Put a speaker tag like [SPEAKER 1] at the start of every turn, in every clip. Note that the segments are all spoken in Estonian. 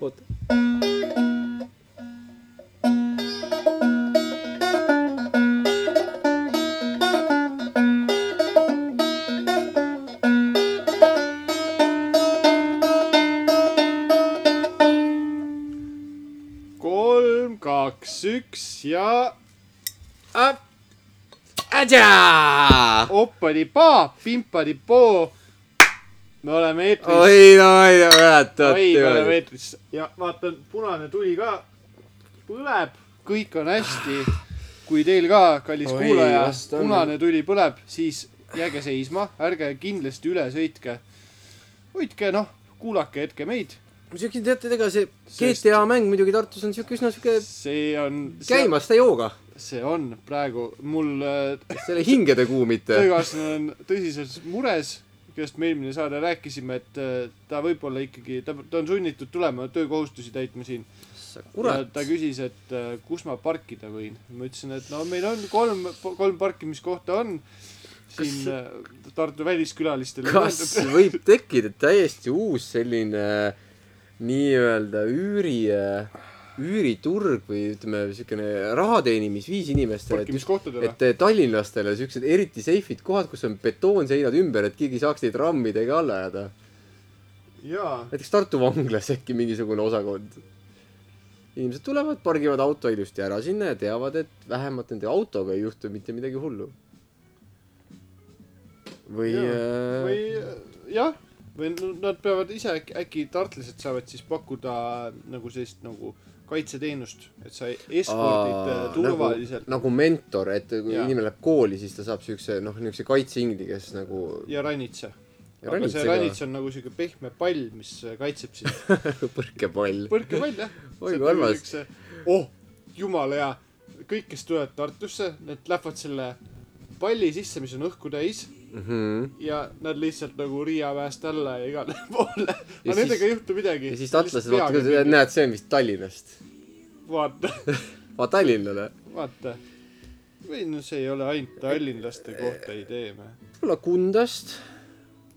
[SPEAKER 1] Oota.
[SPEAKER 2] kolm , kaks , üks ja
[SPEAKER 1] ädja .
[SPEAKER 2] oppadi-paa , pimpadi-poo . me oleme eetris .
[SPEAKER 1] oi no , oi no , kurat , oot
[SPEAKER 2] oi , me oleme . eetris ja vaatan , punane tuli ka põleb , kõik on hästi . kui teil ka , kallis
[SPEAKER 1] Oi,
[SPEAKER 2] kuulaja ,
[SPEAKER 1] vast on.
[SPEAKER 2] punane tuli põleb , siis jääge seisma , ärge kindlasti üle sõitke . hoidke , noh , kuulake hetke meid .
[SPEAKER 1] muidugi teate , ega see
[SPEAKER 2] Sest-
[SPEAKER 1] GTA mäng muidugi Tartus on siuke üsna siuke
[SPEAKER 2] see on .
[SPEAKER 1] käimas ta jooga ,
[SPEAKER 2] see on praegu mul äh,
[SPEAKER 1] selle hingede kuumite .
[SPEAKER 2] töökaaslane on tõsises mures , kellest me eelmine saade rääkisime , et äh, ta võib-olla ikkagi , ta , ta on sunnitud tulema töökohustusi täitma siin . ja
[SPEAKER 1] kurat
[SPEAKER 2] ta , küsis , et äh, kus ma parkida võin . ma ütlesin , et no meil on kolm , kolm parkimiskohta on siin kas... Tartu väliskülalistele .
[SPEAKER 1] kas võib tekkida täiesti uus selline äh, nii-öelda üüri , üüriturg või ütleme , siukene raha teenimisviis inimestele , et just
[SPEAKER 2] parkimiskohtadele ?
[SPEAKER 1] et äh, tallinlastele siuksed eriti seifid kohad , kus on betoonseinad ümber , et keegi ei saaks neid rammidega alla ajada .
[SPEAKER 2] jaa ,
[SPEAKER 1] näiteks Tartu vanglas äkki mingisugune osakond . inimesed tulevad , pargivad auto ilusti ära sinna ja teavad , et vähemalt nende autoga ei juhtu mitte midagi hullu . või , äh,
[SPEAKER 2] või äh, jah , või n- nad peavad ise äkki , äkki tartlased saavad siis pakkuda nagu sellist nagu kaitseteenust , et sa eskordid äh, turvaliselt .
[SPEAKER 1] nagu, nagu mentor , et kui
[SPEAKER 2] Jaa.
[SPEAKER 1] inimene läheb kooli , siis ta saab siukse noh , niukse kaitseingli , kes nagu
[SPEAKER 2] ja ranitsa .
[SPEAKER 1] Ja
[SPEAKER 2] aga see
[SPEAKER 1] ranitsaga-
[SPEAKER 2] ranits on nagu siuke pehme pall , mis äh, kaitseb sind .
[SPEAKER 1] põrkepall .
[SPEAKER 2] põrkepall jah .
[SPEAKER 1] Oi, kui armas. .
[SPEAKER 2] oh , jumala hea . kõik , kes tulevad Tartusse , need lähevad selle palli sisse , mis on õhku täis
[SPEAKER 1] Mhm.
[SPEAKER 2] ja nad lihtsalt nagu Riia väest alla ja igale poole .
[SPEAKER 1] Ja
[SPEAKER 2] aga nendega
[SPEAKER 1] siis-
[SPEAKER 2] ei juhtu midagi .
[SPEAKER 1] ja siis tartlased vaatavad , et . näed , see on vist Tallinnast .
[SPEAKER 2] vaata ,
[SPEAKER 1] ma tallinlane .
[SPEAKER 2] vaata . või no see ei ole ainult tallinlaste kohta idee me .
[SPEAKER 1] võib-olla Kundast .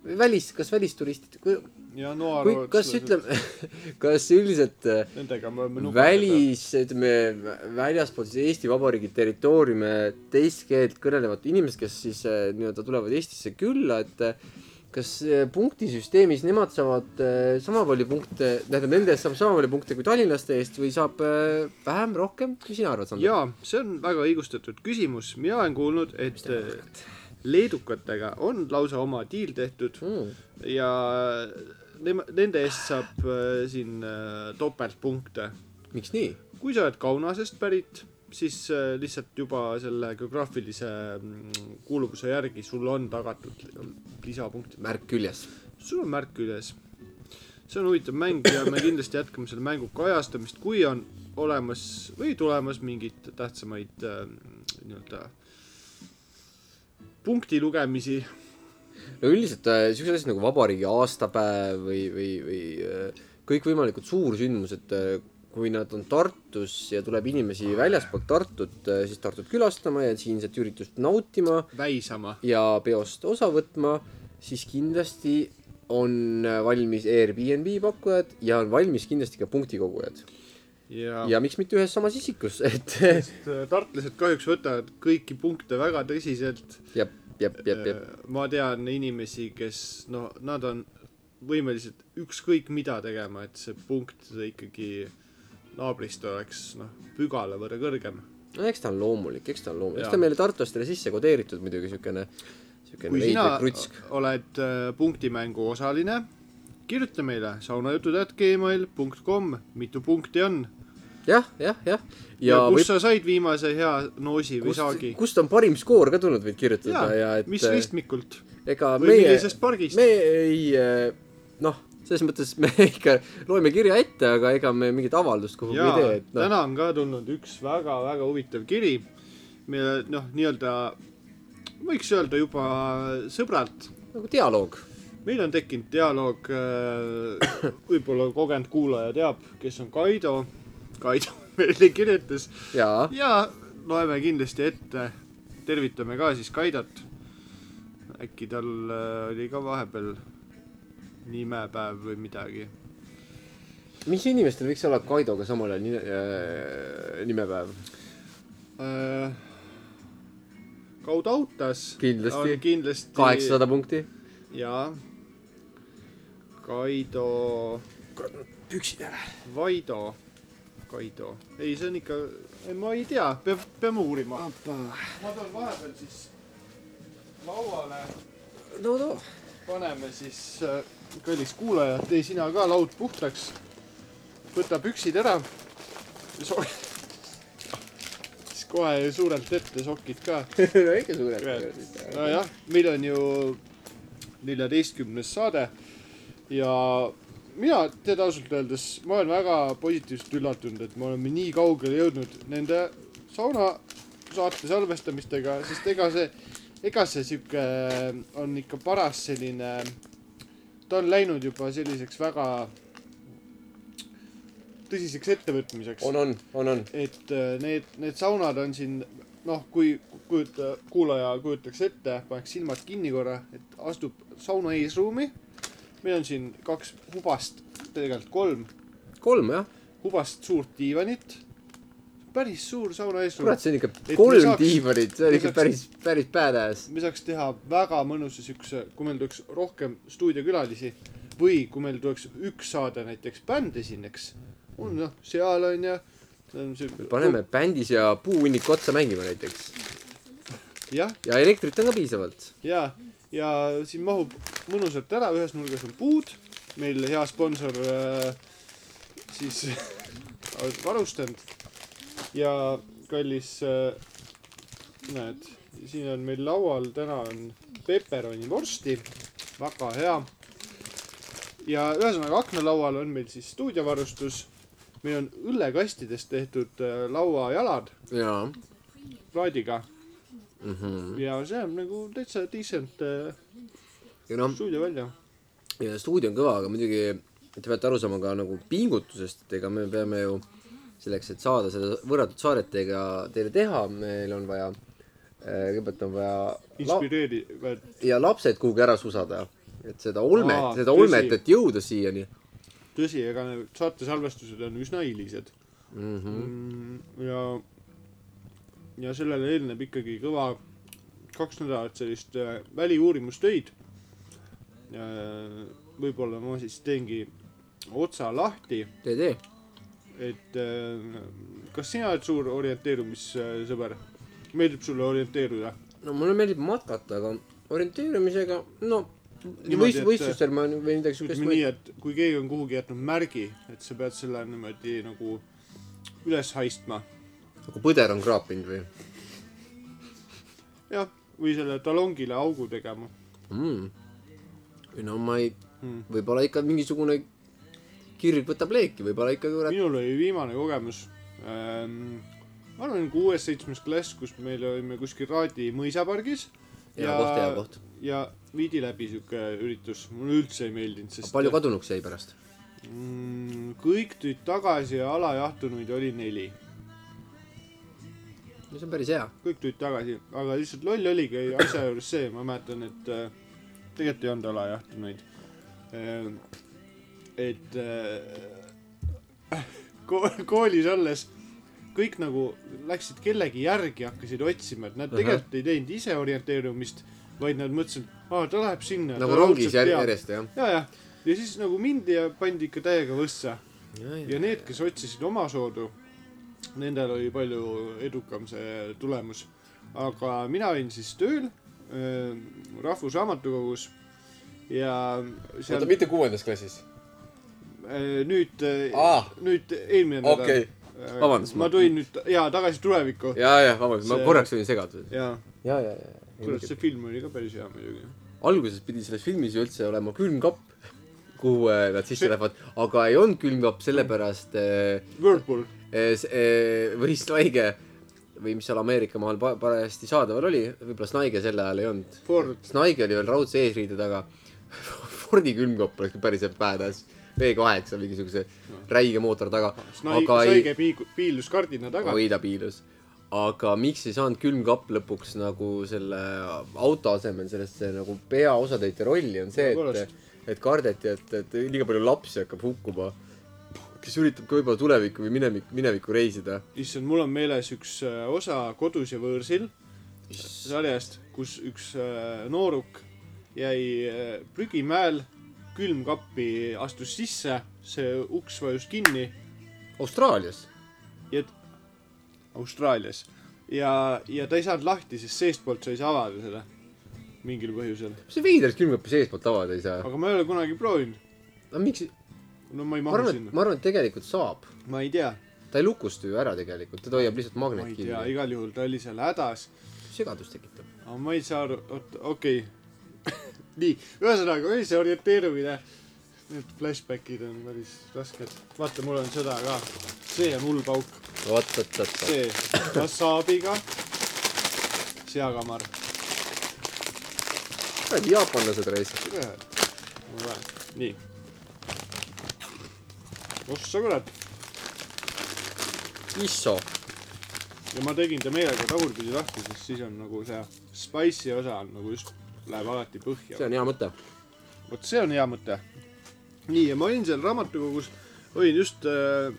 [SPEAKER 1] välis , kas välisturistid , kui ,
[SPEAKER 2] ja noor .
[SPEAKER 1] kui , kas ütleme , kas üldiselt äh,
[SPEAKER 2] Nendega me oleme .
[SPEAKER 1] välis , ütleme väljaspool siis Eesti Vabariigi territooriume teist keelt kõnelevad inimesed , kes siis äh, nii-öelda tulevad Eestisse külla , et äh, kas äh, punktisüsteemis nemad saavad äh, sama palju punkte , tähendab nende eest saab sama palju punkte kui tallinlaste eest või saab äh, vähem , rohkem , mis sina arvad , Sander ?
[SPEAKER 2] jaa , see on väga õigustatud küsimus , mina olen kuulnud , et äh, leedukatega on lausa oma diil tehtud
[SPEAKER 1] Mm.
[SPEAKER 2] ja nema- nende eest saab äh, siin äh, topeltpunkte .
[SPEAKER 1] miks nii ?
[SPEAKER 2] kui sa oled Kaunasest pärit , siis äh, lihtsalt juba selle geograafilise mm, kuuluvuse järgi sul on tagatud lisapunktid .
[SPEAKER 1] märk küljes .
[SPEAKER 2] sul on märk küljes . see on huvitav mäng ja me kindlasti jätkame selle mängu kajastamist , kui on olemas või tulemas mingeid tähtsamaid äh, nii-öelda punkti lugemisi .
[SPEAKER 1] no üldiselt äh, siuksed asjad nagu vabariigi aastapäev või , või , või äh, kõikvõimalikud suursündmused , kui nad on Tartus ja tuleb inimesi väljaspoolt Tartut , siis Tartut külastama ja siinset üritust nautima
[SPEAKER 2] väisama .
[SPEAKER 1] ja peost osa võtma , siis kindlasti on äh, valmis Airbnb pakkujad ja on valmis kindlasti ka punktikogujad .
[SPEAKER 2] ja, ja.
[SPEAKER 1] ja miks mitte ühes samas isikus , et
[SPEAKER 2] tartlased kahjuks võtavad kõiki punkte väga tõsiselt .
[SPEAKER 1] jep , jep , jep , jep .
[SPEAKER 2] ma tean inimesi , kes no nad on võimelised ükskõik mida tegema , et see punkt ikkagi naabrist oleks noh , pügala võrra kõrgem
[SPEAKER 1] no eks ta on loomulik , eks ta on loomulik , eks
[SPEAKER 2] Jaa.
[SPEAKER 1] ta on meile tartlastele sisse kodeeritud muidugi siukene , siukene
[SPEAKER 2] kui sina
[SPEAKER 1] veidrik krutsk .
[SPEAKER 2] oled äh, punktimängu osaline , kirjuta meile saunajutud.gmail.com , mitu punkti on
[SPEAKER 1] jah , jah , jah .
[SPEAKER 2] ja, ja
[SPEAKER 1] ja
[SPEAKER 2] kus
[SPEAKER 1] võib ,
[SPEAKER 2] võib... sa said viimase hea noosi või
[SPEAKER 1] kust
[SPEAKER 2] saagi ,.
[SPEAKER 1] kust on parim skoor ka tulnud , võid kirjutada
[SPEAKER 2] ja,
[SPEAKER 1] ja, ja
[SPEAKER 2] ja ,
[SPEAKER 1] et
[SPEAKER 2] mis ristmikult
[SPEAKER 1] äh, ega
[SPEAKER 2] või
[SPEAKER 1] meie ,
[SPEAKER 2] millisest pargist me... .
[SPEAKER 1] me ei äh, noh , selles mõttes me ikka loeme kirja ette , aga ega me mingit avaldust kuhugi
[SPEAKER 2] ja
[SPEAKER 1] ei tee , et noh ,
[SPEAKER 2] täna on ka tulnud üks väga-väga huvitav kiri , mille noh , nii-öelda , ma võiks öelda juba sõbralt ,
[SPEAKER 1] nagu dialoog .
[SPEAKER 2] meil on tekkinud dialoog , võib-olla kogenud kuulaja teab , kes on Kaido , Kaido meile kirjutas
[SPEAKER 1] jaa ,
[SPEAKER 2] ja loeme kindlasti ette , tervitame ka siis Kaidot . äkki tal äh, oli ka vahepeal nimepäev või midagi .
[SPEAKER 1] mis inimestel võiks olla Kaidoga samal ajal nime, äh, nimepäev ?
[SPEAKER 2] Äh, Kaudautas
[SPEAKER 1] Kindlasti.
[SPEAKER 2] on kindlasti
[SPEAKER 1] kaheksasada punkti .
[SPEAKER 2] ja Kaido ,
[SPEAKER 1] püksid ära .
[SPEAKER 2] Vaido , Kaido , ei , see on ikka , ma ei tea , peab , peame uurima . ma toon vahepeal siis lauale
[SPEAKER 1] no , no .
[SPEAKER 2] paneme siis , kallis kuulaja , tee sina ka laud puhtaks . võta püksid ära . siis kohe suurelt ette sokid ka .
[SPEAKER 1] no ikka suurelt .
[SPEAKER 2] nojah , meil on ju neljateistkümnes saade ja mina tead ausalt öeldes , ma olen väga positiivselt üllatunud , et me oleme nii kaugele jõudnud nende sauna saate salvestamistega , sest ega see , ega see sihuke on ikka paras selline , ta on läinud juba selliseks väga tõsiseks ettevõtmiseks
[SPEAKER 1] on , on , on , on .
[SPEAKER 2] et äh, need , need saunad on siin noh , kui kujuta , kuulaja kujutaks ette , paneks silmad kinni korra , et astub sauna eesruumi . meil on siin kaks hubast , tegelikult kolm
[SPEAKER 1] kolm jah ?
[SPEAKER 2] hubast suurt diivanit . päris suur sauna eesruum
[SPEAKER 1] kurat ,. see on ikka
[SPEAKER 2] me
[SPEAKER 1] kolm
[SPEAKER 2] saaks-
[SPEAKER 1] diivanit , see on
[SPEAKER 2] me
[SPEAKER 1] ikka
[SPEAKER 2] saaks-
[SPEAKER 1] päris , päris badass .
[SPEAKER 2] me saaks teha väga mõnusa siukse , kui meil tuleks rohkem stuudiokülalisi või kui meil tuleks üks saade näiteks bände siin , eks . on noh , seal on ja .
[SPEAKER 1] paneme bändis ja puuhunniku otsa mängima näiteks .
[SPEAKER 2] jah ,
[SPEAKER 1] ja elektrit on ka piisavalt .
[SPEAKER 2] ja , ja siin mahub mõnusalt ära , ühes nurgas on puud , meil hea sponsor äh, siis on varustanud ja kallis äh, , näed , siin on meil laual täna on peperonivorsti , väga hea . ja ühesõnaga aknalaual on meil siis stuudiovarustus , meil on õllekastidest tehtud äh, lauajalad
[SPEAKER 1] jaa .
[SPEAKER 2] plaadiga ja see on nagu täitsa decent äh,
[SPEAKER 1] ja noh ,
[SPEAKER 2] stuudio välja .
[SPEAKER 1] ja stuudio on kõva , aga muidugi te peate aru saama ka nagu pingutusest , et ega me peame ju selleks , et saada seda võrratut saadet teiega , teile teha , meil on vaja , kõigepealt on vaja la-
[SPEAKER 2] inspireerivad .
[SPEAKER 1] ja lapsed kuhugi ära susada , et seda olmet
[SPEAKER 2] Aa, ,
[SPEAKER 1] seda olmet ,
[SPEAKER 2] tõsi.
[SPEAKER 1] et jõuda siiani .
[SPEAKER 2] tõsi , ega need saatesalvestused on üsna hilised
[SPEAKER 1] Mm -hmm.
[SPEAKER 2] mm, . ja , ja sellele eelneb ikkagi kõva kaks nädalat sellist äh, väliuurimustöid . võib-olla ma siis teengi otsa lahti ,
[SPEAKER 1] tee , tee .
[SPEAKER 2] et äh, kas sina oled suur orienteerumissõber ? meeldib sulle orienteeruda ?
[SPEAKER 1] no mulle meeldib matkata , aga orienteerumisega , no
[SPEAKER 2] Niimoodi,
[SPEAKER 1] võist-
[SPEAKER 2] et- ,
[SPEAKER 1] võistlustel ma nüüd- või midagi siukest
[SPEAKER 2] ütleme nii , et kui keegi on kuhugi jätnud märgi , et sa pead selle niimoodi nagu üles haistma
[SPEAKER 1] nagu põder on kraapinud või
[SPEAKER 2] jah , või selle talongile augu tegema .
[SPEAKER 1] mm. . või no ma ei
[SPEAKER 2] Mm.
[SPEAKER 1] mm. , võib-olla ikka mingisugune kirg võtab leeki , võib-olla ikka kurat .
[SPEAKER 2] minul oli viimane kogemus ähm, , ma arvan , kuues-seitsmes klass , kus me olime kuskil Raadi mõisapargis
[SPEAKER 1] Hea koht, hea koht.
[SPEAKER 2] ja viidi läbi siuke üritus , mulle üldse ei meeldinud , sest
[SPEAKER 1] palju kadunuks jäi pärast ?
[SPEAKER 2] mm, kõik tulid tagasi ja alajahtunuid oli neli ,
[SPEAKER 1] no see on päris hea .
[SPEAKER 2] kõik tulid tagasi , aga lihtsalt loll oligi asja juures see , ma mäletan , et äh, tegelikult ei olnud alajahtunuid . et äh, ko- koolis olles kõik nagu läksid kellegi järgi , hakkasid otsima , et nad
[SPEAKER 1] Ahah.
[SPEAKER 2] tegelikult ei teinud ise orienteerumist , vaid nad mõtlesid , aa , ta läheb sinna .
[SPEAKER 1] nagu rongis jär, . järjest jah
[SPEAKER 2] ja , ja , ja siis nagu mindi ja pandi ikka täiega võssa
[SPEAKER 1] ja, .
[SPEAKER 2] ja need , kes otsisid omasoodu , nendel oli palju edukam see tulemus . aga mina olin siis tööl äh, Rahvusraamatukogus ja seal
[SPEAKER 1] mitte kuuendas klassis ?
[SPEAKER 2] äh, nüüd
[SPEAKER 1] Aa. ,
[SPEAKER 2] nüüd eelmine nädal
[SPEAKER 1] Okei.
[SPEAKER 2] Äh,
[SPEAKER 1] Vabandust,
[SPEAKER 2] ma
[SPEAKER 1] ma-
[SPEAKER 2] tulin nüüd jaa tagasi tulevikku ja,
[SPEAKER 1] ja , ja vabandust , ma
[SPEAKER 2] See-
[SPEAKER 1] korraks olin segaduses .
[SPEAKER 2] ja
[SPEAKER 1] ja , ja ,
[SPEAKER 2] kurat ,
[SPEAKER 1] ja .
[SPEAKER 2] see film oli ka päris hea muidugi .
[SPEAKER 1] alguses pidi selles filmis ju üldse olema külmkapp , kuhu äh, nad sisse lähevad , aga ei eh, olnud külmkapp , sellepärast äh,
[SPEAKER 2] Whirlpool ,
[SPEAKER 1] s- eh, võistlaige või mis seal Ameerika maal pa- parajasti saadaval oli , võib-olla Snige sel ajal ei olnud .
[SPEAKER 2] Ford ,
[SPEAKER 1] Snige oli veel raudse eesriide taga . Fordi külmkopp oleks päriselt badass . V kaheksa mingisuguse räige mootor taga .
[SPEAKER 2] Snaige , Snaige piigu- , piilus kardina taga .
[SPEAKER 1] oi ta piilus . aga miks ei saanud külmkapp lõpuks nagu selle auto asemel sellesse nagu peaosatäitja rolli , on see , et
[SPEAKER 2] Tõepoolest. ,
[SPEAKER 1] et kardeti , et , et liiga palju lapsi hakkab hukkuma , kes üritab ka võib-olla tulevikku või minevik , minevikku reisida .
[SPEAKER 2] issand , mul on meeles üks äh, osa Kodus ja võõrsil sarjast , kus üks äh, nooruk jäi äh, prügimäel , külmkappi astus sisse , see uks vajus kinni
[SPEAKER 1] Austraalias
[SPEAKER 2] ja Austraalias ja , ja ta ei saanud lahti , sest seestpoolt sai see avada seda mingil põhjusel ,
[SPEAKER 1] mis see veider , et külmkappi seestpoolt avada ei saa ?
[SPEAKER 2] aga ma ei ole kunagi proovinud .
[SPEAKER 1] aga miks ,
[SPEAKER 2] no ma ei
[SPEAKER 1] ma
[SPEAKER 2] mahu
[SPEAKER 1] arvan , et ,
[SPEAKER 2] sinna ,
[SPEAKER 1] ma arvan , et tegelikult saab .
[SPEAKER 2] ma ei tea ,
[SPEAKER 1] ta ei lukusta ju ära tegelikult , teda hoiab lihtsalt
[SPEAKER 2] ma
[SPEAKER 1] magnet
[SPEAKER 2] ei tea ,
[SPEAKER 1] kinni .
[SPEAKER 2] igal juhul ta oli seal hädas ,
[SPEAKER 1] segadust tekitab .
[SPEAKER 2] aga ma ei saa aru , oot , okei okay. . nii , ühesõnaga oli see orienteerumine . Need flashbackid on päris rasked . vaata , mul on seda ka . see on hull pauk ,
[SPEAKER 1] vot , vot , vot ,
[SPEAKER 2] see wasabiga , seakamar .
[SPEAKER 1] vot . jaapanlased reisivad .
[SPEAKER 2] nii . ossa kurat .
[SPEAKER 1] isso
[SPEAKER 2] ja ma tegin ta meelega tagurpidi lahti , sest siis on nagu see spicy osa on nagu just , läheb alati põhja .
[SPEAKER 1] see on hea mõte .
[SPEAKER 2] vot see on hea mõte . nii , ja ma olin seal raamatukogus , olin just äh, ,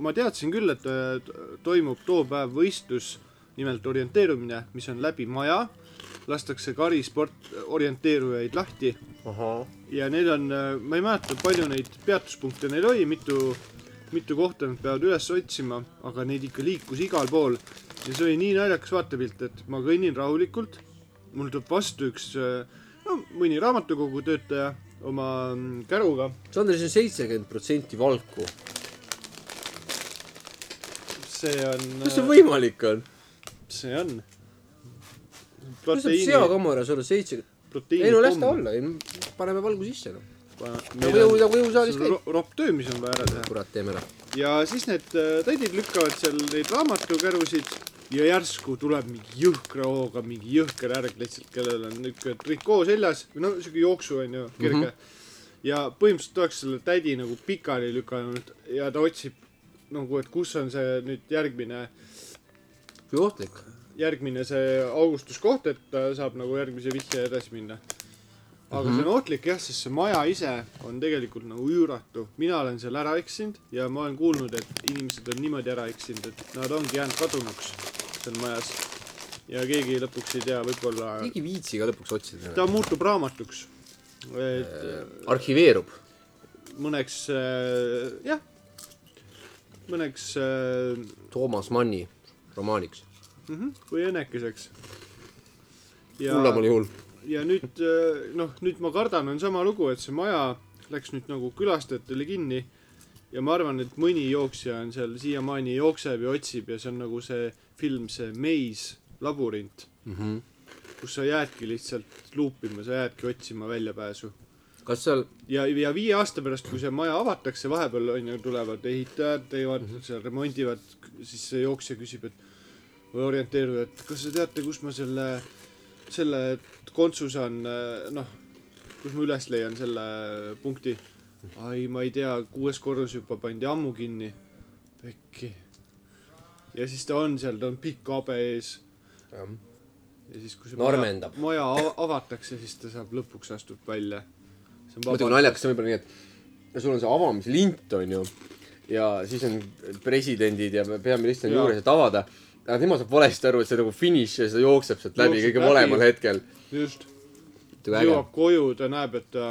[SPEAKER 2] ma teadsin küll , et äh, t- toimub too päev võistlus , nimelt orienteerumine , mis on läbi maja , lastakse karisport , orienteerujaid lahti
[SPEAKER 1] ahah .
[SPEAKER 2] ja neil on , ma ei mäleta , palju neid peatuspunkte neil oli , mitu , mitu kohta nad peavad üles otsima , aga neid ikka liikus igal pool . ja see oli nii naljakas vaatepilt , et ma kõnnin rahulikult , mul tuleb vastu üks , no mõni raamatukogu töötaja oma mm, käruga ,
[SPEAKER 1] Sandris on seitsekümmend protsenti valku .
[SPEAKER 2] see on .
[SPEAKER 1] kuidas see ? võimalik on ?
[SPEAKER 2] see on .
[SPEAKER 1] kuidas saab seakameras olla seitsekümmend ? ei no las ta . olla , ei no paneme valgu sisse noh . nagu jõu , nagu jõusaalis käib .
[SPEAKER 2] ropp töö , mis on vaja ära teha .
[SPEAKER 1] kurat , teeme noh. ära .
[SPEAKER 2] ja siis need äh, tädid lükkavad seal neid raamatukärusid ja järsku tuleb mingi jõhkra hooga mingi jõhker ärg lihtsalt , kellel on niisugune trikoo seljas või noh , niisugune jooksu on ju , kerge mm . -hmm. ja põhimõtteliselt oleks selle tädi nagu pikali lükanud ja ta otsib nagu , et kus on see nüüd järgmine ,
[SPEAKER 1] kui ohtlik .
[SPEAKER 2] järgmine see augustuskoht , et ta saab nagu järgmise vihje edasi minna . aga mm -hmm. see on ohtlik jah , sest see maja ise on tegelikult nagu üüratu . mina olen seal ära eksinud ja ma olen kuulnud , et inimesed on niimoodi ära eksinud , et nad ongi jäänud kadunuks seal majas . ja keegi lõpuks ei tea , võib-olla
[SPEAKER 1] keegi ei viitsi ka lõpuks otsida .
[SPEAKER 2] ta muutub raamatuks . et
[SPEAKER 1] arhiveerub .
[SPEAKER 2] mõneks äh, jah , mõneks äh,
[SPEAKER 1] Toomas Manni romaaniks .
[SPEAKER 2] mhm, või õnnekeseks .
[SPEAKER 1] hullamal juhul .
[SPEAKER 2] ja nüüd äh, noh , nüüd ma kardan , on sama lugu , et see maja läks nüüd nagu külastajatele kinni ja ma arvan , et mõni jooksja on seal siiamaani jookseb ja otsib ja see on nagu see film , see Maze labürint , kus sa jäädki lihtsalt luupima , sa jäädki otsima väljapääsu .
[SPEAKER 1] kas seal ,
[SPEAKER 2] ja , ja viie aasta pärast , kui see maja avatakse , vahepeal on ju , tulevad ehitajad , teevad seal remondivad , siis see jooksja küsib , et või orienteerub , et kas te teate , kus ma selle , selle kontsu saan , noh , kus ma üles leian selle punkti . ai , ma ei tea , kuues korrus juba pandi ammu kinni . pekki . ja siis ta on seal , ta on pikk habe ees ja siis , kui see maja,
[SPEAKER 1] Normendab.
[SPEAKER 2] maja ava- avatakse , siis ta saab lõpuks astub välja .
[SPEAKER 1] muidugi naljakas on võib-olla nii , et sul on see avamislint on ju ja siis on presidendid ja peaminister on
[SPEAKER 2] Jaa.
[SPEAKER 1] juures , et avada . aga tema saab valesti aru , et see nagu finiš ja see jookseb sealt läbi
[SPEAKER 2] Jookseb
[SPEAKER 1] kõige
[SPEAKER 2] läbi.
[SPEAKER 1] valemal hetkel .
[SPEAKER 2] just , jõuab koju , ta näeb , et ta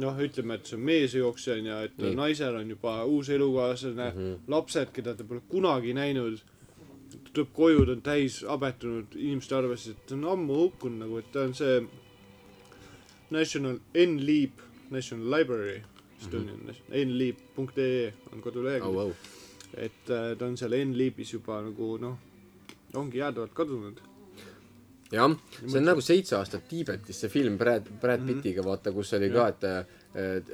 [SPEAKER 2] noh , ütleme , et see on meesjooksja onju , et
[SPEAKER 1] Nii.
[SPEAKER 2] Nii. naisel on juba uus elukaaslane mm , -hmm. lapsed , keda ta pole kunagi näinud . ta tuleb koju , ta on täis habetunud , inimesed arvasid , et ta on ammu hukkunud nagu , et ta on see National NLeap , National Library , Estonian mm -hmm. NLeap.ee E, on kodulehekülg
[SPEAKER 1] au , au .
[SPEAKER 2] et äh, ta on seal N-liibis juba nagu noh , ongi jäädavalt kadunud .
[SPEAKER 1] jah , see on nagu seitse aastat Tiibetis , see film Brad , Brad
[SPEAKER 2] Mhm.
[SPEAKER 1] Pittiga , vaata , kus oli ka , et ,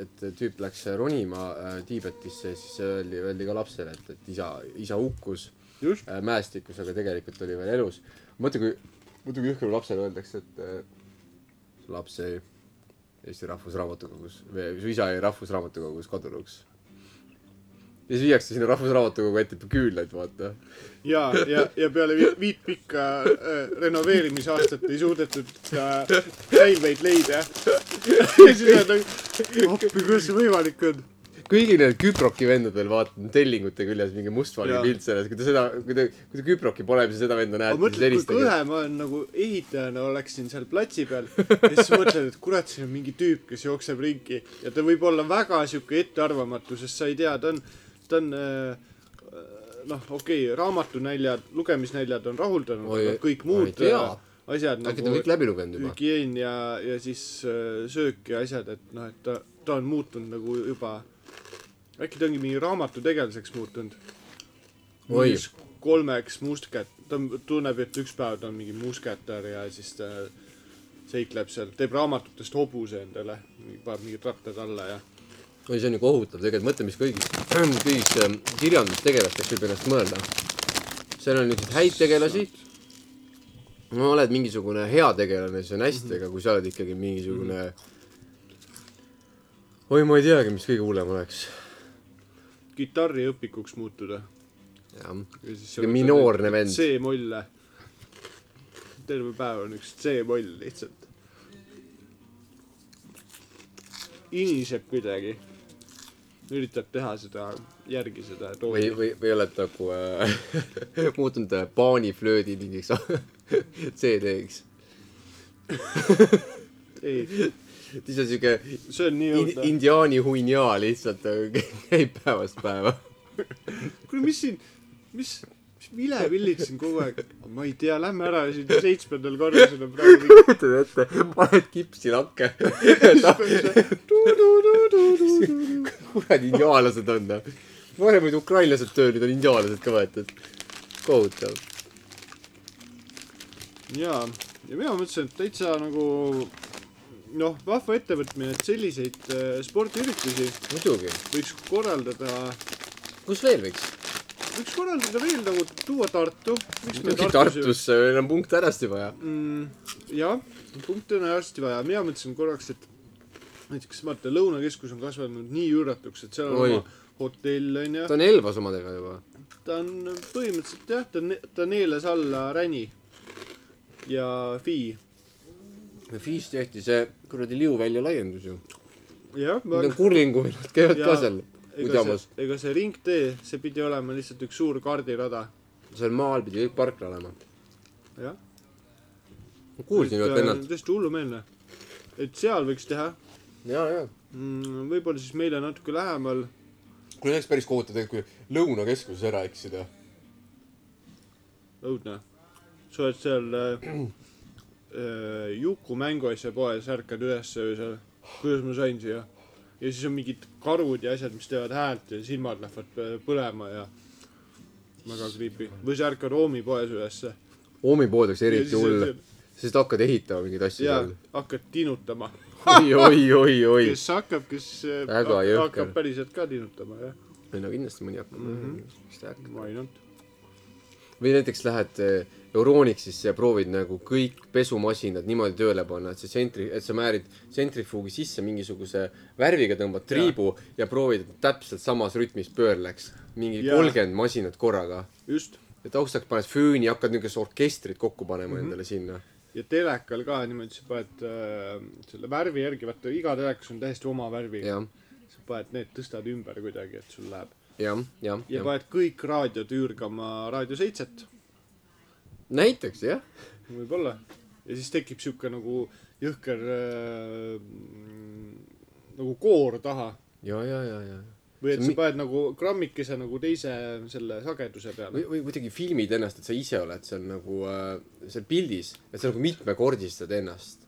[SPEAKER 1] et , et tüüp läks ronima äh, Tiibetisse , siis öeldi , öeldi ka lapsele , et , et isa , isa hukkus .
[SPEAKER 2] just ,
[SPEAKER 1] äh, mäestikus , aga tegelikult oli veel elus . mõtle , kui , mõtle , kui jõhker lapsele öeldakse , et äh, su laps jäi Eesti Rahvusraamatukogus või su isa jäi Rahvusraamatukogus kadunuks . ja siis viiakse sinna Rahvusraamatukogu ette küünlaid , vaata .
[SPEAKER 2] ja , ja , ja peale vi- viit pikka äh, renoveerimisaastat ei suudetud äh, säilmeid leida . ja siis nad on , appi , kuidas see võimalik on .
[SPEAKER 1] kõigil neil Küproki vendadel , vaata , on tellingute küljes mingi mustvalge
[SPEAKER 2] Jaa.
[SPEAKER 1] pilt selles , kui te seda , kui te , kui te Küproki polemise seda venda
[SPEAKER 2] aga
[SPEAKER 1] näete , siis
[SPEAKER 2] mõtled , kui kõhe
[SPEAKER 1] helistage .
[SPEAKER 2] ma olen nagu ehitajana oleksin seal platsi peal ja siis mõtled , et kurat , siin on mingi tüüp , kes jookseb ringi ja ta võib olla väga sihuke ettearvamatu , sest sa ei tea , ta on , ta on äh, noh , okei okay, , raamatunaljad , lugemisnaljad on rahuldanud ,
[SPEAKER 1] Oi,
[SPEAKER 2] aga kõik
[SPEAKER 1] ma ei
[SPEAKER 2] muud
[SPEAKER 1] tea.
[SPEAKER 2] äh, asjad
[SPEAKER 1] äkki ta on kõik läbi lugenud juba ?
[SPEAKER 2] hügieen ja , ja siis äh, söök ja asjad , et noh , et ta , ta on muutunud nagu juba , äkki ta ongi mingi raamatutegelaseks muutunud .
[SPEAKER 1] Oi.
[SPEAKER 2] kolmeks mustkat- , ta on- tunneb , et üks päev ta on mingi musketär ja siis ta seikleb seal , teeb raamatutest hobuse endale , paneb mingid rattad alla ja .
[SPEAKER 1] oi , see on ju kohutav tegelikult , mõtle , mis kõigist , kõigist ähm, kirjandustegelastest võib ennast mõelda . seal on niisuguseid häid tegelasi , no oled mingisugune hea tegelane , siis on hästi , aga kui sa oled ikkagi mingisugune oi , ma ei teagi , mis kõige hullem oleks .
[SPEAKER 2] kitarriõpikuks muutuda .
[SPEAKER 1] jah , minoorne vend.
[SPEAKER 2] C-molle . terve päev on üks C-moll lihtsalt . iniseb kuidagi . üritab teha seda , järgi seda
[SPEAKER 1] või
[SPEAKER 2] tooni .,
[SPEAKER 1] või , või oled nagu äh, muutunud äh, paaniflöödi mingiks CD-ks .
[SPEAKER 2] ei ,
[SPEAKER 1] siis on siuke
[SPEAKER 2] see on nii
[SPEAKER 1] in,
[SPEAKER 2] õudne .
[SPEAKER 1] indiaani huinjaa lihtsalt äh, käib päevast päeva .
[SPEAKER 2] kuule , mis siin , mis , mis vilepillid siin kogu aeg , ma ei tea , lähme ära siin seitsmendal korrusel on praegu .
[SPEAKER 1] kujutad ette , paned kipsi lakke . kuradi indiaanlased on noh . varem olid ukrainlased tööl , nüüd on indiaanlased ka võetud . kohutav .
[SPEAKER 2] jaa , ja mina mõtlesin , et täitsa nagu noh , vahva ettevõtmine , et selliseid äh, spordiüritusi
[SPEAKER 1] muidugi ,
[SPEAKER 2] võiks korraldada ,
[SPEAKER 1] kus veel võiks ?
[SPEAKER 2] võiks korraldada veel nagu tuua Tartu .
[SPEAKER 1] Tartusse , meil on punkt hädasti vaja .
[SPEAKER 2] mm, . jah , punkte on hästi vaja , mina mõtlesin korraks , et näiteks vaata , Lõunakeskus on kasvanud nii üüratuks , et seal on
[SPEAKER 1] Oi.
[SPEAKER 2] Oi. oma hotell on ju
[SPEAKER 1] ta , on Elvas omadega juba .
[SPEAKER 2] ta on põhimõtteliselt jah , ta , ta neelas alla Räni ja Fii .
[SPEAKER 1] Fiis tehti see kuradi liuvälja laiendus ju .
[SPEAKER 2] jah , ma
[SPEAKER 1] Need on kurlingu , nad käivad ka
[SPEAKER 2] Jaa.
[SPEAKER 1] seal
[SPEAKER 2] ega
[SPEAKER 1] udamas .
[SPEAKER 2] see , ega see ringtee , see pidi olema lihtsalt üks suur kaardirada .
[SPEAKER 1] seal maal pidi kõik parkla olema .
[SPEAKER 2] jah .
[SPEAKER 1] ma kuulsin ju , et vennad .
[SPEAKER 2] tõesti hullumeelne . et seal võiks teha
[SPEAKER 1] ja , ja
[SPEAKER 2] mm, , võib-olla siis meile natuke lähemal .
[SPEAKER 1] kuule , see oleks päris kohutav tegelikult , kui Lõunakeskuses ära eksida .
[SPEAKER 2] õudne . sa oled seal äh, äh, Juku mänguasja poes , ärkad üles öösel . kuidas ma sain siia ? ja siis on mingid karud ja asjad , mis teevad häält ja silmad lähevad põ- põlema ja väga creepy . või sa ärkad Oomi poes ülesse .
[SPEAKER 1] hommipood oleks
[SPEAKER 2] Ja
[SPEAKER 1] eriti
[SPEAKER 2] siis on
[SPEAKER 1] hull , sest hakkad ehitama mingeid asju
[SPEAKER 2] ja
[SPEAKER 1] seal .
[SPEAKER 2] hakkad tinutama
[SPEAKER 1] oi , oi , oi , oi .
[SPEAKER 2] kes hakkab , kes äh,
[SPEAKER 1] Väga
[SPEAKER 2] hak-
[SPEAKER 1] jõhker.
[SPEAKER 2] hakkab päriselt ka tinutama , jah ,
[SPEAKER 1] ei no nagu kindlasti mõni hakkab
[SPEAKER 2] Mhm.
[SPEAKER 1] mm . -hmm.
[SPEAKER 2] why not .
[SPEAKER 1] või näiteks lähed eh, Euronixisse ja proovid nagu kõik pesumasinad niimoodi tööle panna , et see tsentri , et sa määrid tsentrifuugi sisse mingisuguse värviga , tõmbad triibu ja, ja proovid , et täpselt samas rütmis pöörleks . mingi
[SPEAKER 2] Jaa.
[SPEAKER 1] kolmkümmend masinat korraga .
[SPEAKER 2] just ,
[SPEAKER 1] ja taustaks paned füüni , hakkad niisugust orkestrit kokku panema
[SPEAKER 2] Mhm.
[SPEAKER 1] mm -hmm. endale sinna .
[SPEAKER 2] ja telekal ka niimoodi , sa paned äh, selle värvi järgi , vaata iga telekas on täiesti oma värviga ,
[SPEAKER 1] jah ,
[SPEAKER 2] sa paned need , tõstad ümber kuidagi , et sul läheb .
[SPEAKER 1] jah , jah ,
[SPEAKER 2] ja
[SPEAKER 1] jah .
[SPEAKER 2] paned kõik raadiod üürgama Raadio seitset ,
[SPEAKER 1] näiteks jah
[SPEAKER 2] võib-olla . ja siis tekib sihuke nagu jõhker äh, mm, nagu koor taha
[SPEAKER 1] ja , ja , ja , ja .
[SPEAKER 2] või
[SPEAKER 1] See
[SPEAKER 2] et sa
[SPEAKER 1] mi-
[SPEAKER 2] paned nagu grammikese nagu teise selle sageduse peale
[SPEAKER 1] või , või kuidagi filmid ennast , et sa ise oled seal nagu äh, seal pildis , et sa nagu mitmekordistad ennast .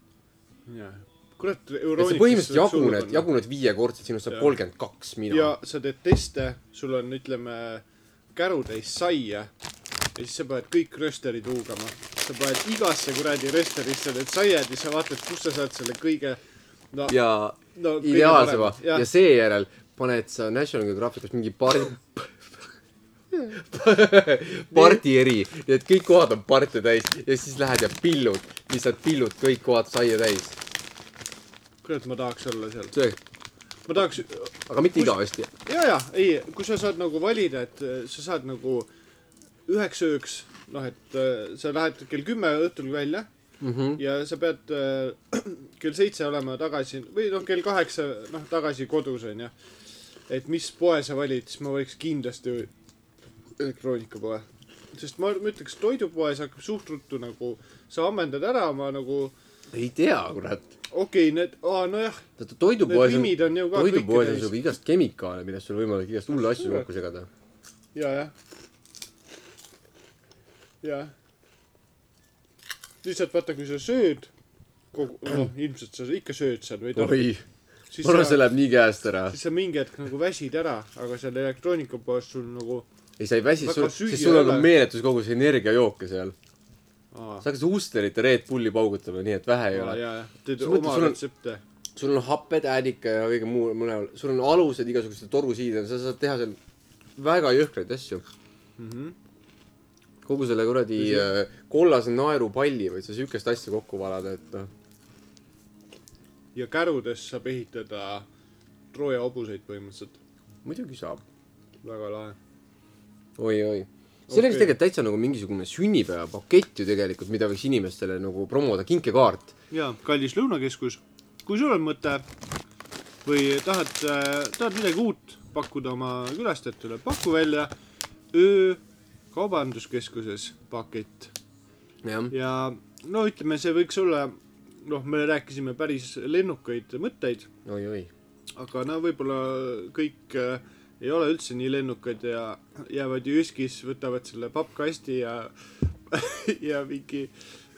[SPEAKER 2] jah . kurat ,
[SPEAKER 1] et sa
[SPEAKER 2] Euroopas .
[SPEAKER 1] põhimõtteliselt jaguned , jaguned viiekordselt , sinust saab
[SPEAKER 2] Jah.
[SPEAKER 1] kolmkümmend kaks mina
[SPEAKER 2] ja . sa teed teste , sul on , ütleme , kärutäis saia ja siis sa paned kõik rösterid huugama . sa paned igasse kuradi rösterisse need saiad ja sa vaatad , kust sa saad selle kõige , no ,
[SPEAKER 1] ja
[SPEAKER 2] no
[SPEAKER 1] ideaalsema ja
[SPEAKER 2] ja, ja
[SPEAKER 1] seejärel paned sa National Geographicust mingi par- , pardi eri , nii et kõik kohad on parte täis ja siis lähed ja pillud , lihtsalt pillud kõik kohad saia täis .
[SPEAKER 2] kurat , ma tahaks olla seal .
[SPEAKER 1] see ,
[SPEAKER 2] ma tahaks ,
[SPEAKER 1] aga mitte igavesti .
[SPEAKER 2] ja , ja ei , kui sa saad nagu valida , et äh, sa saad nagu üheks ööks , noh , et äh, sa lähed kell kümme õhtul välja
[SPEAKER 1] Mm -hmm.
[SPEAKER 2] ja sa pead äh, kell seitse olema tagasi või noh , kell kaheksa , noh , tagasi kodus onju . et mis poe sa valid , siis ma valiks kindlasti elektroonikapoe . sest ma, ma ütleks , toidupoes hakkab suht ruttu nagu , sa ammendad ära oma nagu ,
[SPEAKER 1] ei tea , kurat .
[SPEAKER 2] okei okay, , need , aa nojah ,
[SPEAKER 1] vaata
[SPEAKER 2] need
[SPEAKER 1] toidupoes on ,
[SPEAKER 2] nimid on ju ka
[SPEAKER 1] toidupoes on sul igast kemikaale , millest sul on võimalik igast hulle asju kokku segada .
[SPEAKER 2] ja , jah . jah . lihtsalt vaata , kui sa sööd , kogu , noh , ilmselt sa ikka sööd seal või noh ,
[SPEAKER 1] oi ,
[SPEAKER 2] siis
[SPEAKER 1] ma arvan , see
[SPEAKER 2] sa ,
[SPEAKER 1] läheb nii käest ära .
[SPEAKER 2] siis sa mingi hetk nagu väsid ära , aga seal elektroonikapoes sul nagu ,
[SPEAKER 1] ei , sa ei väsi ,
[SPEAKER 2] Väga
[SPEAKER 1] sul ,
[SPEAKER 2] süüa
[SPEAKER 1] siis sul on
[SPEAKER 2] ei
[SPEAKER 1] ka
[SPEAKER 2] ole.
[SPEAKER 1] meeletus kogus energiajooke seal .
[SPEAKER 2] aa ,
[SPEAKER 1] sa hakkad Hustlerit ja Red Bulli paugutama , nii et vähe ei
[SPEAKER 2] ja ,
[SPEAKER 1] ole .
[SPEAKER 2] ja , teed
[SPEAKER 1] Sa mõtled,
[SPEAKER 2] oma
[SPEAKER 1] sul on-
[SPEAKER 2] retsepte .
[SPEAKER 1] sul on happed , äädika ja kõige muu , mõlemal , sul on alused igasuguste torusiidel , sa saad teha seal väga jõhkraid asju . Mhm. kogu selle kuradi äh, kollase naerupalli võid sa siukest asja kokku valada , et noh ,
[SPEAKER 2] ja kärudes saab ehitada Trooja hobuseid põhimõtteliselt ,
[SPEAKER 1] muidugi saab
[SPEAKER 2] väga lahe .
[SPEAKER 1] oi, . oi-oi . see oleks
[SPEAKER 2] Okei.
[SPEAKER 1] tegelikult täitsa nagu mingisugune sünnipäevapakett ju tegelikult , mida võiks inimestele nagu promoda , kinkekaart .
[SPEAKER 2] ja kallis Lõunakeskus , kui sul on mõte või tahad , tahad midagi uut pakkuda oma külastajatele , paku välja öö kaubanduskeskuses pakett
[SPEAKER 1] jah ,
[SPEAKER 2] ja no ütleme , see võiks olla , noh , me rääkisime päris lennukaid mõtteid ,
[SPEAKER 1] oi-oi .
[SPEAKER 2] aga no võib-olla kõik äh, ei ole üldse nii lennukad ja jäävad ju üskis , võtavad selle pappkasti ja ja mingi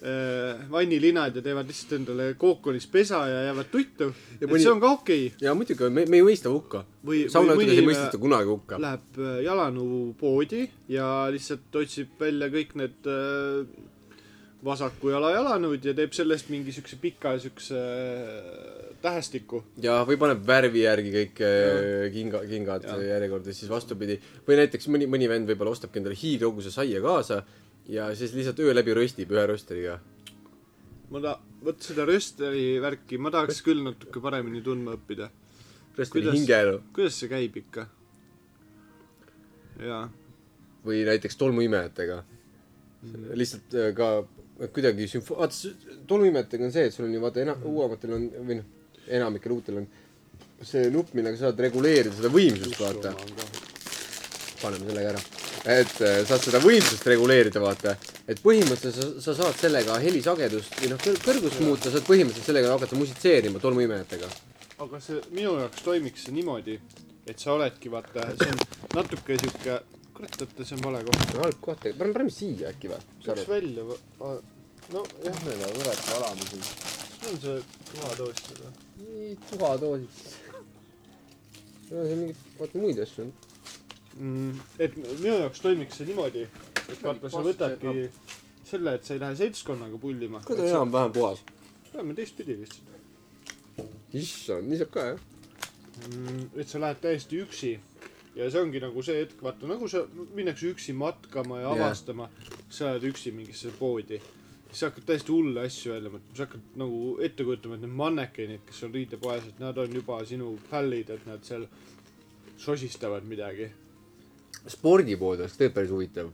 [SPEAKER 2] äh, vannilinad ja teevad lihtsalt endale kookonis pesa ja jäävad tuttu . et
[SPEAKER 1] mõni-
[SPEAKER 2] see on ka okei okay.
[SPEAKER 1] ja muidugi , me , me ei mõista hukka .
[SPEAKER 2] või , või
[SPEAKER 1] saunaütluses ei
[SPEAKER 2] mõni äh,
[SPEAKER 1] mõisteta kunagi hukka .
[SPEAKER 2] läheb äh, jalanõupoodi ja lihtsalt otsib välja kõik need äh, vasaku jala jalanõud ja teeb sellest mingi siukse pika siukse äh, tähestiku .
[SPEAKER 1] ja , või paneb värvi järgi kõik äh, kinga , kingad
[SPEAKER 2] Ja.
[SPEAKER 1] järjekorda , siis vastupidi . või näiteks mõni , mõni vend võib-olla ostabki endale hiidkoguse saia kaasa ja siis lihtsalt öö läbi röstib ühe rösteriga .
[SPEAKER 2] ma ta- , vot seda rösteri värki ma tahaks küll natuke paremini tundma õppida .
[SPEAKER 1] rösteri
[SPEAKER 2] Kuidas-
[SPEAKER 1] hingeelu
[SPEAKER 2] kuidas see käib ikka ? jaa ,
[SPEAKER 1] või näiteks tolmuimejatega mm. . lihtsalt äh, ka kuidagi sümfo- , vaata s- tolmuimejatega on see , et sul on ju vaata ena- , uuematel on või noh , enamikel uutel on see nupp , millega saad reguleerida seda võimsust , vaata . paneme sellega ära . et äh, saad seda võimsust reguleerida , vaata . et põhimõtteliselt sa , sa saad sellega helisagedust või noh , kõrgust muuta , saad põhimõtteliselt sellega hakata musitseerima tolmuimejatega .
[SPEAKER 2] aga see minu jaoks toimiks see niimoodi , et sa oledki vaata , see on natuke siuke , kurat , oota , see on vale koht .
[SPEAKER 1] halb koht , paneme , paneme siia äkki
[SPEAKER 2] peaks
[SPEAKER 1] või ?
[SPEAKER 2] välja , nojah ,
[SPEAKER 1] meil on võrratu alama siin .
[SPEAKER 2] see on see tuhatoast seda .
[SPEAKER 1] nii tuhadoosid . no see on mingi , vaata muid asju on .
[SPEAKER 2] et minu jaoks toimiks see niimoodi , et vaata , sa võtadki selle , et sa ei lähe seltskonnaga pullima .
[SPEAKER 1] ka ta on enam-vähem puhas .
[SPEAKER 2] peame teistpidi lihtsalt .
[SPEAKER 1] issand , nii saab ka jah .
[SPEAKER 2] Mm, et sa lähed täiesti üksi ja see ongi nagu see hetk , vaata nagu sa minnakse üksi matkama ja
[SPEAKER 1] Jah.
[SPEAKER 2] avastama yeah. , sa lähed üksi mingisse poodi , siis sa hakkad täiesti hulle asju välja mõtlema , sa hakkad nagu ette kujutama , et need mannekenid , kes on riidepoes , et nad on juba sinu fällid , et nad seal sosistavad midagi .
[SPEAKER 1] spordipood oleks tegelikult päris huvitav .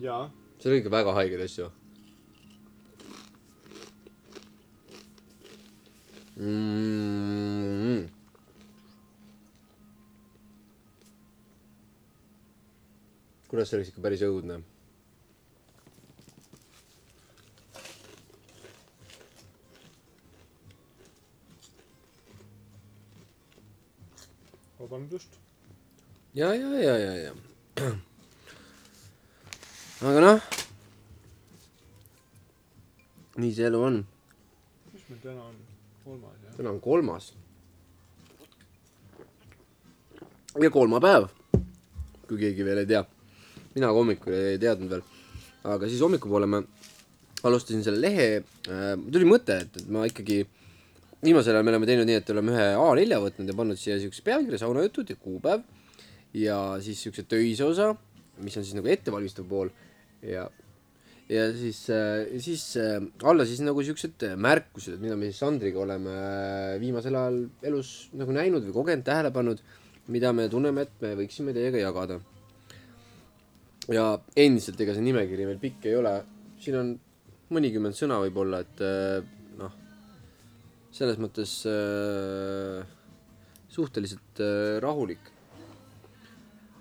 [SPEAKER 2] jaa ,
[SPEAKER 1] seal on ikka väga haigeid asju mm . -hmm. kurat , see oleks ikka päris õudne .
[SPEAKER 2] vabandust .
[SPEAKER 1] ja , ja , ja , ja , ja . aga noh . nii see elu on .
[SPEAKER 2] mis meil täna on ? kolmas jah ?
[SPEAKER 1] täna on kolmas . ja kolmapäev , kui keegi veel ei tea . mina ka hommikul ei teadnud veel . aga siis hommikupoole ma alustasin selle lehe , tuli mõte , et , et ma ikkagi , viimasel ajal me oleme teinud nii , et oleme ühe A4 võtnud ja pannud siia siukse pealkirja , saunajutud ja kuupäev . ja siis siukse töise osa , mis on siis nagu ettevalmistav pool ja , ja siis , siis äh, alla siis nagu siuksed märkused , mida me siis Sandriga oleme äh, viimasel ajal elus nagu näinud või kogenud , tähele pannud , mida me tunneme , et me võiksime teiega jagada . ja endiselt , ega see nimekiri veel pikk ei ole , siin on mõnikümmend sõna võib-olla , et äh, noh , selles mõttes äh, suhteliselt äh, rahulik .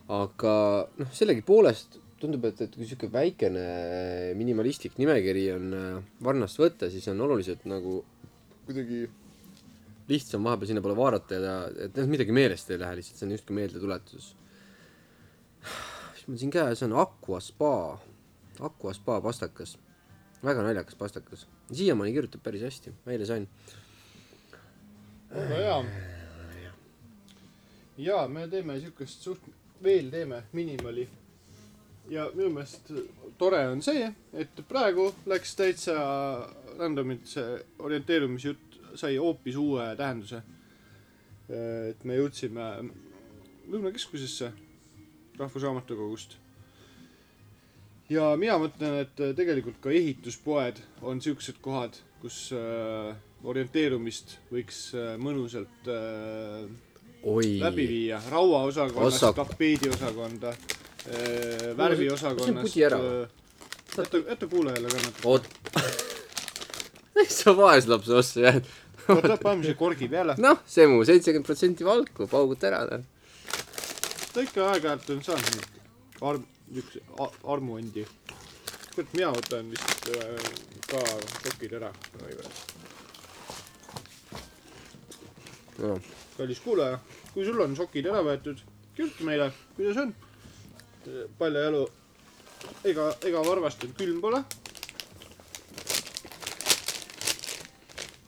[SPEAKER 1] aga noh , sellegipoolest tundub , et , et kui sihuke väikene minimalistlik nimekiri on äh, varnast võtta , siis on oluliselt nagu
[SPEAKER 2] kuidagi
[SPEAKER 1] lihtsam vahepeal sinnapoole vaadata ja , et noh, midagi meelest ei lähe lihtsalt , see on justkui meeldetuletus . mis mul siin käes on , Aqua Spa , Aqua Spa pastakas , väga naljakas pastakas , siiamaani kirjutab päris hästi , eile sain .
[SPEAKER 2] väga hea . ja me teeme siukest suht , veel teeme minimali . ja minu meelest tore on see , et praegu läks täitsa randomilt see orienteerumisjutt sai hoopis uue tähenduse . et me jõudsime Lõunakeskusesse Rahvusraamatukogust . ja mina mõtlen , et äh, tegelikult ka ehituspoed on siuksed kohad , kus äh, orienteerumist võiks äh, mõnusalt äh,
[SPEAKER 1] oi ,
[SPEAKER 2] läbi viia . rauaosakonnast
[SPEAKER 1] Osak-
[SPEAKER 2] Osak... , tapeediosakonda äh, , värviosakonnast .
[SPEAKER 1] pudi ära või?
[SPEAKER 2] jäta , äh, jäta kuulajale kannatada .
[SPEAKER 1] oot . miks sa vaeslapse ossa jääd ?
[SPEAKER 2] oota , paneme siia korgi peale .
[SPEAKER 1] noh , see mu seitsekümmend protsenti valku , pauguta ära noh .
[SPEAKER 2] ta ikka aeg-ajalt on saanud neid arm- , niukse a- armuandi . kurat , mina võtan vist äh, ka kokid ära .
[SPEAKER 1] no. .
[SPEAKER 2] kallis kuulaja , kui sul on sokid ära võetud , kirjuta meile , kuidas on . palja jalu ega , ega varvast , et külm pole .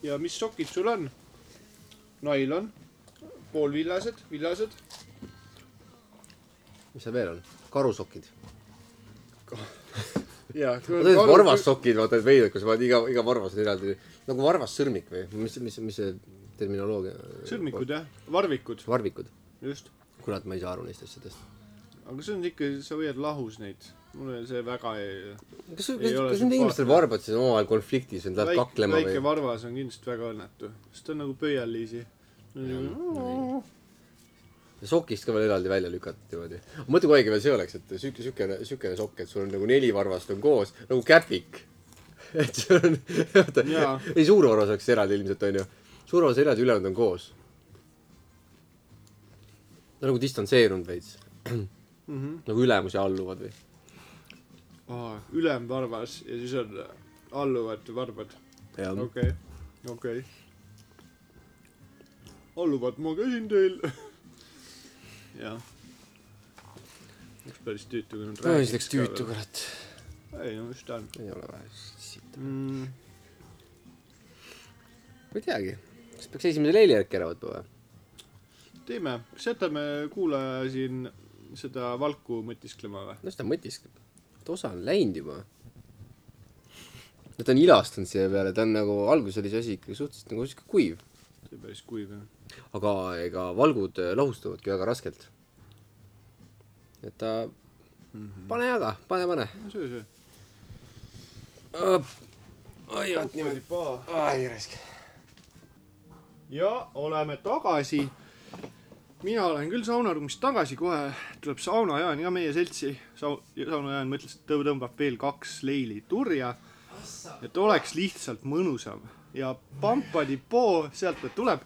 [SPEAKER 2] ja mis sokid sul on ? nailon , poolvillased , villased .
[SPEAKER 1] mis seal veel on ? karusokid .
[SPEAKER 2] ja .
[SPEAKER 1] Need varvassokid , vaata need veided , kus paned iga , iga varvas on eraldi nagu varvassõrmik või mis , mis , mis see terminoloogia ?
[SPEAKER 2] sõrmikud jah , varvikud ,
[SPEAKER 1] varvikud .
[SPEAKER 2] just .
[SPEAKER 1] kurat , ma ei saa aru neist asjadest .
[SPEAKER 2] aga see on ikka , sa hoiad lahus neid . mulle see väga ei .
[SPEAKER 1] kas , kas
[SPEAKER 2] Ei ole
[SPEAKER 1] kas
[SPEAKER 2] sümpaatne.
[SPEAKER 1] nendel inimestel varbad siis on omavahel konfliktis , nad lähevad
[SPEAKER 2] väike ,
[SPEAKER 1] kaklema
[SPEAKER 2] väike
[SPEAKER 1] või ?
[SPEAKER 2] varvas on kindlasti väga õnnetu , sest ta on nagu pöialliisi .
[SPEAKER 1] sokist ka veel eraldi välja lükatud niimoodi . mõtle , kui õige veel see oleks , et siuke , siukene , siukene sokk , et sul on nagu neli varvast on koos nagu käpik . et sul on , vaata ,
[SPEAKER 2] Jaa.
[SPEAKER 1] ei suur varvas oleks eraldi ilmselt onju . suur varvas eraldi , ülejäänud on koos . ta on nagu distantseerunud veits ,
[SPEAKER 2] Mm -hmm.
[SPEAKER 1] nagu ülemus ja alluvad või ?
[SPEAKER 2] aa , Ah, ülemvarvas ja siis on alluvad varbad .
[SPEAKER 1] jah no. ,
[SPEAKER 2] okei , okei . alluvad , ma käisin teil . jah . oleks päris tüütu , kui nad
[SPEAKER 1] siis läks tüütu ,
[SPEAKER 2] ka .
[SPEAKER 1] kurat .
[SPEAKER 2] ei no mis ta on
[SPEAKER 1] ei ole vaja , siit .
[SPEAKER 2] mm, .
[SPEAKER 1] ma ei teagi , kas peaks esimese leili järgi ära võtma või ?
[SPEAKER 2] teeme , kas jätame kuulaja siin seda valku mõtisklema või ?
[SPEAKER 1] no seda mõtiskleb . ta osa on läinud juba . no ta on ilastunud selle peale , ta on nagu , alguses oli see asi ikkagi suhteliselt nagu sihuke kuiv ,
[SPEAKER 2] see on päris kuiv jah .
[SPEAKER 1] aga ega valgud eh, lahustuvadki väga raskelt . et ta , pane jaga , pane , pane .
[SPEAKER 2] no söö , söö .
[SPEAKER 1] oi , vot niimoodi .
[SPEAKER 2] paha .
[SPEAKER 1] ai , raisk .
[SPEAKER 2] ja oleme tagasi . mina olen küll saunaruumis tagasi , kohe tuleb sauna Jaan ka meie seltsi . Sau- , sauna Jaan mõtles , et tõ- tõmbab veel kaks leili turja . et oleks lihtsalt mõnusam ja Pampadi poo , sealt ta tuleb .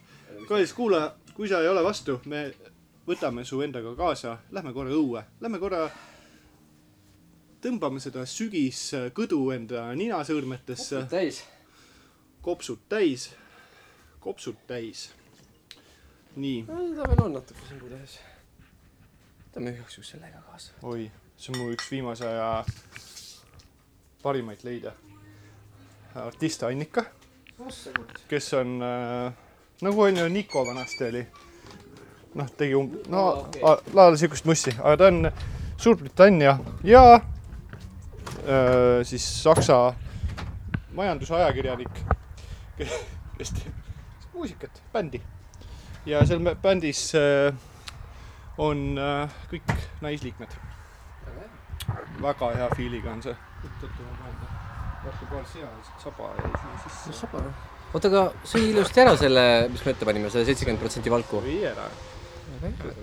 [SPEAKER 2] kallis kuulaja , kui sa ei ole vastu , me võtame su endaga kaasa , lähme korra õue , lähme korra tõmbame seda sügiskõdu enda ninasõõrmetesse
[SPEAKER 1] täis .
[SPEAKER 2] kopsud täis , kopsud täis . nii .
[SPEAKER 1] ta veel on natuke siin pudelis . võtame igaks juhuks selle ka kaasa .
[SPEAKER 2] oi , see on mu üks viimase aja parimaid leide . artist Annika , kes on äh, nagu onju Niko vanasti oli . noh , tegi um- , no
[SPEAKER 1] Aa, okei.
[SPEAKER 2] a- laadis siukest mussi , aga ta on Suurbritannia ja äh, siis Saksa majandusajakirjanik , kes teeb muusikat , bändi . ja seal mä- bändis äh, on äh, kõik naisliikmed . väga hea fiiliga on see . oot-oot , ma panen vastu paar sina , saba jäi sinna sisse .
[SPEAKER 1] oota , aga sõi ilusti ära selle , mis me ette panime , selle seitsekümmend protsenti valku .
[SPEAKER 2] või ära ,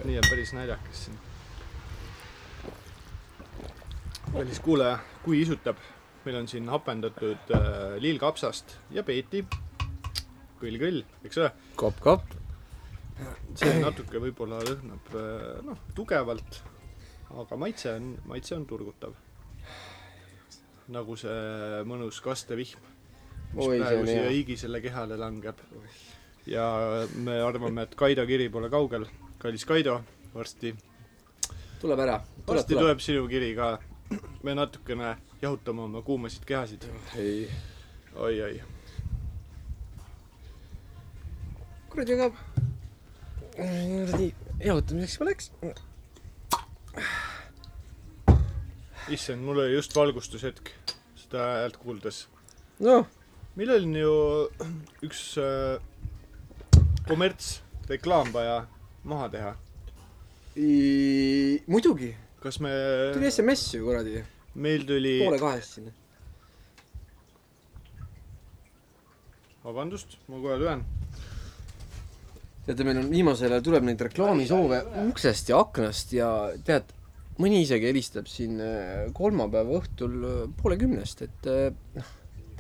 [SPEAKER 2] nii on päris naljakas siin . kallis kuulaja , kui isutab , meil on siin hapendatud äh, lillkapsast ja peeti . kõll-kõll , eks ole .
[SPEAKER 1] kopp-kopp .
[SPEAKER 2] see natuke võib-olla lõhnab äh, noh , tugevalt , aga maitse on , maitse on turgutav . nagu see mõnus kastevihm ,
[SPEAKER 1] Oi,
[SPEAKER 2] mis
[SPEAKER 1] see
[SPEAKER 2] praegu
[SPEAKER 1] on
[SPEAKER 2] siia
[SPEAKER 1] hea.
[SPEAKER 2] hiigisele kehale langeb . ja me arvame , et Kaido kiri pole kaugel . kallis Kaido , varsti ,
[SPEAKER 1] tuleb ära . tuleb ,
[SPEAKER 2] varsti
[SPEAKER 1] tuleb .
[SPEAKER 2] tuleb sinu kiri ka . me natukene jahutame oma kuumasid kehasid oi, .
[SPEAKER 1] ei .
[SPEAKER 2] oi-oi ,
[SPEAKER 1] kuradi , aga . kuradi , jahutamiseks ma läks .
[SPEAKER 2] issand , mul oli just valgustushetk seda häält kuuldes
[SPEAKER 1] noh ,
[SPEAKER 2] meil on ju üks äh, kommertsreklaam vaja maha teha .
[SPEAKER 1] muidugi .
[SPEAKER 2] kas me ,
[SPEAKER 1] tuli SMS ju kuradi ,
[SPEAKER 2] meil tuli ,
[SPEAKER 1] poole kahest sinna .
[SPEAKER 2] vabandust , ma kohe löön .
[SPEAKER 1] teate , meil on viimasel ajal tuleb neid reklaamisoove uksest ja aknast ja tead , mõni isegi helistab siin äh, kolmapäeva õhtul äh, poole kümnest , et äh, noh ,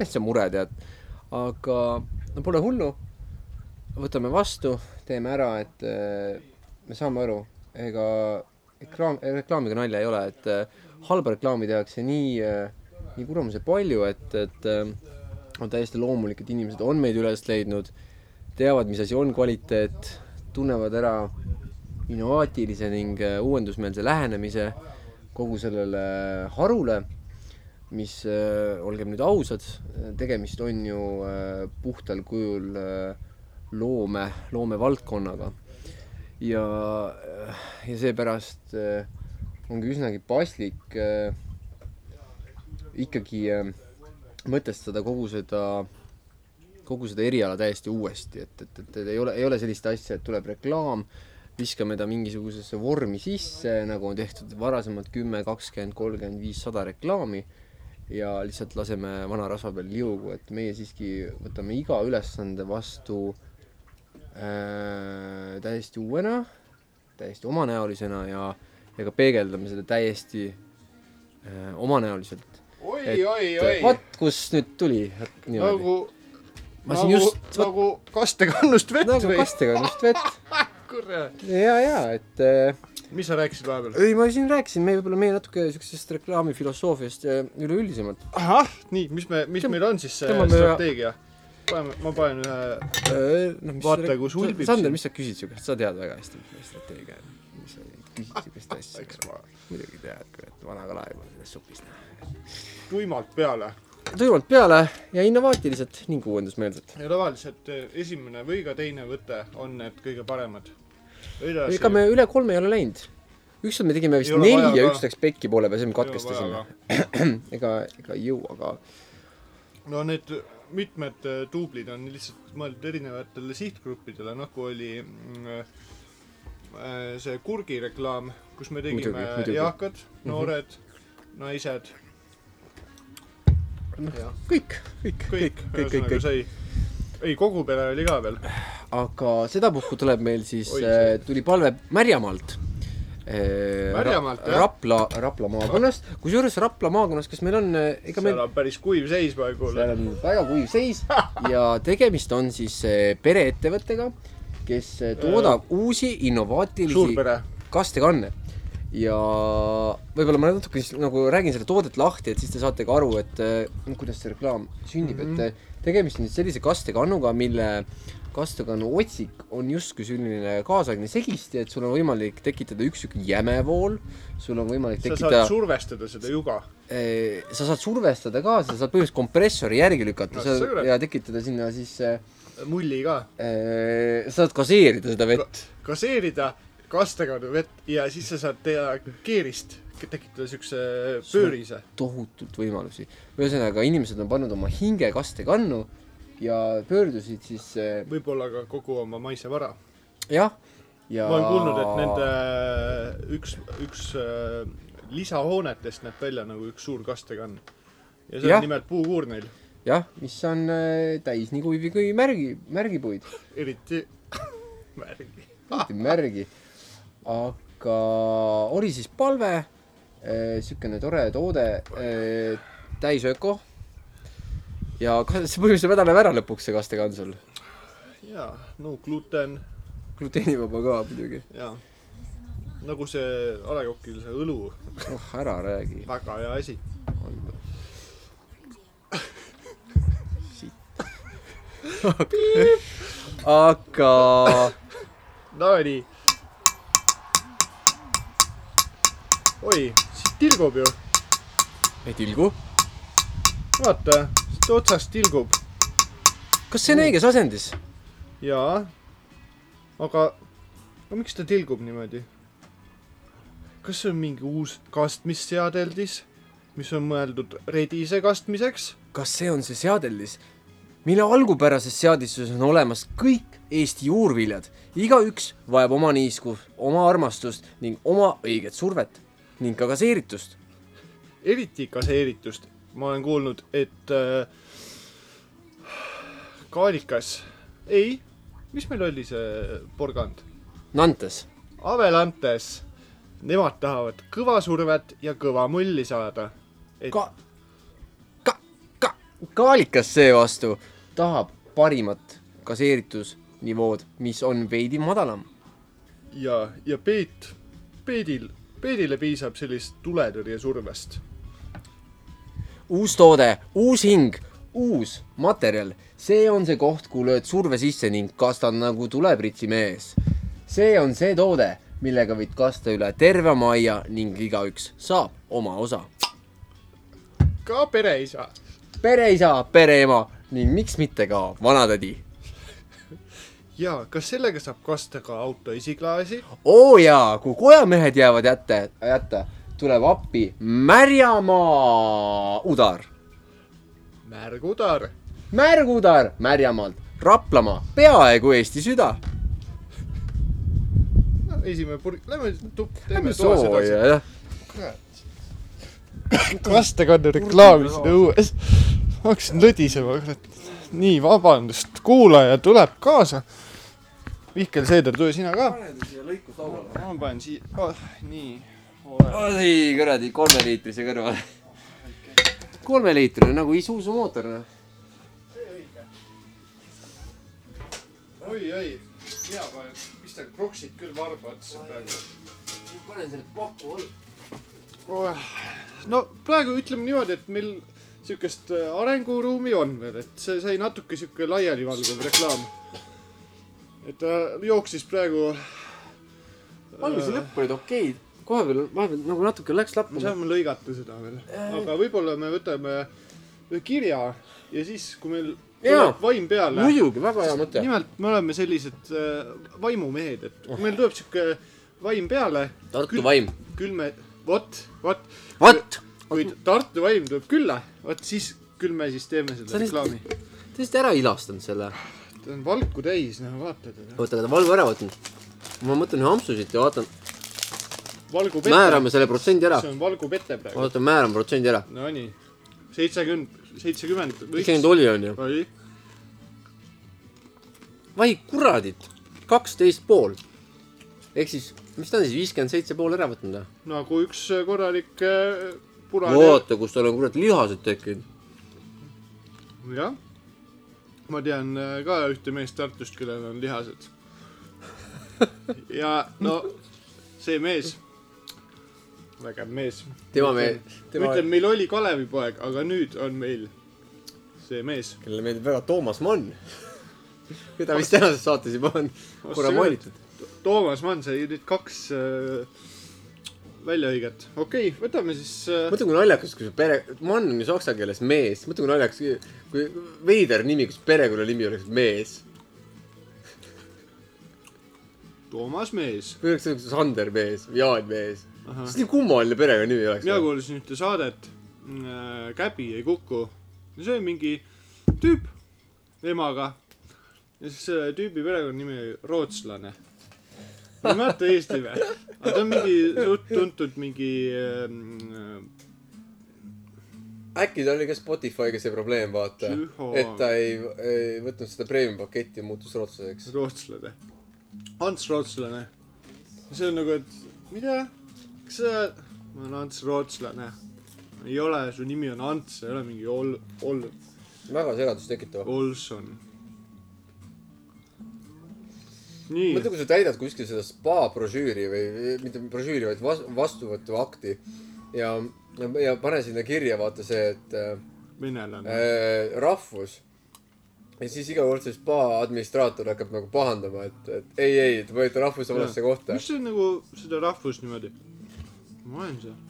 [SPEAKER 1] täitsa mure tead . aga no pole hullu , võtame vastu , teeme ära , et äh, me saame aru , ega reklaam , reklaamiga nalja ei ole , et äh, halba reklaami tehakse nii , nii kuramuse palju , et , et äh, on täiesti loomulik , et inimesed on meid üles leidnud teavad , mis asi on kvaliteet , tunnevad ära innovaatilise ning äh, uuendusmeelse lähenemise kogu sellele äh, harule , mis äh, olgem nüüd ausad , tegemist on ju äh, puhtal kujul äh, loome , loomevaldkonnaga . ja , ja seepärast äh, ongi üsnagi paslik äh, ikkagi äh, mõtestada kogu seda kogu seda eriala täiesti uuesti , et , et , et , et ei ole , ei ole sellist asja , et tuleb reklaam , viskame ta mingisugusesse vormi sisse , nagu on tehtud varasemalt kümme , kakskümmend , kolmkümmend viis , sada reklaami ja lihtsalt laseme vana rasva peal liugu , et meie siiski võtame iga ülesande vastu äh, täiesti uuena , täiesti omanäolisena ja , ja ka peegeldame seda täiesti äh, omanäoliselt .
[SPEAKER 2] oi , oi , oi .
[SPEAKER 1] vot kust nüüd tuli , niimoodi .
[SPEAKER 2] nagu ,
[SPEAKER 1] Ma
[SPEAKER 2] nagu
[SPEAKER 1] siin , just-
[SPEAKER 2] nagu kastekannust vett
[SPEAKER 1] nagu
[SPEAKER 2] või ?
[SPEAKER 1] kastega must vett
[SPEAKER 2] kurat .
[SPEAKER 1] ja , ja et äh,
[SPEAKER 2] mis sa rääkisid vahepeal ?
[SPEAKER 1] ei , ma siin rääkisin , me võib-olla meie natuke siuksest reklaamifilosoofiast äh, üleüldisemalt
[SPEAKER 2] ahah , nii , mis me , mis
[SPEAKER 1] Tõmb-
[SPEAKER 2] meil on siis see
[SPEAKER 1] tõmbame ühe-
[SPEAKER 2] strateegia ? paneme , ma panen ühe ,
[SPEAKER 1] äh, no, mis
[SPEAKER 2] Vaata,
[SPEAKER 1] rek-
[SPEAKER 2] kus
[SPEAKER 1] sa-
[SPEAKER 2] ulbib
[SPEAKER 1] Sander ,
[SPEAKER 2] siin.
[SPEAKER 1] mis sa küsid siukest , sa tead väga hästi , mis meie strateegia on , mis sa küsid siukest
[SPEAKER 2] eks
[SPEAKER 1] asja ,
[SPEAKER 2] ma
[SPEAKER 1] muidugi tead , kurat , vana kala ei pane sellest supist näha .
[SPEAKER 2] tuimalt peale
[SPEAKER 1] tuimalt peale ja innovaatilised ning uuendusmeelsed .
[SPEAKER 2] ja tavaliselt eh, esimene või ka teine võte on need kõige paremad .
[SPEAKER 1] ega me üle kolme ei ole läinud , ükskord me tegime vist
[SPEAKER 2] Ei ole
[SPEAKER 1] neli
[SPEAKER 2] vaja
[SPEAKER 1] ja
[SPEAKER 2] ka.
[SPEAKER 1] üks läks pekki poole peal , siis me katkestasime .. ega , ega ei jõua , aga
[SPEAKER 2] no need mitmed eh, duublid on lihtsalt mõeldud erinevatele sihtgruppidele , nagu oli mm, eh, see kurgireklaam , kus me tegime
[SPEAKER 1] Muidugi, muidugi. Mhm.
[SPEAKER 2] eakad , noored mm , -hmm. naised ,
[SPEAKER 1] kõik , kõik ,
[SPEAKER 2] kõik
[SPEAKER 1] kõik ,, kõik , kõik ,
[SPEAKER 2] ühesõnaga
[SPEAKER 1] kõik .
[SPEAKER 2] sai , ei kogu pere oli ka veel .
[SPEAKER 1] aga sedapuhku tuleb meil siis äh,
[SPEAKER 2] Oi, ,
[SPEAKER 1] tuli palve Märjamaalt . Märjamaalt
[SPEAKER 2] Märjamaalt, jah.
[SPEAKER 1] Rapla , Rapla maakonnast , kusjuures Rapla maakonnas , kas meil on , ega meil
[SPEAKER 2] seal on päris kuiv seis praegu .
[SPEAKER 1] seal on väga kuiv seis ja tegemist on siis eh, pereettevõttega , kes eh, toodab uusi innovaatilisi
[SPEAKER 2] suurpere .
[SPEAKER 1] kastekanne ja võib-olla ma natuke siis nagu räägin selle toodet lahti , et siis te saate ka aru , et eh, noh, kuidas see reklaam sünnib
[SPEAKER 2] Mhm.
[SPEAKER 1] mm , -hmm. et eh, tegemist on nüüd sellise kastekannuga , mille kastekannu otsik on justkui selline kaasaegne segisti , et sul on võimalik tekitada üks sihuke jäme vool , sul on võimalik
[SPEAKER 2] sa
[SPEAKER 1] tekitada
[SPEAKER 2] saad , survestada seda juga .
[SPEAKER 1] Eh, sa saad survestada ka , sa saad põhimõtteliselt kompressori järgi lükata
[SPEAKER 2] Ah,
[SPEAKER 1] sa,
[SPEAKER 2] sõbrad.
[SPEAKER 1] ja tekitada sinna siis ,
[SPEAKER 2] mulli ka
[SPEAKER 1] sa saad gaseerida seda vett .
[SPEAKER 2] gaseerida kastekaudu nagu vett ja siis sa saad teha keerist , tekitada siukse pöörise .
[SPEAKER 1] tohutult võimalusi . ühesõnaga , inimesed on pannud oma hinge kastekannu ja pöördusid siis äh,
[SPEAKER 2] võib-olla ka kogu oma maise vara .
[SPEAKER 1] jah , ja
[SPEAKER 2] ma olen kuulnud , et nende üks , üks äh, lisahoonetest näeb välja nagu üks suur kastekann . ja see
[SPEAKER 1] Jah.
[SPEAKER 2] on nimelt puukuur neil ,
[SPEAKER 1] jah , mis on äh, täis nii kuivi kui märgi , märgipuid ,
[SPEAKER 2] eriti märgi .
[SPEAKER 1] märgi . aga oli siis palve , niisugune tore toode , täis öko . ja kas see põhjus juba tänab ära lõpuks , see kastekann sul ?
[SPEAKER 2] jaa , no gluten
[SPEAKER 1] gluteenivaba ka muidugi .
[SPEAKER 2] ja nagu see A Le Coqil see õlu ,
[SPEAKER 1] oh , ära räägi .
[SPEAKER 2] väga hea asi .
[SPEAKER 1] aga
[SPEAKER 2] Nonii . oi , siit tilgub ju ,
[SPEAKER 1] ei tilgu .
[SPEAKER 2] vaata , siit otsast tilgub
[SPEAKER 1] kas see on õiges asendis ?
[SPEAKER 2] jaa , aga no miks ta tilgub niimoodi ? kas see on mingi uus kastmisseadeldis , mis on mõeldud redise kastmiseks ?
[SPEAKER 1] kas see on see seadeldis , mille algupärases seadistuses on olemas kõik Eesti juurviljad , igaüks vajab oma niisku , oma armastust ning oma õiget survet ning ka gaseeritust .
[SPEAKER 2] eriti kaseeritust , ma olen kuulnud , et äh, kaalikas , ei , mis meil oli see porgand ?
[SPEAKER 1] Nantes ,
[SPEAKER 2] Avelantes , nemad tahavad kõva survet ja kõva mulli saada . et
[SPEAKER 1] ka- , ka- , ka- , kaalikas seevastu tahab parimat gaseeritusnivood , mis on veidi madalam .
[SPEAKER 2] ja , ja Peet , Peedil , Peedile piisab sellist tuletõrjesurvest .
[SPEAKER 1] uus toode , uus hing , uus materjal , see on see koht , kuhu lööd surve sisse ning kastad nagu tulepritsi mees . see on see toode , millega võid kasta üle terve oma aia ning igaüks saab oma osa .
[SPEAKER 2] ka pereisa .
[SPEAKER 1] pereisa , pereema ning miks mitte ka vanatädi .
[SPEAKER 2] ja kas sellega saab kasta ka auto esiklaasi ?
[SPEAKER 1] oo Oh jaa , kui kojamehed jäävad jätta , jätta , tuleb appi Märjamaa udar ,
[SPEAKER 2] märgudar .
[SPEAKER 1] märgudar Märjamaalt , Raplamaa , peaaegu Eesti süda
[SPEAKER 2] no esimene purk , lähme tup- , teeme
[SPEAKER 1] Lähme
[SPEAKER 2] toas
[SPEAKER 1] sooja ,
[SPEAKER 2] edasi .
[SPEAKER 1] jah .
[SPEAKER 2] kastekanne reklaamis õues . ma hakkasin lõdisema , kurat . nii , vabandust , kuulaja tuleb kaasa . Mihkel Seeder , tule sina ka . ma panen siia oh, , nii .
[SPEAKER 1] oi kuradi , kolmeliitrise kõrvale . kolmeliitrine nagu Isuzu mootor , noh .
[SPEAKER 2] oi , oi , mina panen , pistan kroksid küll varba otsa praegu .
[SPEAKER 1] panen selle paku alla .
[SPEAKER 2] no praegu ütleme niimoodi , et meil siukest äh, arenguruumi on veel , et see sai natuke siuke laialivalguv reklaam . et ta jooksis praegu ,
[SPEAKER 1] alguse lõpp olid okeid , kohapeal vahepeal nagu natuke läks
[SPEAKER 2] me
[SPEAKER 1] lappama .
[SPEAKER 2] saame lõigata seda veel ,
[SPEAKER 1] Äh.
[SPEAKER 2] aga võib-olla me võtame ühe kirja ja siis , kui meil
[SPEAKER 1] Jaa.
[SPEAKER 2] tuleb vaim peale .
[SPEAKER 1] muidugi , väga hea mõte .
[SPEAKER 2] nimelt me oleme sellised äh, vaimumehed , et kui meil tuleb siuke vaim peale .
[SPEAKER 1] Oh. Tartu vaim. .
[SPEAKER 2] küll me , vot , vot .
[SPEAKER 1] Vot! .
[SPEAKER 2] kuid Tartu vaim tuleb külla , vot siis , küll me siis teeme
[SPEAKER 1] Sa nüüd-
[SPEAKER 2] selle reklaami .
[SPEAKER 1] tõesti ära ilastanud selle .
[SPEAKER 2] ta on valku täis , no vaata teda .
[SPEAKER 1] oota , aga ta valgu ära võtnud . ma mõtlen ühe ampsu siit ja vaatan ,
[SPEAKER 2] valgu pete .
[SPEAKER 1] määrame selle protsendi ära .
[SPEAKER 2] see on valgu pete praegu .
[SPEAKER 1] oota , määrame protsendi ära .
[SPEAKER 2] Nonii , seitsekümmend , seitsekümmend
[SPEAKER 1] mis see nüüd oli , onju ?
[SPEAKER 2] oli ?
[SPEAKER 1] vai kuradit , kaksteist pool . ehk siis , mis ta on siis , viiskümmend seitse pool ära võtnud või ?
[SPEAKER 2] nagu üks korralik äh, punane .
[SPEAKER 1] vaata , kus tal on kurat lihased tekkinud .
[SPEAKER 2] jah . ma tean äh, ka ühte meest Tartust , kellel on lihased . ja no see mees , vägev mees .
[SPEAKER 1] Tema me- tema-
[SPEAKER 2] tema... . ütlen , meil oli Kalevipoeg , aga nüüd on meil see mees .
[SPEAKER 1] kellele meeldib väga Toomas Mann , keda vist tänases saates juba on korra
[SPEAKER 2] Ostsin
[SPEAKER 1] mainitud .
[SPEAKER 2] Toomas Mann sai nüüd kaks äh, väljaõiget . okei okay, , võtame siis äh,
[SPEAKER 1] mõtle , kui naljakas , kui su pere , Mann on ju saksa keeles mees , mõtle , kui naljakas , kui veider nimi , kus perekonnanimi oleks mees .
[SPEAKER 2] Toomas Mees .
[SPEAKER 1] või oleks see Sander mees või Jaan mees .
[SPEAKER 2] Ahah.
[SPEAKER 1] see nii kummaline perekonnanimi oleks . noh.
[SPEAKER 2] mina kuulasin ühte saadet äh, Käbi ei kuku . see oli mingi tüüp emaga ja siis selle tüübi perekonnanimi oli rootslane . ma ei mäleta Eesti või ? aga ta on mingi suht tuntud mingi ähm,
[SPEAKER 1] äkki tal oli ka Spotify'ga see probleem , vaata .
[SPEAKER 2] Tüho.
[SPEAKER 1] et ta ei, ei võtnud seda premium paketti ja muutus rootslaseks .
[SPEAKER 2] rootslane . Ants Rootslane . see on nagu , et mida , kas sa , ma olen Ants Rootslane . ei ole , su nimi on Ants , ei ole mingi Ol- , Ol- ,
[SPEAKER 1] väga segadust tekitav .
[SPEAKER 2] Olson . nii
[SPEAKER 1] mõtle , kui sa täidad kuskil seda spa brošüüri või või mitte brošüüri , vaid vas, vastuvõtuakti ja , ja, ja pane sinna kirja vaata see , et äh,
[SPEAKER 2] venelane .
[SPEAKER 1] äh, rahvus . ja siis iga kord see spa administraator hakkab nagu pahandama , et , et ei , ei , te panite rahvuse valesse kohta .
[SPEAKER 2] mis see nagu seda rahvust niimoodi ? ma olen seal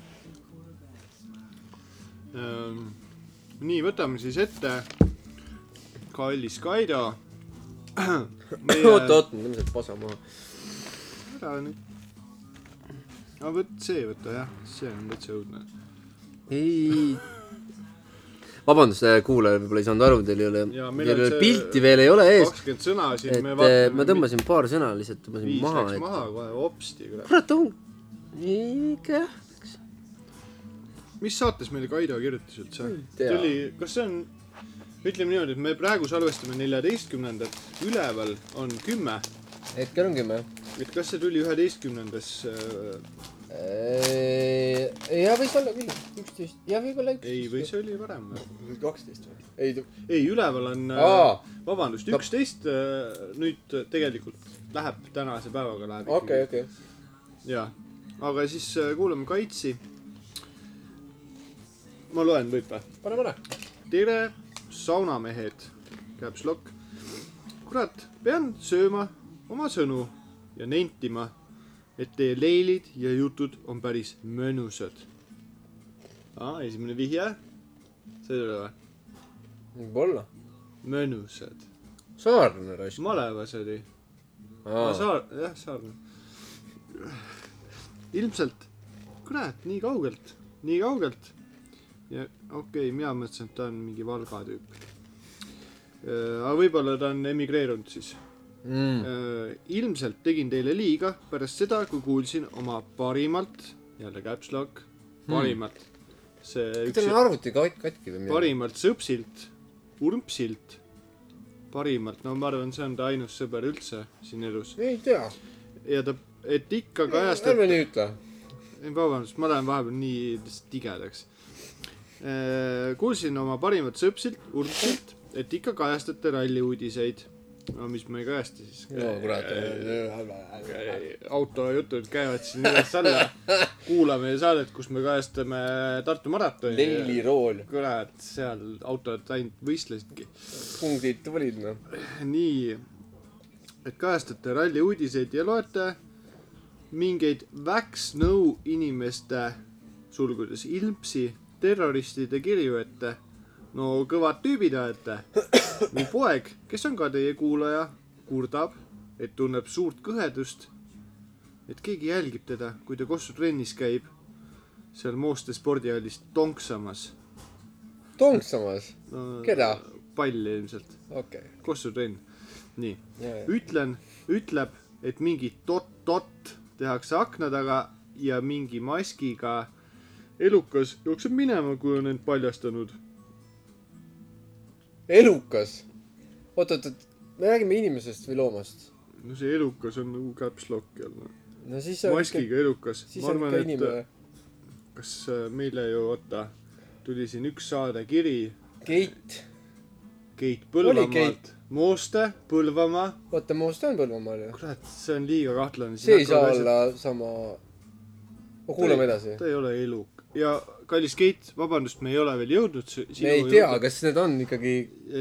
[SPEAKER 2] ähm, . nii , võtame siis ette . kallis Kaido .
[SPEAKER 1] oot , oot , ma tõmban selle pasa maha .
[SPEAKER 2] ära nüüd . aga võt see võta jah , see on täitsa õudne .
[SPEAKER 1] ei . vabandust , kuulaja võib-olla ei saanud aru , teil ei ole ,
[SPEAKER 2] Jaa, meil
[SPEAKER 1] teil ei
[SPEAKER 2] on
[SPEAKER 1] ole
[SPEAKER 2] see-
[SPEAKER 1] pilti veel ei ole ees ,
[SPEAKER 2] kakskümmend sõna siin
[SPEAKER 1] et
[SPEAKER 2] me
[SPEAKER 1] eh,
[SPEAKER 2] vaatame .
[SPEAKER 1] ma tõmbasin paar sõna lihtsalt tõmbasin
[SPEAKER 2] viis
[SPEAKER 1] maha
[SPEAKER 2] läks ,
[SPEAKER 1] et
[SPEAKER 2] maha kohe hopsti kurat .
[SPEAKER 1] kurat on , ikka jah .
[SPEAKER 2] mis saates meile Kaido kirjutas üldse
[SPEAKER 1] Ei ? tea.
[SPEAKER 2] tuli , kas see on , ütleme niimoodi , et me praegu salvestame neljateistkümnendat , üleval on kümme ,
[SPEAKER 1] hetkel on kümme .
[SPEAKER 2] et kas see tuli üheteistkümnendas äh, ?
[SPEAKER 1] Äh, ja võis olla küll , üksteist , ja võib-olla
[SPEAKER 2] ei , või see oli varem või ?
[SPEAKER 1] või kaksteist või ? ei ,
[SPEAKER 2] ei , üleval on äh,
[SPEAKER 1] Aa. ,
[SPEAKER 2] vabandust ,
[SPEAKER 1] No.
[SPEAKER 2] üksteist , nüüd tegelikult läheb tänase päevaga läheb
[SPEAKER 1] okei , okei .
[SPEAKER 2] jaa , aga siis äh, kuulame Kaitsi . ma loen , võib või ?
[SPEAKER 1] pane , pane .
[SPEAKER 2] tere , saunamehed , caps lock . kurat , pean sööma oma sõnu ja nentima , et teie leilid ja jutud on päris mõnusad . aa , esimene vihje . see ei ole või ?
[SPEAKER 1] võib-olla .
[SPEAKER 2] mõnusad ,
[SPEAKER 1] saarlane raisk .
[SPEAKER 2] malevas oli .
[SPEAKER 1] aa ,
[SPEAKER 2] saar , jah , saarne . ilmselt , kurat , nii kaugelt , nii kaugelt . ja okei okay, , mina mõtlesin , et ta on mingi Valga tüüp . aga võib-olla ta on emigreerunud siis . Äh,
[SPEAKER 1] mm.
[SPEAKER 2] ilmselt tegin teile liiga pärast seda , kui kuulsin oma parimalt , jälle caps lock , parimalt . see
[SPEAKER 1] Hmm. teil on arvuti kat- , katki või midagi ?
[SPEAKER 2] parimalt sõpsilt , urmpsilt , parimalt , no ma arvan , see on ta ainus sõber üldse siin elus .
[SPEAKER 1] ei tea .
[SPEAKER 2] ja ta , et ikka kajastab ,
[SPEAKER 1] ärme nii ütle .
[SPEAKER 2] vabandust , ma lähen vahepeal nii lihtsalt tigedaks . kuulsin oma parimat sõpsilt , Urmsilt , et ikka kajastate ralli uudiseid . no mis ma ei kajasta siis .
[SPEAKER 1] no
[SPEAKER 2] Äh,
[SPEAKER 1] kurat .
[SPEAKER 2] autojutud käivad siin üles-alla . kuulame saadet , kus me kajastame Tartu maratoni .
[SPEAKER 1] Daily Roll ,
[SPEAKER 2] kurat , seal autod ainult võistlesidki .
[SPEAKER 1] punktid tulid noh .
[SPEAKER 2] nii , et kajastate ralli uudiseid ja loete mingeid Vax-Nõu inimeste , sulgudes ilmsi , terroristide kirju ette . no kõvad tüübid olete . mu poeg , kes on ka teie kuulaja , kurdab , et tunneb suurt kõhedust , et keegi jälgib teda , kui ta Kossu trennis käib , seal Mooste spordihallis tonksamas
[SPEAKER 1] tonksamas ,
[SPEAKER 2] no, .
[SPEAKER 1] Keda? ?
[SPEAKER 2] palli ilmselt ,
[SPEAKER 1] okei okay. .
[SPEAKER 2] Kossu trenn , nii
[SPEAKER 1] Yeah.
[SPEAKER 2] ütlen , ütleb , et mingi tot-tot tehakse akna taga ja mingi maskiga elukas jookseb minema , kui on end paljastanud .
[SPEAKER 1] elukas , oot , oot , oot , me räägime inimesest või loomast ?
[SPEAKER 2] no see elukas on nagu caps lock jälle .
[SPEAKER 1] no siis on ikka ,
[SPEAKER 2] maskiga elukas .
[SPEAKER 1] siis
[SPEAKER 2] ma
[SPEAKER 1] on
[SPEAKER 2] arvan ,
[SPEAKER 1] ikka
[SPEAKER 2] et
[SPEAKER 1] inimene .
[SPEAKER 2] kas äh, meile ju , oota , tuli siin üks saade kiri
[SPEAKER 1] Keit ,
[SPEAKER 2] Keit
[SPEAKER 1] Keit.
[SPEAKER 2] Põlvamaalt . Mooste , Põlvamaa .
[SPEAKER 1] oota , Moost on Põlvamaal ju .
[SPEAKER 2] kurat , see on liiga kahtlane .
[SPEAKER 1] see ei saa olla sama . no kuulame edasi .
[SPEAKER 2] ta ei ole eluk- ja kallis Keit , vabandust , me ei ole veel jõudnud si- sinu
[SPEAKER 1] me ei tea , kas need on ikkagi ,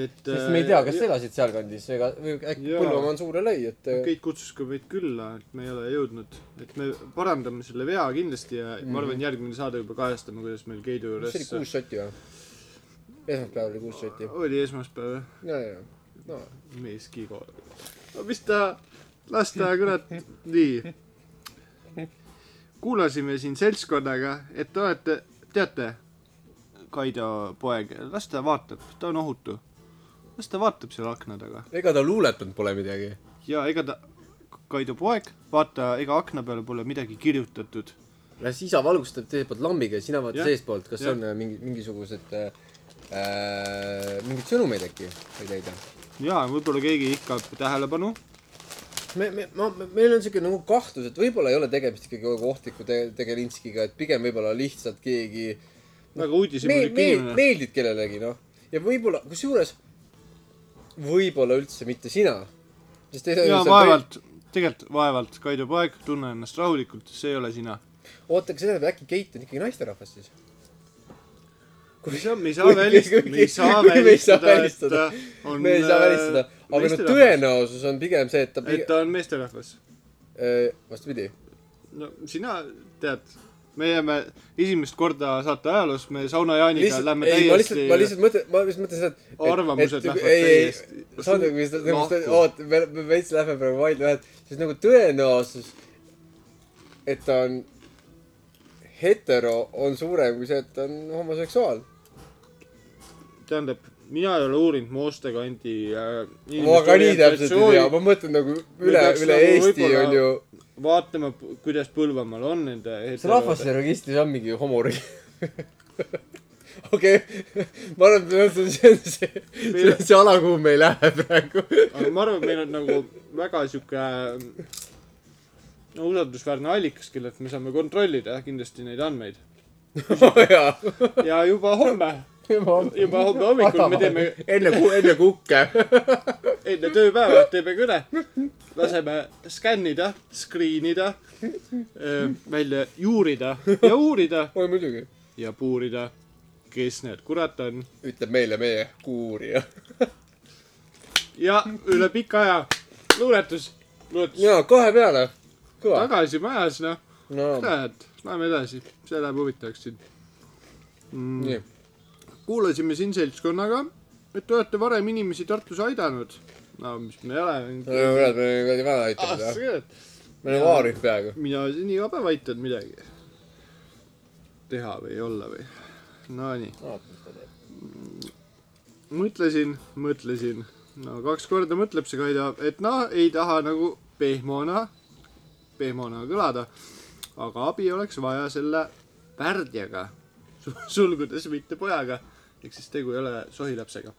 [SPEAKER 2] et
[SPEAKER 1] sest me ei tea , kas
[SPEAKER 2] äh,
[SPEAKER 1] sa elasid sealkandis ega , või äkki
[SPEAKER 2] Jaa.
[SPEAKER 1] Põlvamaa on suure lõi , et
[SPEAKER 2] ja- Keit kutsus ka meid külla , et me ei ole jõudnud , et me parandame selle vea kindlasti ja mm. ma arvan , järgmine saade juba kajastame , kuidas meil Keidu
[SPEAKER 1] kas Mhm. see oli
[SPEAKER 2] juures
[SPEAKER 1] kuus sotti või ? esmaspäeval oli kuus sotti .
[SPEAKER 2] oli esmaspäev jah?
[SPEAKER 1] ja , ja , no
[SPEAKER 2] mees Kigo . mis ta , las ta kurat , nii . kuulasime siin seltskonnaga , et te olete , teate , Kaido poeg , las ta vaatab , ta on ohutu . las ta vaatab seal akna taga
[SPEAKER 1] ega ta luuletanud pole midagi .
[SPEAKER 2] ja ega ta , Kaido poeg , vaata , ega akna peale pole midagi kirjutatud .
[SPEAKER 1] las isa valgustab teiselt poolt lambiga ja sina vaata
[SPEAKER 2] Jah.
[SPEAKER 1] seestpoolt , kas
[SPEAKER 2] Jah.
[SPEAKER 1] on äh, mingi , mingisugused äh, äh, mingeid sõnumeid äkki võid leida ?
[SPEAKER 2] jaa , võib-olla keegi ihkab tähelepanu .
[SPEAKER 1] me , me , ma , meil on siuke nagu kahtlus , et võib-olla ei ole tegemist ikkagi nagu ohtliku te- , tegelinskiga , et pigem võib-olla lihtsalt keegi
[SPEAKER 2] väga
[SPEAKER 1] meel-
[SPEAKER 2] uudishimulik
[SPEAKER 1] meel-
[SPEAKER 2] inimene .
[SPEAKER 1] meeldid kellelegi , noh . ja võib-olla , kusjuures võib-olla üldse mitte sina . sest ei saa
[SPEAKER 2] jaa ,
[SPEAKER 1] ju sa
[SPEAKER 2] vaevalt , tegelikult vaevalt , Kaido poeg , tunne ennast rahulikult , see ei ole sina .
[SPEAKER 1] oota , kas see tähendab , äkki Keit on ikkagi naisterahvas siis ?
[SPEAKER 2] me ei saa , me ei saa
[SPEAKER 1] Kui-
[SPEAKER 2] välistada ,
[SPEAKER 1] kui-
[SPEAKER 2] me ei saa
[SPEAKER 1] kui me ei saa
[SPEAKER 2] välistada äh,
[SPEAKER 1] välistada. , me ei saa välistada , aga no . tõenäosus on pigem see , et ta
[SPEAKER 2] et
[SPEAKER 1] pigem ,
[SPEAKER 2] ta on meesterahvas .
[SPEAKER 1] vastupidi .
[SPEAKER 2] no sina tead , me jääme esimest korda saate ajaloos , me Sauna Jaaniga
[SPEAKER 1] lihtsalt ,
[SPEAKER 2] lähme
[SPEAKER 1] ei , ma
[SPEAKER 2] täiesti
[SPEAKER 1] lihtsalt , ma lihtsalt mõtlen , ma lihtsalt mõtlen seda , et , et
[SPEAKER 2] Arvamused
[SPEAKER 1] et-
[SPEAKER 2] lähevad
[SPEAKER 1] ei , ei ,
[SPEAKER 2] täiesti Noh,
[SPEAKER 1] saad nagu , mis ta ,
[SPEAKER 2] lahku.
[SPEAKER 1] oot , me , me veits lähme praegu vaidle ühe , siis nagu tõenäosus , et ta on hetero , on suurem kui see , et ta on homoseksuaal .
[SPEAKER 2] tähendab , mina ei ole uurinud Mooste kandi äh,
[SPEAKER 1] ma ka nii täpselt ei tea ,
[SPEAKER 2] orientatsiooni.
[SPEAKER 1] ma mõtlen nagu üle
[SPEAKER 2] peaks ,
[SPEAKER 1] üle
[SPEAKER 2] nagu
[SPEAKER 1] Eesti
[SPEAKER 2] võib-olla-
[SPEAKER 1] on ju .
[SPEAKER 2] vaatame , kuidas Põlvamaal on nende
[SPEAKER 1] kas rahvastikuregistris on mingi homoreg- ? okei , ma arvan , et see on see , see , see on see ala , kuhu me ei lähe praegu .
[SPEAKER 2] aga ma arvan , et meil on nagu väga sihuke äh, no usaldusväärne allikas , kellelt me saame kontrollida kindlasti neid andmeid .
[SPEAKER 1] jaa .
[SPEAKER 2] ja juba homme ,
[SPEAKER 1] juba
[SPEAKER 2] juba homme hommikul me teeme
[SPEAKER 1] enne , enne kukke .
[SPEAKER 2] enne tööpäeva teeme kõne , laseme skännida , skriinida , välja juurida ja uurida
[SPEAKER 1] oi muidugi ,
[SPEAKER 2] ja puurida , kes need kurat on
[SPEAKER 1] ütleb meile meie kuurija .
[SPEAKER 2] ja üle pika aja luuletus , luuletus
[SPEAKER 1] jaa , kahe peale . kõva .
[SPEAKER 2] tagasi majas , noh ,
[SPEAKER 1] no
[SPEAKER 2] näed , läheme edasi , see läheb huvitavaks siin mm. .
[SPEAKER 1] nii ,
[SPEAKER 2] kuulasime siin seltskonnaga , et te olete varem inimesi Tartus aidanud . no mis me ei
[SPEAKER 1] me oleme kurat , me
[SPEAKER 2] ole .
[SPEAKER 1] oleme kuradi väga aitanud jah . me oleme vaarid peaaegu .
[SPEAKER 2] mina siin iga päev aitan midagi teha või olla või . Nonii , mõtlesin , mõtlesin , no kaks korda mõtleb see Kaido , et noh , ei taha nagu pehmona , pehmona kõlada , aga abi oleks vaja selle värdjaga , sulgudes mitte pojaga , ehk siis tegu ei ole sohilapsega .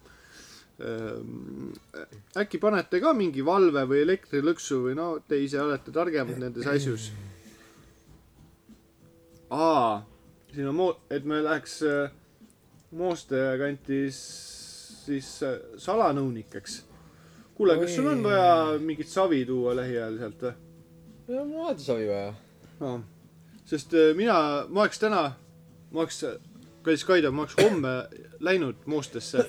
[SPEAKER 2] äkki panete ka mingi valve või elektrilõksu või no te ise olete targemad nendes asjus . aa , siin on mo- , et me läheks äh, Mooste kanti s- siis äh, salanõunikeks . kuule , kas sul on
[SPEAKER 1] Oi.
[SPEAKER 2] vaja mingit savi tuua lähiajal sealt või ?
[SPEAKER 1] no mul on alati sobi vaja .
[SPEAKER 2] no. . sest äh, mina , ma oleks täna , ma oleks , kallis Kaido , ma oleks homme läinud Moostesse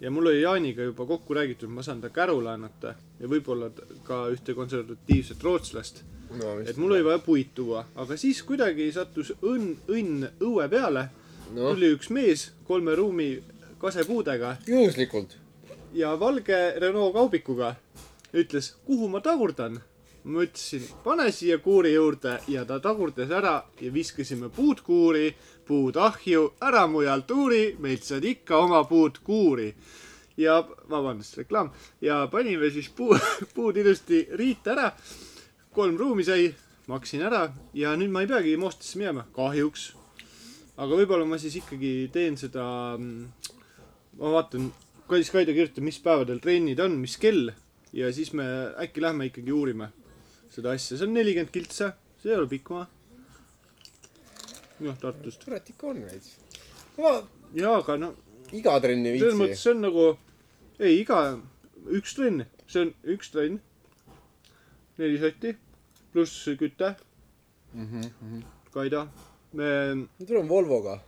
[SPEAKER 2] ja mul oli Jaaniga juba kokku räägitud , ma saan ta kärule annata ja võib-olla t- ka ühte konservatiivset rootslast .
[SPEAKER 1] no
[SPEAKER 2] et mul oli vaja puid tuua , aga siis kuidagi sattus õnn , õnn õue peale .
[SPEAKER 1] noh ,
[SPEAKER 2] tuli üks mees kolme ruumi kasepuudega
[SPEAKER 1] juhuslikult .
[SPEAKER 2] ja valge Renault kaubikuga ütles , kuhu ma tagurdan . ma ütlesin , pane siia kuuri juurde ja ta tagurdas ära ja viskasime puud kuuri , puud ahju , ära mujalt uuri , meilt saad ikka oma puud kuuri . ja vabandust , reklaam ja panime siis puu , puud ilusti riita ära . kolm ruumi sai , maksin ära ja nüüd ma ei peagi Moostesse minema , kahjuks . aga võib-olla ma siis ikkagi teen seda mm, ma vaatan , kallis Kaido kirjutab , mis päevadel trennid on , mis kell ja siis me äkki lähme ikkagi uurime seda asja , see on nelikümmend kiltsa , see ei ole pikk maa . jah , Tartust .
[SPEAKER 1] kurat ikka on veits . ma
[SPEAKER 2] jaa , aga no
[SPEAKER 1] iga trenni ei
[SPEAKER 2] selles mõttes
[SPEAKER 1] viitsi .
[SPEAKER 2] see on nagu , ei iga , üks trenn , see on üks trenn , neli sotti , pluss küte , Kaido . me ,
[SPEAKER 1] me tuleme Mhm. Volvoga .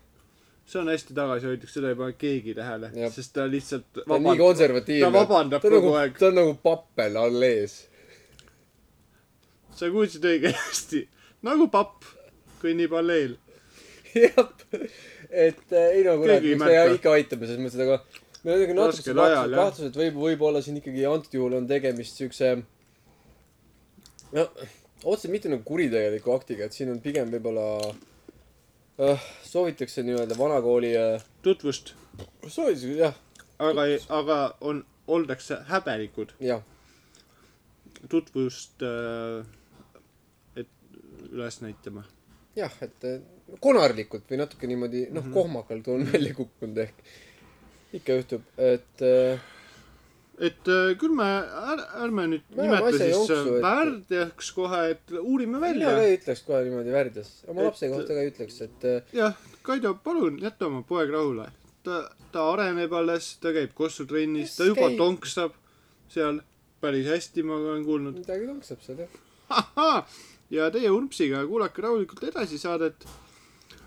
[SPEAKER 2] see on hästi tagasihoidlik , seda ei pane keegi tähele
[SPEAKER 1] Jah. ,
[SPEAKER 2] sest ta lihtsalt
[SPEAKER 1] ta on nii
[SPEAKER 2] vabandab , ta
[SPEAKER 1] konservatiivne .
[SPEAKER 2] vabandab
[SPEAKER 1] ta on
[SPEAKER 2] kogu
[SPEAKER 1] nagu
[SPEAKER 2] aeg ,.
[SPEAKER 1] ta on nagu pappel all ees .
[SPEAKER 2] sa kuulsid õigesti , nagu papp kõnnib alleel .
[SPEAKER 1] jah , et äh, ei no kurat ,
[SPEAKER 2] Keegi ei
[SPEAKER 1] eks me
[SPEAKER 2] märka.
[SPEAKER 1] ikka aitame selles mõttes , aga meil on ikka natuke
[SPEAKER 2] Raskel
[SPEAKER 1] kahtlused
[SPEAKER 2] ajal, , jah.
[SPEAKER 1] kahtlused , võib , võib-olla siin ikkagi antud juhul on tegemist siukse no otseselt mitte nagu kuritegeliku aktiga , et siin on pigem võib-olla äh, soovitakse nii-öelda vanakooli äh, ,
[SPEAKER 2] tutvust ,
[SPEAKER 1] soovitakse jah ,
[SPEAKER 2] aga , aga on , oldakse häbelikud ,
[SPEAKER 1] jah ,
[SPEAKER 2] tutvust äh, et üles näitama .
[SPEAKER 1] jah , et eh, konarlikult või natuke niimoodi ,
[SPEAKER 2] Mhm.
[SPEAKER 1] noh , kohmakalt on välja kukkunud ehk . ikka juhtub , et eh,
[SPEAKER 2] et äh, küll me är, , ärme nüüd
[SPEAKER 1] Me
[SPEAKER 2] nimeta
[SPEAKER 1] ajame asja
[SPEAKER 2] siis
[SPEAKER 1] jooksu,
[SPEAKER 2] äh,
[SPEAKER 1] et-
[SPEAKER 2] värdjaks kohe , et uurime
[SPEAKER 1] mina
[SPEAKER 2] välja
[SPEAKER 1] ka . ei ütleks kohe niimoodi värdjas , oma
[SPEAKER 2] Et-
[SPEAKER 1] lapse kohta ka ei ütleks , et eh,
[SPEAKER 2] jah , Kaido , palun jäta oma poeg rahule . ta , ta areneb alles , ta käib kossutrennis , ta
[SPEAKER 1] Kes
[SPEAKER 2] juba
[SPEAKER 1] käib?
[SPEAKER 2] tonksab seal päris hästi , ma olen kuulnud .
[SPEAKER 1] midagi tonksab seal jah .
[SPEAKER 2] ja teie Urbsiga kuulake rahulikult edasi saadet ,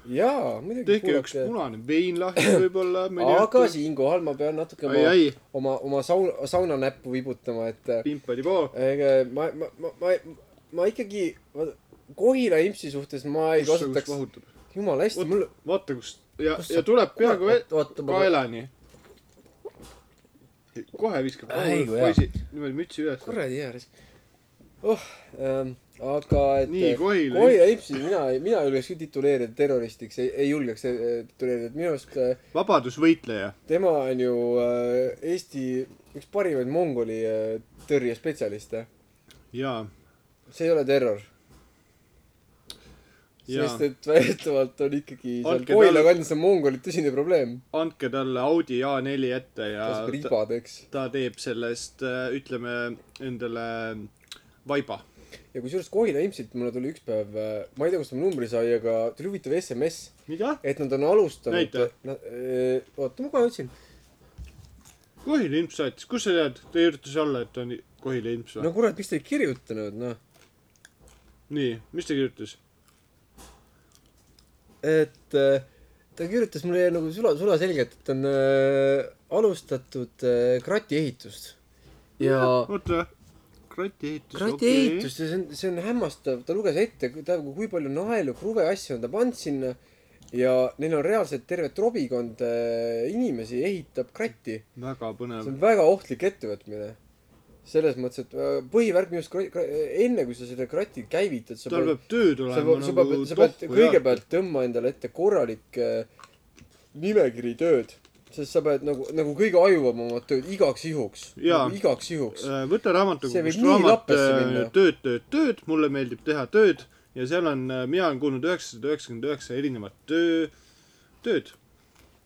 [SPEAKER 1] jaa , muidugi
[SPEAKER 2] tehke üks punane vein lahti võib-olla .
[SPEAKER 1] aga siinkohal ma pean natuke
[SPEAKER 2] ai ,
[SPEAKER 1] oma ,
[SPEAKER 2] ai ,
[SPEAKER 1] oma , oma sauna , sauna näppu vibutama , et eh,
[SPEAKER 2] pimpadi-poo .
[SPEAKER 1] ega ma , ma , ma , ma , ma ikkagi , Kohila impsi suhtes ma ei kasutaks ,
[SPEAKER 2] vahutab .
[SPEAKER 1] jumala hästi , mul
[SPEAKER 2] vaata , kus ja ,
[SPEAKER 1] Kus
[SPEAKER 2] ja
[SPEAKER 1] sa-
[SPEAKER 2] tuleb peaaegu e-
[SPEAKER 1] kurat,
[SPEAKER 2] veel
[SPEAKER 1] oota, ma-
[SPEAKER 2] kaelani . kohe viskab
[SPEAKER 1] Ai, kui hea.
[SPEAKER 2] poisi niimoodi mütsi üles .
[SPEAKER 1] kuradi hea risk . oh ähm, , aga et .
[SPEAKER 2] Nii, Kohila
[SPEAKER 1] Kohila impsi mina , mina julgeks küll tituleerida terroristiks , ei , ei julgeks eh, tituleerida , et minu arust äh,
[SPEAKER 2] vabadusvõitleja .
[SPEAKER 1] tema on ju äh, Eesti üks parimaid Mongoli äh, tõrjespetsialiste .
[SPEAKER 2] jaa ,
[SPEAKER 1] see ei ole terror .
[SPEAKER 2] Jaa.
[SPEAKER 1] sest et väidetavalt on ikkagi seal
[SPEAKER 2] Andke
[SPEAKER 1] Kohila
[SPEAKER 2] talle-
[SPEAKER 1] kandis on Mongolid tõsine probleem .
[SPEAKER 2] andke talle Audi A4 ette ja
[SPEAKER 1] tasub
[SPEAKER 2] ta,
[SPEAKER 1] ribad , eks .
[SPEAKER 2] ta teeb sellest , ütleme endale äh, vaiba .
[SPEAKER 1] ja kusjuures Kohila impsilt mulle tuli üks päev , ma ei tea , kust ta mu numbri sai , aga tuli huvitav SMS ,
[SPEAKER 2] mida ?
[SPEAKER 1] et nad on alustanud äh,
[SPEAKER 2] Näita. .
[SPEAKER 1] oota , ma kohe otsin .
[SPEAKER 2] Kohila ilms saatis , kus sa tead , ta kirjutas alla , et on Kohila ilms või
[SPEAKER 1] no ? kurat , miks ta ei kirjutanud , noh .
[SPEAKER 2] nii , mis ta kirjutas ?
[SPEAKER 1] et äh, ta kirjutas mulle nagu sula , sulaselgelt , et on äh, alustatud äh, krati ehitust . ja
[SPEAKER 2] oota , krati ehitus ,
[SPEAKER 1] krati ehitus , see on , see on hämmastav , ta luges ette , tähendab , kui palju naelu , kruve asju on ta pannud sinna ja neil on reaalselt terve trobikond äh, inimesi ehitab kratti .
[SPEAKER 2] väga põnev
[SPEAKER 1] see . on väga ohtlik ettevõtmine . selles mõttes , et äh, põhivärk minu arust , enne kui sa selle krati käivitad , sa
[SPEAKER 2] tal
[SPEAKER 1] pead ,
[SPEAKER 2] peab tööd
[SPEAKER 1] sa
[SPEAKER 2] olema
[SPEAKER 1] pead , sa
[SPEAKER 2] nagu
[SPEAKER 1] pead , sa pead
[SPEAKER 2] tohku
[SPEAKER 1] kõigepealt tõmbama endale ette korralik äh, nimekiri tööd , sest sa pead nagu , nagu kõige ajuvabamad tööd igaks juhuks
[SPEAKER 2] Jaa. .
[SPEAKER 1] igaks juhuks .
[SPEAKER 2] Äh, võta
[SPEAKER 1] See võib
[SPEAKER 2] raamatukogust
[SPEAKER 1] nii
[SPEAKER 2] raamat
[SPEAKER 1] lappesse
[SPEAKER 2] äh,
[SPEAKER 1] minna.
[SPEAKER 2] Tööd , tööd , tööd , mulle meeldib teha tööd ja seal on , mina olen kuulnud üheksasada üheksakümmend üheksa erinevat töö , tööd ,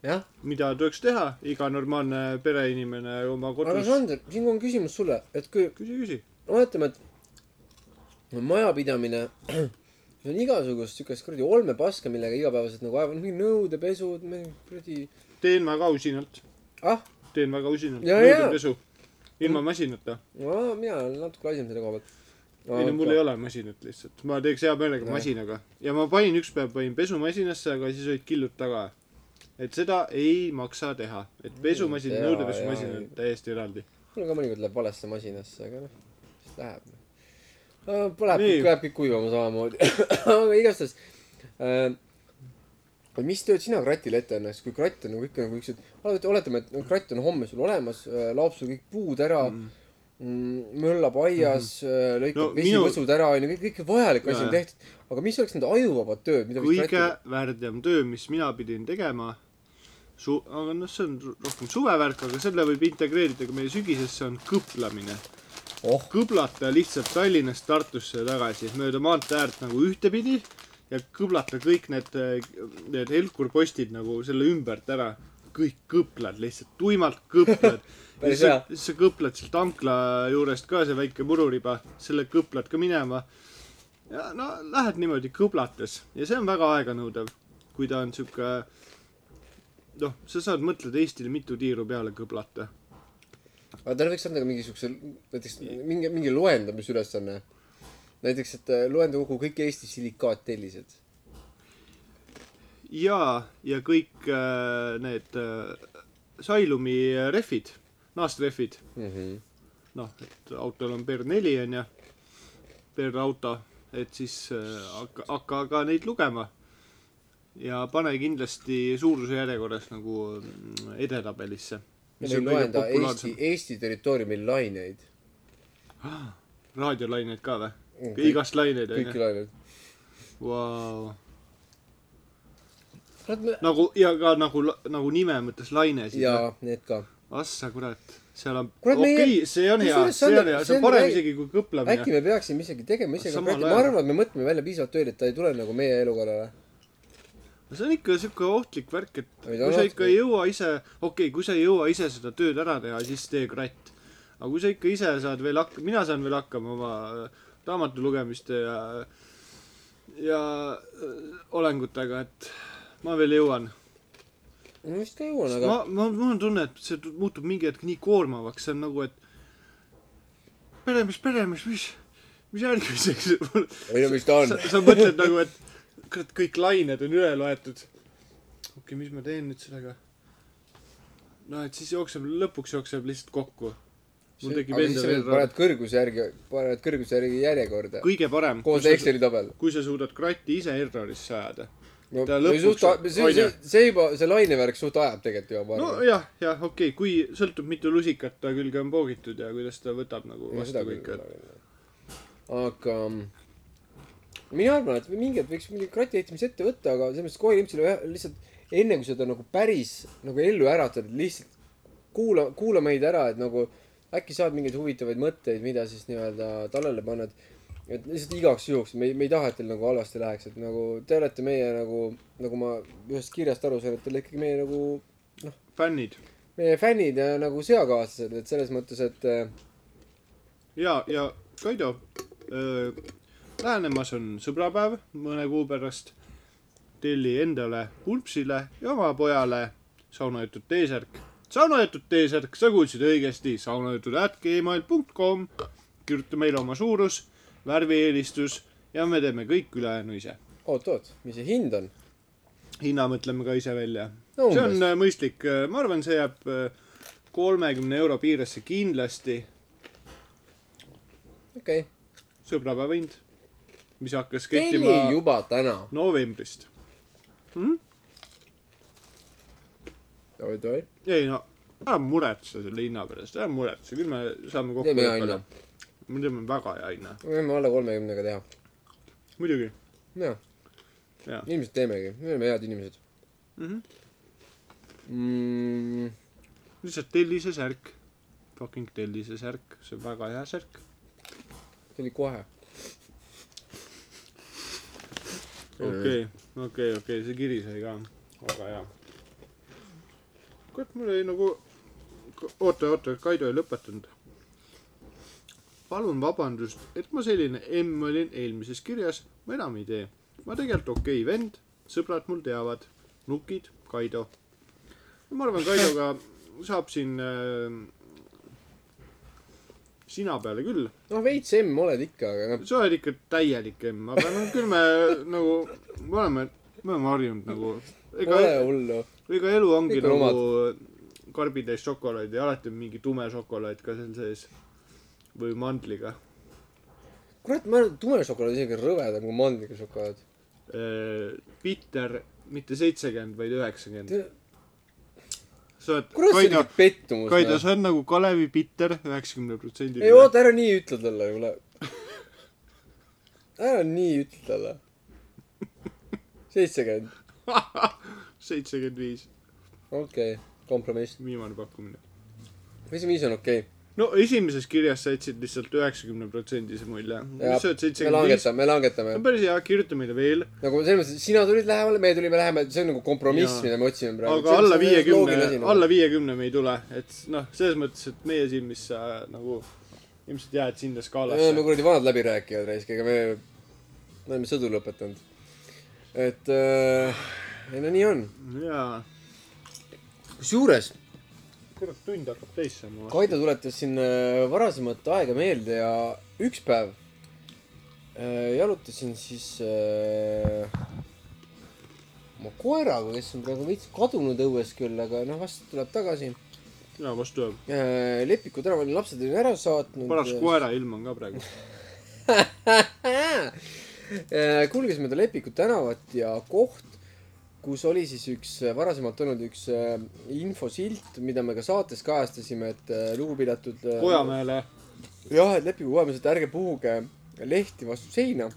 [SPEAKER 1] jah ,
[SPEAKER 2] mida tuleks teha iga normaalne pereinimene oma
[SPEAKER 1] aga
[SPEAKER 2] kodus .
[SPEAKER 1] Sander , siin on küsimus sulle , et kui
[SPEAKER 2] küsi , küsi .
[SPEAKER 1] oletame , et majapidamine , see on igasugust siukest kuradi olmepaska , millega igapäevaselt nagu ajavad , mingi nõudepesud , mingi kuradi ,
[SPEAKER 2] teen väga usinalt ,
[SPEAKER 1] ah ,
[SPEAKER 2] teen väga usinalt ,
[SPEAKER 1] Ja, ja.
[SPEAKER 2] nõudepesu ilma masinata .
[SPEAKER 1] mina olen natuke laisem selle koha pealt .
[SPEAKER 2] ei no mul ei ole masinat lihtsalt , ma teeks hea meelega
[SPEAKER 1] Nojah.
[SPEAKER 2] masinaga ja ma panin ükspäev panin pesumasinasse , aga siis olid killud taga . et seda ei maksa teha , et pesumasin ja
[SPEAKER 1] jaa,
[SPEAKER 2] nõudepesumasin
[SPEAKER 1] jaa.
[SPEAKER 2] on täiesti eraldi .
[SPEAKER 1] mul ka mõnikord läheb valesse masinasse , aga noh , siis läheb . Läheb
[SPEAKER 2] Nii.
[SPEAKER 1] kõik , läheb kõik kuivama samamoodi . aga igastahes äh, , mis tööd sina kratile ette annaks , kui kratt on nagu ikka nagu üks , et oletame , et no kratt on homme sul olemas , laob sul kõik puud ära mm. , möllab aias mm. , lõikab
[SPEAKER 2] Mhm. No
[SPEAKER 1] no,
[SPEAKER 2] minu-
[SPEAKER 1] vesivõsud minu... ära , onju , kõik , kõik vajalik asi
[SPEAKER 2] Jajah.
[SPEAKER 1] on tehtud . aga mis oleks need ajuvabad tööd , mida võiks
[SPEAKER 2] kõige
[SPEAKER 1] kratt
[SPEAKER 2] värdjam töö , mis mina pidin tegema , su- , aga noh , see on ru- rohkem suvevärk , aga selle võib integreerida ka meie sügisesse , on kõplamine .
[SPEAKER 1] oh ,
[SPEAKER 2] kõblata lihtsalt Tallinnast Tartusse ja tagasi mööda maantee äärt nagu ühtepidi ja kõblata kõik need , need helkurpostid nagu selle ümbert ära . kõik kõplad lihtsalt , tuimalt kõplad . ja
[SPEAKER 1] Päris
[SPEAKER 2] sa , sa kõplad sealt ankla juurest ka see väike mururiba , selle kõplad ka minema . ja no lähed niimoodi kõblates ja see on väga aeganõudev , kui ta on sihuke noh , sa saad mõtleda Eestile mitu tiiru peale kõblata .
[SPEAKER 1] aga tal võiks anda ka mingisuguse näiteks mingi mingi loendamisülesanne näiteks et äh, loenda kokku kõik Eesti silikaattellised
[SPEAKER 2] jaa , ja kõik äh, need äh, Sailumi rehvid , naastrehvid ,
[SPEAKER 1] mm -hmm.
[SPEAKER 2] noh , et autol on per neli onju , per auto , et siis äh, hakka , hakka ka neid lugema . ja pane kindlasti suuruse järjekorras nagu mm, edetabelisse .
[SPEAKER 1] me ei loenda Eesti , Eesti territooriumil laineid
[SPEAKER 2] raadiolaineid ka või ?
[SPEAKER 1] Mm, kõik-
[SPEAKER 2] igast laineid
[SPEAKER 1] kõiki
[SPEAKER 2] onju ,
[SPEAKER 1] laineid
[SPEAKER 2] vau .
[SPEAKER 1] kurat me
[SPEAKER 2] nagu ja ka nagu , nagu nime mõttes laine siis .
[SPEAKER 1] jaa need ka
[SPEAKER 2] ah sa kurat , seal on ,
[SPEAKER 1] Kurat,
[SPEAKER 2] okei
[SPEAKER 1] meie-
[SPEAKER 2] okay, , see on hea ,
[SPEAKER 1] kusjuures see
[SPEAKER 2] see
[SPEAKER 1] on-
[SPEAKER 2] on hea ,
[SPEAKER 1] see
[SPEAKER 2] see
[SPEAKER 1] on
[SPEAKER 2] on parem
[SPEAKER 1] väike-
[SPEAKER 2] isegi kui kõplamine
[SPEAKER 1] äkki . me peaksime isegi tegema ise ka
[SPEAKER 2] Samal
[SPEAKER 1] projekti , ma
[SPEAKER 2] ajal.
[SPEAKER 1] arvan , et me mõtleme välja piisavalt tööd , et ta ei tule nagu meie elukallale .
[SPEAKER 2] see on ikka siuke ohtlik värk , et
[SPEAKER 1] Ei
[SPEAKER 2] kui
[SPEAKER 1] ta on
[SPEAKER 2] sa ikka
[SPEAKER 1] ohtlik.
[SPEAKER 2] ei jõua ise , okei okay, , kui sa ei jõua ise seda tööd ära teha , siis tee kratt . aga kui sa ikka ise saad veel hakka- , mina saan veel hakkama oma äh, raamatu lugemiste ja , ja äh, olengutega , et ma veel jõuan .
[SPEAKER 1] ma vist ka jõuan , aga
[SPEAKER 2] ma , ma , mul on tunne , et see tu- muutub mingi hetk nii koormavaks , see on nagu , et pere , mis pere , mis , mis , mis järgmiseks mul
[SPEAKER 1] ei no mis ta on
[SPEAKER 2] sa , sa mõtled nagu , et kurat , kõik lained on üle loetud . okei okay, , mis ma teen nüüd sellega ? no et siis jookseb , lõpuks jookseb lihtsalt kokku . mul tekib
[SPEAKER 1] aga siis
[SPEAKER 2] endal
[SPEAKER 1] sa
[SPEAKER 2] veel
[SPEAKER 1] paned kõrguse järgi , paned kõrguse järgi järjekorda
[SPEAKER 2] ra- kõige parem ,
[SPEAKER 1] koos Exceli tabel .
[SPEAKER 2] kui sa suudad krati ise errorisse ajada .
[SPEAKER 1] no
[SPEAKER 2] Ta
[SPEAKER 1] või
[SPEAKER 2] lõpuks-
[SPEAKER 1] suht , see ,
[SPEAKER 2] on
[SPEAKER 1] see
[SPEAKER 2] ju. ,
[SPEAKER 1] see juba , see lainevärk suht ajab tegelikult ju , ma arvan .
[SPEAKER 2] nojah , jah , okei okay, , kui sõltub , mitu lusikat ta külge on poogitud ja kuidas ta võtab nagu vastu kõike .
[SPEAKER 1] aga mm, mina arvan , et mingi hetk võiks mingi krati ehitamise ette võtta , aga selles mõttes kooli ilmselt jah, lihtsalt enne kui seda nagu päris nagu ellu äratad , lihtsalt kuula , kuula meid ära , et nagu äkki saad mingeid huvitavaid mõtteid , mida siis nii-öelda tallele panna , et et lihtsalt igaks juhuks , me ei , me ei taha , et teil nagu halvasti läheks , et nagu te olete meie nagu , nagu ma ühest kirjast aru sain , et te olete ikkagi meie nagu
[SPEAKER 2] fännid
[SPEAKER 1] meie fännid ja nagu seakaaslased , et selles mõttes , et äh,
[SPEAKER 2] ja , ja Kaido , lähenemas on sõbrapäev mõne kuu pärast . telli endale , Kulpsile ja oma pojale saunajutud T-särk . saunajutud T-särk , sa kuulsid õigesti , saunajutud at gmail punkt kom . kirjuta meile oma suurus , värvieelistus ja me teeme kõik ülejäänu ise .
[SPEAKER 1] oot-oot , mis see hind on ?
[SPEAKER 2] hinna mõtleme ka ise välja .
[SPEAKER 1] No
[SPEAKER 2] see on
[SPEAKER 1] umbes.
[SPEAKER 2] äh, mõistlik , ma arvan , see jääb äh, kolmekümne euro piiresse kindlasti äh,
[SPEAKER 1] okei okay. .
[SPEAKER 2] sõbrapäeva hind , mis hakkas
[SPEAKER 1] telli
[SPEAKER 2] kehtima
[SPEAKER 1] juba täna .
[SPEAKER 2] novembrist .
[SPEAKER 1] oi-oi .
[SPEAKER 2] ei no , ära muretse selle hinna pärast , ära muretse , küll me saame kokku .
[SPEAKER 1] Teeme hea hinna. .
[SPEAKER 2] me teeme väga hea hinna ,
[SPEAKER 1] me võime alla kolmekümnega teha .
[SPEAKER 2] muidugi .
[SPEAKER 1] jah ,
[SPEAKER 2] ja ,
[SPEAKER 1] ilmselt teemegi , me oleme head inimesed
[SPEAKER 2] Mhm.
[SPEAKER 1] mm, .
[SPEAKER 2] lihtsalt telli see särk , fucking telli see särk , see on väga hea särk .
[SPEAKER 1] tuli kohe . Äh,
[SPEAKER 2] okei , okei , okei , see kiri sai ka , väga hea . kurat , mul oli nagu , oota , oota , Kaido ei lõpetanud . palun vabandust , et ma selline emm olin eelmises kirjas , ma enam ei tee . ma tegelikult okei okay, vend , sõbrad mul teavad , nukid , Kaido . ma arvan , Kaidoga saab siin äh, sina peale küll ,
[SPEAKER 1] noh , veits emm oled ikka , aga noh ,
[SPEAKER 2] sa oled ikka täielik emm , aga no küll me nagu , me oleme , me oleme harjunud nagu , ega
[SPEAKER 1] pole , hullu .
[SPEAKER 2] ega elu ongi
[SPEAKER 1] Kõik on
[SPEAKER 2] nagu karbitäis šokolaadi , alati on mingi tume šokolaad ka seal sees või mandliga .
[SPEAKER 1] kurat , ma arvan , et tume šokolaad on isegi rõvedam kui mandliga šokolaad .
[SPEAKER 2] Äh, Bitter , mitte seitsekümmend , vaid üheksakümmend .
[SPEAKER 1] kurat ,
[SPEAKER 2] sa oled ,
[SPEAKER 1] see on
[SPEAKER 2] Kaido ,
[SPEAKER 1] ikka pettumus . noh.
[SPEAKER 2] Kaido , sa oled nagu Kalevi Bitter üheksakümne protsendi
[SPEAKER 1] ei . oota , ära nii ütle talle , kuule . ära nii ütle talle . seitsekümmend ,
[SPEAKER 2] seitsekümmend viis ,
[SPEAKER 1] okei okay. , kompromiss .
[SPEAKER 2] viimane pakkumine .
[SPEAKER 1] esimese on okei okay. .
[SPEAKER 2] no esimeses kirjas sa jätsid lihtsalt üheksakümne protsendise mulje . nüüd sa oled
[SPEAKER 1] me
[SPEAKER 2] seitsekümmend viis ,
[SPEAKER 1] langetame , me langetame
[SPEAKER 2] see . on päris hea , kirjuta meile veel ,
[SPEAKER 1] nagu selles mõttes , et sina tulid lähemale , meie tulime lähemale , see on nagu kompromiss ,
[SPEAKER 2] Jaa.
[SPEAKER 1] mida me otsime praegu .
[SPEAKER 2] aga alla viiekümne ,
[SPEAKER 1] noh.
[SPEAKER 2] alla viiekümne me ei tule , et noh , selles mõttes , et meie silmis sa nagu ilmselt jääd
[SPEAKER 1] me
[SPEAKER 2] sinna
[SPEAKER 1] oleme
[SPEAKER 2] skaalasse .
[SPEAKER 1] kuradi vanad läbirääkijad raisk , ega me , me oleme sõdu lõpetanud . et äh, , ei no nii on .
[SPEAKER 2] jaa ,
[SPEAKER 1] kusjuures
[SPEAKER 2] kurat , tund hakkab täis saama .
[SPEAKER 1] Kaido tuletas siin äh, varasemat aega meelde ja üks päev äh, jalutasin siis äh, oma koeraga , kes on praegu veits kadunud õues küll , aga noh , vast tuleb tagasi
[SPEAKER 2] jaa , vastu jääb .
[SPEAKER 1] äh, . Lepiku tänaval lapsed olid ära saatnud .
[SPEAKER 2] paras koera ilm on ka praegu .
[SPEAKER 1] Äh, kulgesime ta Lepiku tänavat ja koht , kus oli siis üks äh, varasemalt olnud üks äh, infosilt , mida me ka saates kajastasime , et äh, lugupidatud äh,
[SPEAKER 2] Kojamehele ,
[SPEAKER 1] jah , et Lepiku kojamees , et ärge puhuge lehti vastu seina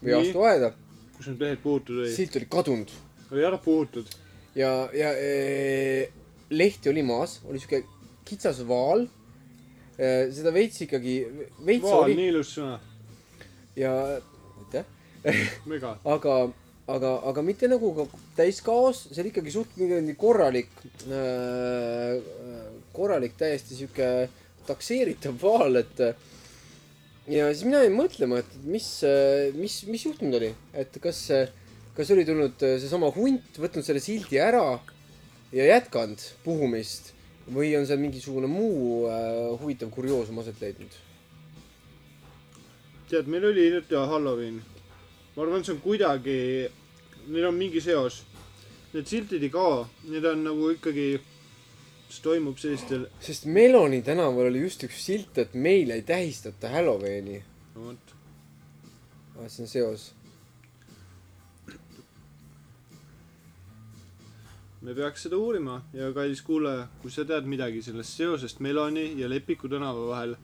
[SPEAKER 1] või
[SPEAKER 2] Nii.
[SPEAKER 1] vastu aeda ,
[SPEAKER 2] kus need lehed puhutud olid ,
[SPEAKER 1] silt oli kadunud
[SPEAKER 2] oli ära puhutud .
[SPEAKER 1] ja , ja e, lehti oli eh, maas , oli siuke kitsas vaal . seda veits ikkagi , veits
[SPEAKER 2] vaal ,
[SPEAKER 1] oli
[SPEAKER 2] nii ilus sõna ,
[SPEAKER 1] ja aitäh ,
[SPEAKER 2] mega .
[SPEAKER 1] aga , aga , aga mitte nagu ka täiskaos , see oli ikkagi suht mingi korralik , korralik , täiesti sihuke takseeritav vaal , et ja siis mina jäin mõtlema , et mis , mis , mis juhtunud oli , et kas , kas oli tulnud seesama hunt , võtnud selle sildi ära ja jätkanud puhumist või on seal mingisugune muu äh, huvitav kurioosum aset leidnud ?
[SPEAKER 2] tead , meil oli hiljuti Halloween . ma arvan , see on kuidagi , neil on mingi seos . Need siltid ei kao , need on nagu ikkagi , mis toimub sellistel ,
[SPEAKER 1] sest Meloni tänaval oli just üks silt , et meil ei tähistata Halloweeni .
[SPEAKER 2] no vot ,
[SPEAKER 1] Ah, see on seos .
[SPEAKER 2] me peaks seda uurima ja kallis kuulaja , kui sa tead midagi sellest seosest Meloni ja Lepiku tänava vahel ,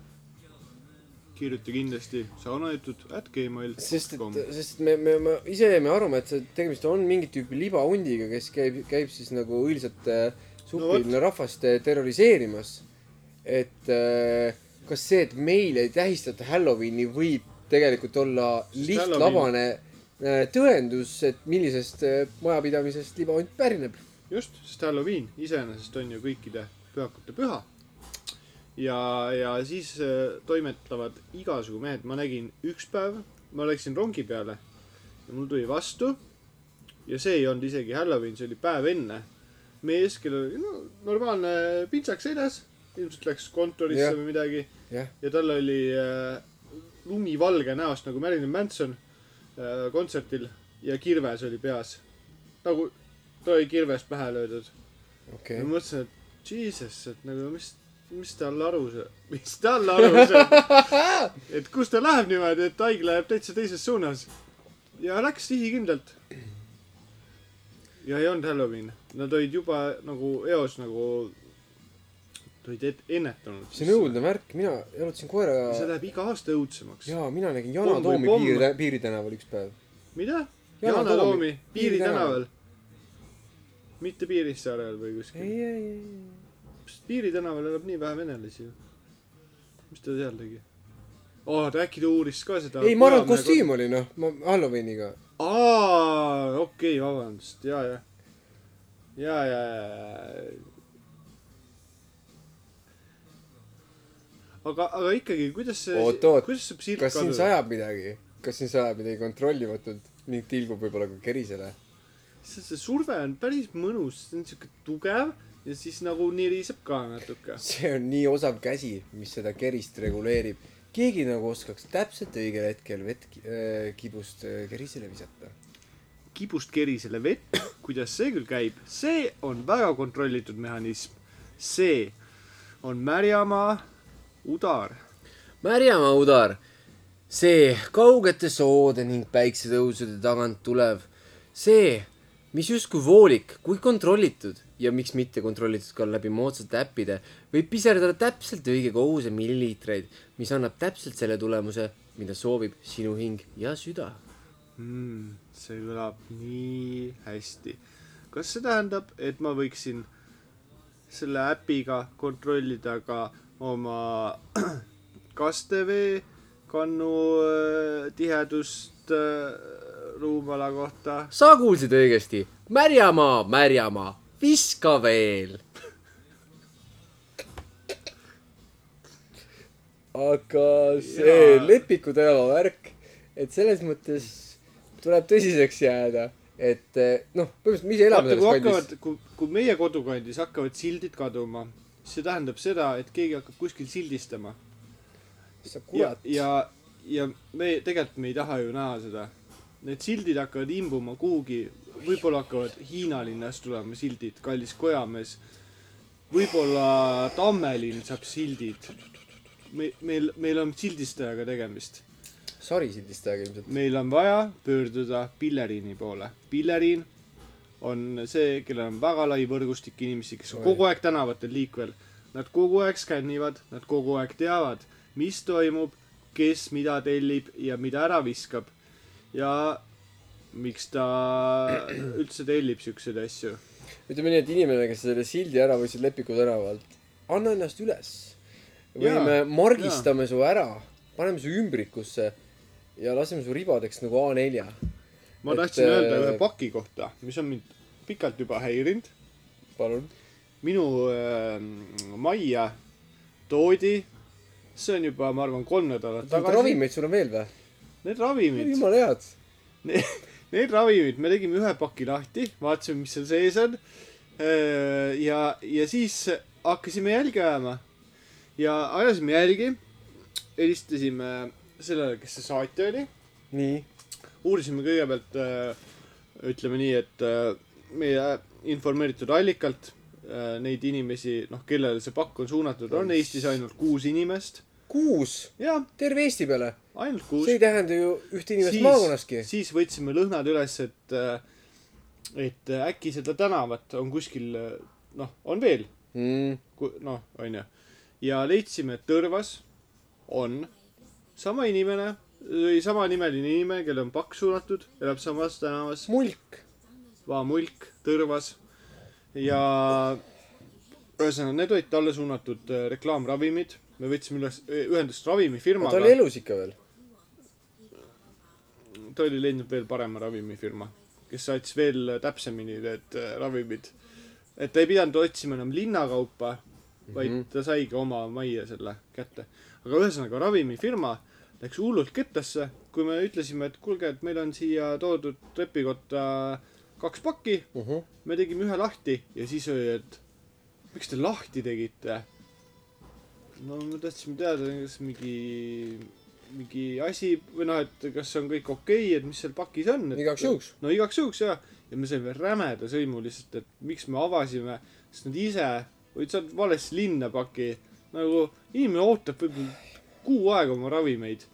[SPEAKER 2] kirjuta kindlasti saunajutud at gmail .
[SPEAKER 1] sest et , sest et me , me , me ise jäime arvama , et see tegemist on mingit tüüpi libahundiga , kes käib , käib siis nagu õilsat äh, suppi no, rahvast äh, terroriseerimas . et äh, kas see , et meil ei tähistata Halloweeni , võib tegelikult olla
[SPEAKER 2] Sest
[SPEAKER 1] lihtlabane äh, tõendus , et millisest äh, majapidamisest libahunt pärineb .
[SPEAKER 2] just , sest Halloween iseenesest on ju kõikide pühakute püha . ja , ja siis äh, toimetavad igasugu mehed , ma nägin üks päev , ma läksin rongi peale ja mul tuli vastu . ja see ei olnud isegi Halloween , see oli päev enne . mees , kellel oli no, normaalne pintsak seljas , ilmselt läks kontorisse
[SPEAKER 1] Jah.
[SPEAKER 2] või midagi
[SPEAKER 1] jah ,
[SPEAKER 2] ja tal oli äh, lumivalge näost nagu Marilyn Manson äh, kontsertil ja kirves oli peas . nagu ta oli kirves pähe löödud
[SPEAKER 1] okei
[SPEAKER 2] ja
[SPEAKER 1] okay. .
[SPEAKER 2] ma mõtlesin , et jesus , et nagu mis , mis tal aru see , mis tal aru see , et kus ta läheb niimoodi , et haig läheb täitsa teises suunas . ja läks sihikindlalt . ja ei olnud Halloween , nad olid juba nagu eos nagu , olid et- ennetanud .
[SPEAKER 1] see on õudne värk , mina jalutasin koeraga
[SPEAKER 2] see läheb iga aasta õudsemaks .
[SPEAKER 1] jaa , mina nägin
[SPEAKER 2] Pomm
[SPEAKER 1] Yana
[SPEAKER 2] või
[SPEAKER 1] Toomi
[SPEAKER 2] pomm?
[SPEAKER 1] piiri , Piiri tänaval üks päev .
[SPEAKER 2] mida ?
[SPEAKER 1] Yana
[SPEAKER 2] Yana Toomi
[SPEAKER 1] Toomi,
[SPEAKER 2] Piiri
[SPEAKER 1] Piiri
[SPEAKER 2] tänaval . mitte Piirissaarel või
[SPEAKER 1] ei ,
[SPEAKER 2] kuskil .
[SPEAKER 1] ei , ei ,
[SPEAKER 2] Piiri tänaval elab nii vähe venelasi ju . mis ta seal tegi ? aa , ta äkki ta uuris ka seda .
[SPEAKER 1] ei , ma arvan , et . kostüüm oli noh , ma Halloweeniga .
[SPEAKER 2] aa , okei , vabandust , ja , ja . ja , ja , ja . aga , aga ikkagi , kuidas see ,
[SPEAKER 1] Oot, oot.
[SPEAKER 2] kuidas saab silt
[SPEAKER 1] kas siin
[SPEAKER 2] kaduda ?
[SPEAKER 1] sajab midagi ? kas siin sajab midagi kontrollimatult ning tilgub võib-olla ka kerisele ?
[SPEAKER 2] see , see surve on päris mõnus , see on siuke tugev ja siis nagu niriseb ka natuke .
[SPEAKER 1] see on nii osav käsi , mis seda kerist reguleerib . keegi nagu oskaks täpselt õigel hetkel vett ki- äh, kibust äh, kerisele visata .
[SPEAKER 2] kibust kerisele vett , kuidas see küll käib , see on väga kontrollitud mehhanism . see on märjamaa udar .
[SPEAKER 1] märjamaa udar , see kaugete soode ning päiksetõusude tagant tulev , see , mis justkui voolik , kuid kontrollitud ja miks mitte kontrollitud ka läbi moodsate äppide , võib piserdada täpselt õige koguse milliliitreid , mis annab täpselt selle tulemuse , mida soovib sinu hing ja süda .
[SPEAKER 2] mm, . see kõlab nii hästi . kas see tähendab , et ma võiksin selle äpiga kontrollida ka oma kastevee kannu äh, tihedust äh, ruumala kohta ?
[SPEAKER 1] sa kuulsid õigesti , märjamaa , märjamaa , viska veel . aga see
[SPEAKER 2] Jaa.
[SPEAKER 1] Lepiku tänava värk , et selles mõttes tuleb tõsiseks jääda , et eh, noh , põhimõtteliselt me ise elame
[SPEAKER 2] vaata , kui
[SPEAKER 1] selles kandis .
[SPEAKER 2] hakkavad , kui , kui meie kodukandis hakkavad sildid kaduma , see tähendab seda , et keegi hakkab kuskil sildistama .
[SPEAKER 1] sa
[SPEAKER 2] ja ,
[SPEAKER 1] kurat ,
[SPEAKER 2] ja , ja me tegelikult me ei taha ju näha seda . Need sildid hakkavad imbuma kuhugi , võib-olla hakkavad Hiina linnast tulema sildid , kallis kojamees . võib-olla Tammelinn saab sildid . me , meil , meil on sildistajaga tegemist .
[SPEAKER 1] sarisildistajaga ilmselt .
[SPEAKER 2] meil on vaja pöörduda Pilleriini poole . Pilleriin on see , kellel on väga lai võrgustik inimesi , kes on
[SPEAKER 1] Oi.
[SPEAKER 2] kogu aeg tänavatel liikvel . Nad kogu aeg skännivad , nad kogu aeg teavad , mis toimub , kes mida tellib ja mida ära viskab . ja miks ta üldse tellib siukseid asju .
[SPEAKER 1] ütleme nii , et inimene , kes selle sildi ära võttis Lepiku tänavalt , anna ennast üles . või
[SPEAKER 2] Jaa,
[SPEAKER 1] me margistame su ära , paneme su ümbrikusse ja laseme su ribadeks nagu A4 .
[SPEAKER 2] ma
[SPEAKER 1] Et,
[SPEAKER 2] tahtsin öelda
[SPEAKER 1] äh,
[SPEAKER 2] ühe paki kohta , mis on mind pikalt juba häirinud .
[SPEAKER 1] palun .
[SPEAKER 2] minu äh, majja toodi , see on juba , ma arvan , kolm nädalat
[SPEAKER 1] Neid
[SPEAKER 2] tagasi .
[SPEAKER 1] ravimeid sul on veel või ?
[SPEAKER 2] Need ravimid ,
[SPEAKER 1] jumala head .
[SPEAKER 2] need ravimid , me tegime ühe paki lahti , vaatasime , mis seal sees on . ja , ja siis hakkasime jälgi ajama ja ajasime jälgi . helistasime sellele , kes see saatja oli ,
[SPEAKER 1] nii .
[SPEAKER 2] uurisime kõigepealt äh, ütleme nii , et äh, meie informeeritud allikalt äh, neid inimesi , noh , kellele see pakk on suunatud , on Eestis ainult kuus inimest .
[SPEAKER 1] kuus ,
[SPEAKER 2] jah ,
[SPEAKER 1] terve Eesti peale .
[SPEAKER 2] ainult kuus
[SPEAKER 1] see ei tähenda ju ühte inimest maakonnaski .
[SPEAKER 2] siis võtsime lõhnad üles , et , et äh, äkki seda tänavat on kuskil , noh , on veel ,
[SPEAKER 1] Mm,
[SPEAKER 2] noh , onju . ja leidsime , et Tõrvas on sama inimene või samanimeline inimene , kellel on pakk suunatud , elab samas tänavas ,
[SPEAKER 1] mulk .
[SPEAKER 2] Vaamulk , Tõrvas ja ühesõnaga , need olid talle suunatud äh, reklaamravimid . me võtsime üles , ühendust
[SPEAKER 1] ta oli
[SPEAKER 2] ravimifirmaga ,
[SPEAKER 1] elus ikka veel .
[SPEAKER 2] ta oli leidnud veel parema ravimifirma , kes saatis veel äh, täpsemini need äh, ravimid . et ta ei pidanud otsima enam linnakaupa , vaid
[SPEAKER 1] Mhm.
[SPEAKER 2] mm -hmm. ta saigi oma majja selle kätte . aga ühesõnaga ravimifirma läks hullult kettasse , kui me ütlesime , et kuulge , et meil on siia toodud trepikotta kaks pakki ,
[SPEAKER 1] Uh -huh.
[SPEAKER 2] me tegime ühe lahti ja siis oli , et miks te lahti tegite ? no me tahtsime teada , kas mingi , mingi asi või noh , et kas on kõik okei okay, , et mis seal pakis on .
[SPEAKER 1] igaks . juhuks .
[SPEAKER 2] no igaks juhuks ja , ja me saime rämeda sõimu lihtsalt , et miks me avasime , sest nad ise olid saanud valesse linna paki . nagu inimene ootab võib-olla kuu aega oma ravimeid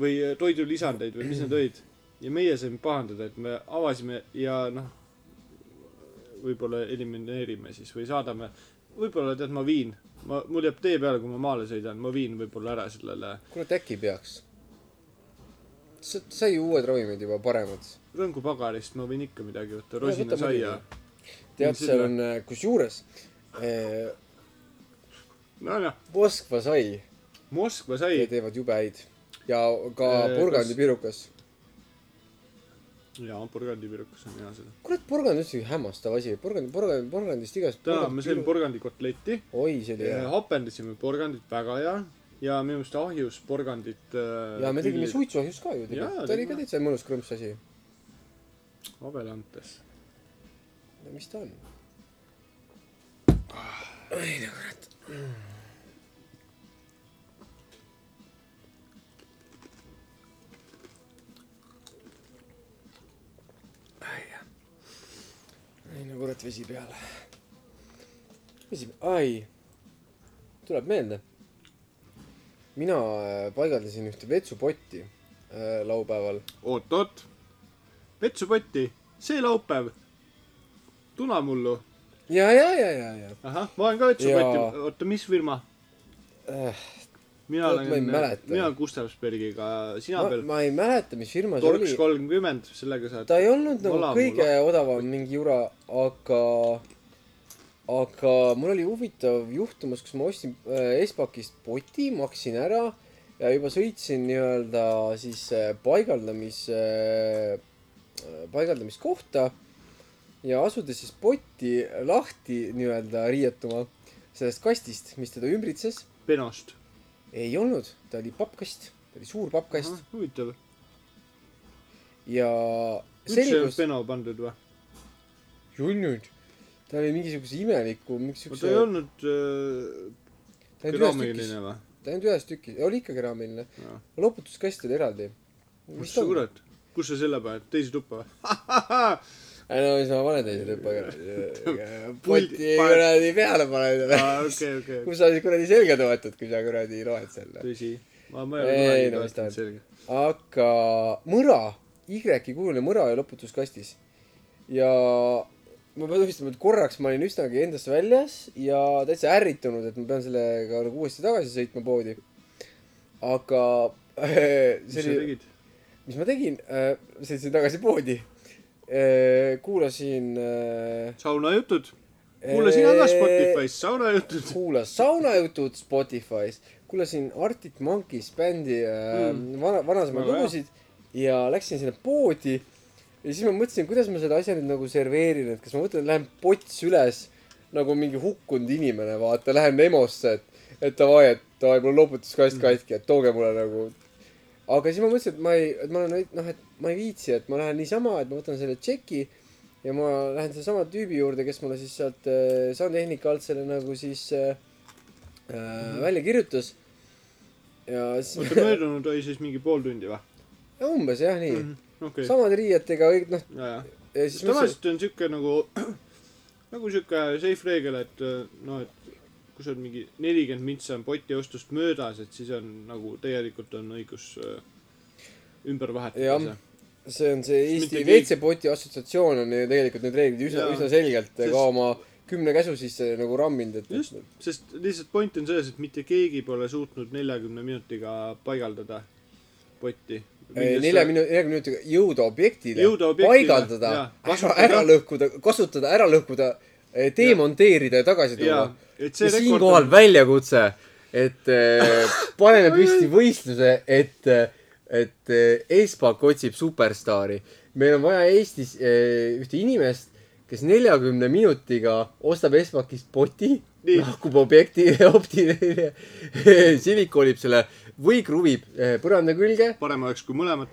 [SPEAKER 2] või äh, toidulisandeid või mis need olid . ja meie saime pahandada , et me avasime ja noh , võib-olla elimineerime siis või saadame , võib-olla tead , ma viin , ma , mul jääb tee peale , kui ma maale sõidan , ma viin võib-olla ära sellele
[SPEAKER 1] kurat , äkki peaks . sa sai ju uued ravimid juba paremad .
[SPEAKER 2] rõngupagarist , ma võin ikka midagi võtta ,
[SPEAKER 1] No, võta
[SPEAKER 2] rosinasaia .
[SPEAKER 1] tead ,
[SPEAKER 2] Mis
[SPEAKER 1] seal
[SPEAKER 2] selle-
[SPEAKER 1] on äh, kusjuures eh,
[SPEAKER 2] nojah ,
[SPEAKER 1] Moskva sai ,
[SPEAKER 2] Moskva sai
[SPEAKER 1] teevad jube häid ja ka
[SPEAKER 2] Eh,
[SPEAKER 1] porgandi
[SPEAKER 2] kas-
[SPEAKER 1] pirukas .
[SPEAKER 2] jaa , porgandipirukas on hea seda .
[SPEAKER 1] kurat , porgand on üldse hämmastav asi , porgand , porgand , porgandist igast .
[SPEAKER 2] täna me sõime . porgandikotletti ,
[SPEAKER 1] oi , see oli hea .
[SPEAKER 2] hapendasime porgandit väga hea ja minu meelest ahjus porgandit . äh,
[SPEAKER 1] ja me tegime . suitsuahjus ka ju
[SPEAKER 2] Jaa,
[SPEAKER 1] tegelikult , ta oli ka
[SPEAKER 2] tegime.
[SPEAKER 1] täitsa mõnus krõmps asi .
[SPEAKER 2] habelantes .
[SPEAKER 1] mis ta on ? nagu ei no kurat , nagu vesi peale . vesi , ai , tuleb meelde . mina äh, paigaldasin ühte vetsupotti äh, laupäeval .
[SPEAKER 2] oot-oot , vetsupotti , see laupäev , tuna mullu ,
[SPEAKER 1] ja , ja , ja , ja , ja
[SPEAKER 2] ahah , ma olen ka
[SPEAKER 1] Jaa.
[SPEAKER 2] vetsupotti , oota , mis firma ?
[SPEAKER 1] äh, .
[SPEAKER 2] mina
[SPEAKER 1] Vot ma ei
[SPEAKER 2] olen ,
[SPEAKER 1] mäleta.
[SPEAKER 2] mina olen Gustavsbergiga , sina
[SPEAKER 1] Ma,
[SPEAKER 2] veel
[SPEAKER 1] ma ei mäleta , mis firma see
[SPEAKER 2] Torx
[SPEAKER 1] oli .
[SPEAKER 2] kolmkümmend , sellega saad
[SPEAKER 1] ta . ei olnud nagu
[SPEAKER 2] Vola
[SPEAKER 1] kõige
[SPEAKER 2] mul
[SPEAKER 1] odavam mingi jura , aga , aga mul oli huvitav juhtumus , kus ma ostsin äh, Espakist poti , maksin ära ja juba sõitsin nii-öelda siis äh, paigaldamis äh, , paigaldamiskohta ja asudes siis potti lahti nii-öelda riietuma sellest kastist , mis teda ümbritses ,
[SPEAKER 2] Penost .
[SPEAKER 1] ei olnud , ta oli pappkast , ta oli suur pappkast uh -huh.
[SPEAKER 2] huvitav ,
[SPEAKER 1] ja
[SPEAKER 2] üldse ei olnud
[SPEAKER 1] selgus ,
[SPEAKER 2] Peno pandud või ?
[SPEAKER 1] ei olnud . ta oli mingisuguse imeliku , mingisuguse .
[SPEAKER 2] ta ei olnud äh,
[SPEAKER 1] ta ei olnud ühes tükis
[SPEAKER 2] keraamiline , või ?
[SPEAKER 1] ta ei olnud ühes tükis , oli ikka keraamiline . loputuskast oli eraldi .
[SPEAKER 2] mis sa ? kurat , kus sa selle paned , teise tuppa või ? Ah,
[SPEAKER 1] ei no siis ma panen teise lõppaga .
[SPEAKER 2] Puldi-
[SPEAKER 1] pulti kuradi peale paned .
[SPEAKER 2] okei , okei ,
[SPEAKER 1] kus sa siis kuradi selga toetad , kui sa kuradi loed selle .
[SPEAKER 2] tõsi . ma , ma
[SPEAKER 1] Ei,
[SPEAKER 2] ei
[SPEAKER 1] no
[SPEAKER 2] ole
[SPEAKER 1] mis ta on.
[SPEAKER 2] kunagi selge .
[SPEAKER 1] aga mõra , Y-i kujuline mõra oli loputuskastis . ja ma pean tunnistama , et korraks ma olin üsnagi endast väljas ja täitsa ärritunud , et ma pean sellega nagu uuesti tagasi sõitma poodi . aga
[SPEAKER 2] mis sa
[SPEAKER 1] see oli ,
[SPEAKER 2] tegid ?
[SPEAKER 1] mis ma tegin , sõitsin tagasi poodi . Äh, kuulasin äh,
[SPEAKER 2] saunajutud kuule sina ka Spotify's saunajutud .
[SPEAKER 1] kuula saunajutud Spotify's , kuulasin Arctic Monkeys bändi äh, mm. vana , vanasemaid
[SPEAKER 2] Väga hea.
[SPEAKER 1] lugusid ja läksin sinna poodi . ja siis ma mõtlesin , kuidas ma selle asja nüüd nagu serveerin , et kas ma võtan , lähen pots üles nagu mingi hukkunud inimene , vaata , lähen EMO-sse , et , et davai , et davai , mul on loputuskast
[SPEAKER 2] Mm.
[SPEAKER 1] katki , et tooge mulle nagu . aga siis ma mõtlesin , et ma ei , et ma olen , noh , et ma ei viitsi , et ma lähen niisama , et ma võtan selle tšeki ja ma lähen sellesama tüübi juurde , kes mulle siis sealt äh, soundtehnika alt selle nagu siis äh, äh, välja kirjutas . ja siis
[SPEAKER 2] oota , möödunud oli siis mingi pool tundi või ?
[SPEAKER 1] umbes jah , nii mm .
[SPEAKER 2] Mhm. okei
[SPEAKER 1] -hmm. , samade riietega kõik noh ,
[SPEAKER 2] jajah .
[SPEAKER 1] ja siis ma mõtlesin ,
[SPEAKER 2] tavaliselt on siuke nagu , nagu siuke safe reegel , et äh, noh , et kui sa oled mingi nelikümmend mintsa on poti ostust möödas , et siis on nagu tegelikult on õigus äh, ümber vahetada
[SPEAKER 1] Jah.
[SPEAKER 2] see .
[SPEAKER 1] see on see Eesti
[SPEAKER 2] mitte keegi-
[SPEAKER 1] WC-poti assotsiatsioon on ju tegelikult need reeglid üsna ,
[SPEAKER 2] Jaa.
[SPEAKER 1] üsna selgelt
[SPEAKER 2] Sest-
[SPEAKER 1] Sest... ka oma kümne käsu sisse nagu ramminud , et
[SPEAKER 2] just , sest lihtsalt point on selles , et mitte keegi pole suutnud neljakümne minutiga paigaldada potti .
[SPEAKER 1] Ei, Äh, nelja minu- , neljakümne minutiga jõuda objektile,
[SPEAKER 2] Jõuda objektile,
[SPEAKER 1] paigaldada
[SPEAKER 2] jaa. ,
[SPEAKER 1] ära
[SPEAKER 2] Kasutada. ,
[SPEAKER 1] ära lõhkuda , kasutada , ära lõhkuda , demonteerida ja tagasi tuua
[SPEAKER 2] jaa ., et see
[SPEAKER 1] ja
[SPEAKER 2] rekord
[SPEAKER 1] siinkohal
[SPEAKER 2] on ,
[SPEAKER 1] väljakutse , et eh, paneme püsti võistluse , et , et eh, Espak otsib superstaari . meil on vaja Eestis eh, ühte inimest , kes neljakümne minutiga ostab Espakist poti ,
[SPEAKER 2] Nii.
[SPEAKER 1] lahkub objekti , optiline , sivik kolib selle või kruvib eh, põranda külge ,
[SPEAKER 2] parem oleks kui mõlemat .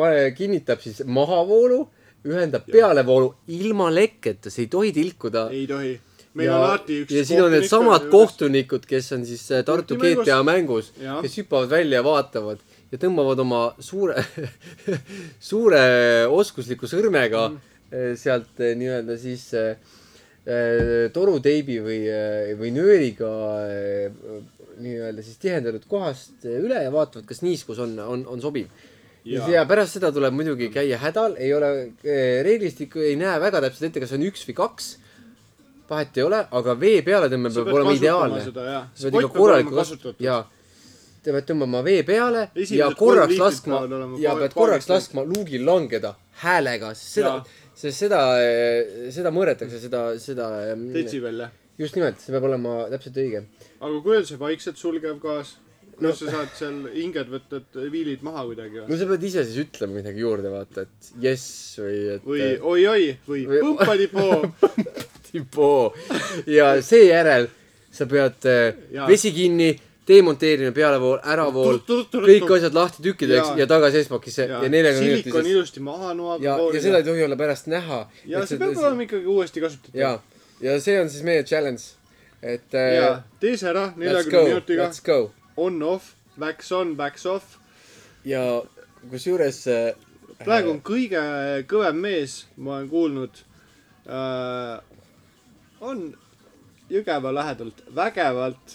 [SPEAKER 1] pane , kinnitab siis mahavoolu , ühendab pealevoolu ilma lekketa , see ei tohi tilkuda
[SPEAKER 2] ei tohi . meil on alati üks .
[SPEAKER 1] ja siin on needsamad . kohtunikud , kes on siis äh, Tartu
[SPEAKER 2] Mängus-
[SPEAKER 1] GTA mängus ,
[SPEAKER 2] Jah.
[SPEAKER 1] kes hüppavad välja ja vaatavad ja tõmbavad oma suure , suure oskusliku sõrmega mm. sealt äh, nii-öelda siis äh, äh, toruteibi või , või nööriga äh, nii-öelda siis tihendatud kohast äh, üle ja vaatavad , kas niiskus on , on , on sobiv . ja,
[SPEAKER 2] Jaa.
[SPEAKER 1] ja pärast seda tuleb muidugi käia hädal , ei ole äh, reeglistikku , ei näe väga täpselt ette , kas on üks või kaks vahet ei ole , aga vee pealetõmme peab olema ideaalne . sa pead ikka korralikult , jaa , sa pead tõmbama vee peale
[SPEAKER 2] Esimesed
[SPEAKER 1] ja
[SPEAKER 2] kolm
[SPEAKER 1] korraks
[SPEAKER 2] liitrit
[SPEAKER 1] laskma
[SPEAKER 2] peavad olema
[SPEAKER 1] ja
[SPEAKER 2] kohe-
[SPEAKER 1] pead korraks
[SPEAKER 2] kohe-
[SPEAKER 1] laskma luugil langeda häälega , sest seda
[SPEAKER 2] Jaa. ,
[SPEAKER 1] sest seda , seda mõõdetakse , seda , seda .
[SPEAKER 2] detsibell jah .
[SPEAKER 1] just nimelt , see peab olema täpselt õige .
[SPEAKER 2] aga kui on see vaikselt sulgev gaas , kuidas sa saad seal hinged võtta , et viilid maha kuidagi või ?
[SPEAKER 1] no sa pead ise siis ütlema midagi juurde , vaata , et jess või et .
[SPEAKER 2] või oi-oi või
[SPEAKER 1] Või-
[SPEAKER 2] põmpadi-poo .
[SPEAKER 1] tipo ja seejärel sa pead ja.
[SPEAKER 2] Jaa.
[SPEAKER 1] vesi kinni , demonteerima pealevool , äravool , kõik asjad lahti tükkideks ja,
[SPEAKER 2] Jaa.
[SPEAKER 1] ja tagasi Espakisse ja, ja neljakümne
[SPEAKER 2] silik on
[SPEAKER 1] minutises .
[SPEAKER 2] ilusti maha noaga
[SPEAKER 1] ja , ja seda ei tohi olla pärast näha .
[SPEAKER 2] ja see peab olema ikkagi uuesti kasutatud .
[SPEAKER 1] ja , ja see on siis meie challenge , et
[SPEAKER 2] ja
[SPEAKER 1] äh,
[SPEAKER 2] tee see ära
[SPEAKER 1] let's go
[SPEAKER 2] neljakümne , minutiga ,
[SPEAKER 1] let's go
[SPEAKER 2] on-off , backs on , backs off .
[SPEAKER 1] ja kusjuures äh,
[SPEAKER 2] praegu on kõige äh, kõvem mees , ma olen kuulnud äh, , on Jõgeva lähedalt vägevalt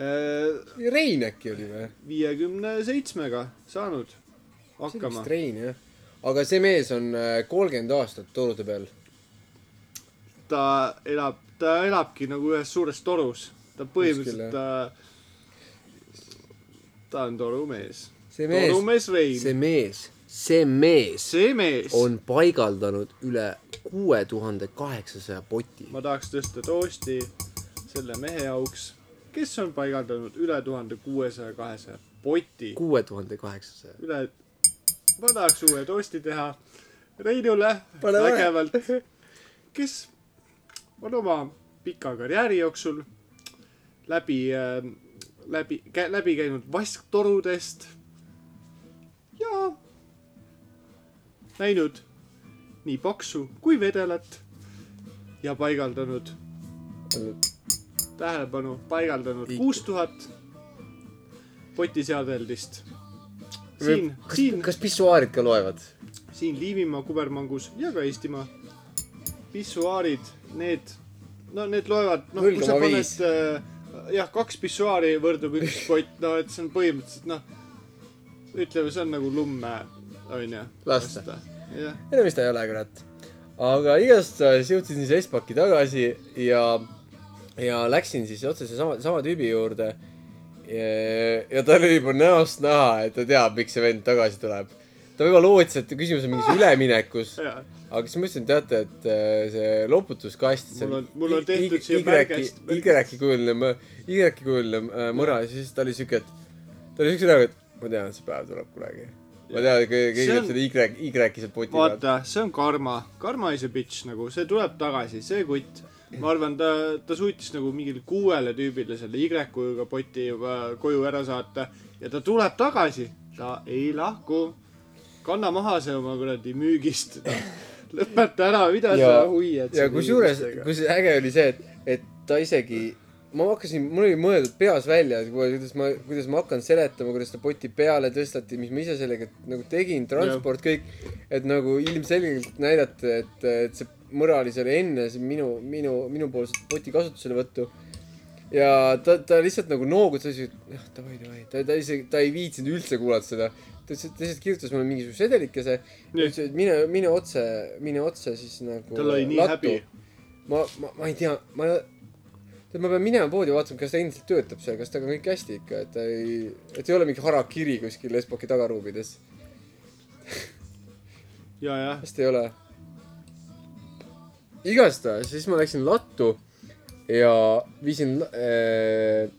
[SPEAKER 2] äh,
[SPEAKER 1] Rein äkki oli või ?
[SPEAKER 2] viiekümne seitsmega saanud
[SPEAKER 1] see oli
[SPEAKER 2] hakkama
[SPEAKER 1] vist . Rein jah , aga see mees on äh, kolmkümmend aastat torude peal .
[SPEAKER 2] ta elab , ta elabki nagu ühes suures torus . ta
[SPEAKER 1] Kuskil,
[SPEAKER 2] põhimõtteliselt , ta , ta on torumees .
[SPEAKER 1] see mees ,
[SPEAKER 2] torumees Rein .
[SPEAKER 1] see mees , see mees
[SPEAKER 2] see mees
[SPEAKER 1] on
[SPEAKER 2] on... ,
[SPEAKER 1] paigaldanud üle kuue tuhande kaheksasaja poti .
[SPEAKER 2] ma tahaks tõsta toosti selle mehe jaoks , kes on paigaldanud üle tuhande kuuesaja kahesaja poti .
[SPEAKER 1] kuue tuhande kaheksasaja .
[SPEAKER 2] üle , ma tahaks uue toosti teha Reinule
[SPEAKER 1] Pane vahele.
[SPEAKER 2] vägevalt , kes on oma pika karjääri jooksul läbi , läbi , läbi käinud vasktorudest ja näinud nii paksu kui vedelat ja paigaldanud , tähelepanu , paigaldanud
[SPEAKER 1] Liiku.
[SPEAKER 2] kuus tuhat potiseadeldist . siin ,
[SPEAKER 1] kas
[SPEAKER 2] siin ,,
[SPEAKER 1] kas pissuaarid ka loevad ?
[SPEAKER 2] siin Liivimaa kubermangus ja ka Eestimaa pissuaarid , need , no need loevad , noh , kui sa
[SPEAKER 1] 0,5.
[SPEAKER 2] paned äh, jah , kaks pissuaari võrdub üks pott , no et see on põhimõtteliselt noh , ütleme , see on nagu lumme , onju .
[SPEAKER 1] Lasta. .
[SPEAKER 2] jah ,
[SPEAKER 1] ei no mis ta ei ole , kurat . aga igastahes jõudsin siis Espaki tagasi ja , ja läksin siis otse seesama , sama tüübi juurde . ja ta oli juba näost näha , et ta teab , miks see vend tagasi tuleb . ta võib-olla lootis , et küsimus on mingis üleminekus ,
[SPEAKER 2] jaa ,
[SPEAKER 1] aga siis ma ütlesin , teate , et äh, see loputuskast , see
[SPEAKER 2] Mul on- mul on
[SPEAKER 1] i-
[SPEAKER 2] tehtud
[SPEAKER 1] i-
[SPEAKER 2] siia
[SPEAKER 1] Y-
[SPEAKER 2] märgest- märgest.
[SPEAKER 1] Y-kujuline mõ- , Y-kujuline äh, mõra ja siis ta oli siuke , et ta oli siukse näoga , et ma tean , et see päev tuleb kunagi . ma tean , et keegi
[SPEAKER 2] See
[SPEAKER 1] teeb
[SPEAKER 2] on-
[SPEAKER 1] selle Y , Y-i sealt poti pealt .
[SPEAKER 2] vaata , see on karma , karma is a bitch nagu , see tuleb tagasi , see kutt , ma arvan , ta , ta suutis nagu mingile kuuele tüübile selle Y-kujuga poti juba koju ära saata ja ta tuleb tagasi , ta ei lahku . kanna maha see oma kuradi müügist , lõpeta ära , mida
[SPEAKER 1] Ja-
[SPEAKER 2] sa hoiad .
[SPEAKER 1] ja kusjuures , kus äge oli see , et , et ta isegi , ma hakkasin , mul oli mõeldud peas välja , et kuule, kuidas ma , kuidas ma hakkan seletama , kuidas ta poti peale tõsteti , mis ma ise sellega nagu tegin , transport , kõik . et nagu ilmselgelt näidata , et , et see mõra oli seal enne see minu , minu , minupoolset poti kasutuselevõttu . ja ta , ta lihtsalt nagu noogutas , et jah , davai , davai , ta , ta isegi , ta ei viitsinud üldse kuulata seda . ta lihtsalt , ta lihtsalt kirjutas mulle mingisuguse sedelikese ,
[SPEAKER 2] Nii.
[SPEAKER 1] ütles , et mine , mine otse , mine otse siis nagu .
[SPEAKER 2] tal oli nii
[SPEAKER 1] lattu.
[SPEAKER 2] häbi .
[SPEAKER 1] ma , ma , ma ei tea , ma , tead , ma pean minema poodi vaatama , kas ta endiselt töötab seal , kas temaga on kõik hästi ikka , et ta ei , et ei ole mingi harakiri kuskil Espaki tagaruumides ,
[SPEAKER 2] ja , jah ,
[SPEAKER 1] vist ei ole . igastahes , siis ma läksin lattu ja viisin äh, ,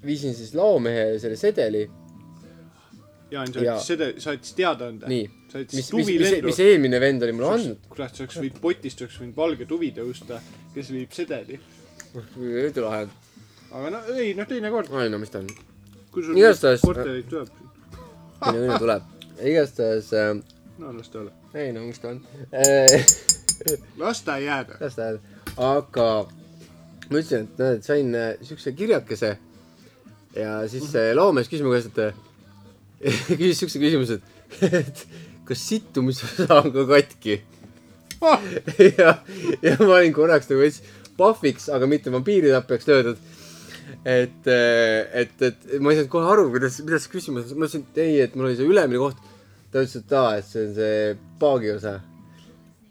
[SPEAKER 1] viisin siis laomehe selle sedeli ,
[SPEAKER 2] Jaan , sa
[SPEAKER 1] Ja-
[SPEAKER 2] ütlesid seda , sa ütlesid teadaande .
[SPEAKER 1] nii ,
[SPEAKER 2] sa ütlesid
[SPEAKER 1] mis , mis , mis ,
[SPEAKER 2] tuvilendu
[SPEAKER 1] mis . eelmine vend oli mulle andnud ,
[SPEAKER 2] kurat , sa oleks võinud potist , oleks võinud valge tuvi tõusta , kes viib sedeli .
[SPEAKER 1] õieti lahe ,
[SPEAKER 2] aga no ei , noh , teinekord ,
[SPEAKER 1] ei no mis ta on
[SPEAKER 2] kui sul
[SPEAKER 1] Igastahes-
[SPEAKER 2] korterit tuleb ,
[SPEAKER 1] minu õnne tuleb , igastahes äh, ,
[SPEAKER 2] no las ta ole .
[SPEAKER 1] ei no mis ta on äh, ,
[SPEAKER 2] las ta jääda .
[SPEAKER 1] kuidas ta öeldab , aga ma ütlesin , et näed , sain äh, siukse kirjakese ja siis see loomees küsis mu käest , et äh, küsis siukse küsimuse , et et kas sittumisosa on ka katki
[SPEAKER 2] Oh,
[SPEAKER 1] ja , ja ma olin korraks nagu veits pahviks , aga mitte vampiiritapjaks löödud . et , et , et ma ei saanud kohe aru , kuidas , kuidas see küsimus , ma ütlesin , et ei , et mul oli see ülemine koht . ta ütles , et aa , et see on see paagi osa .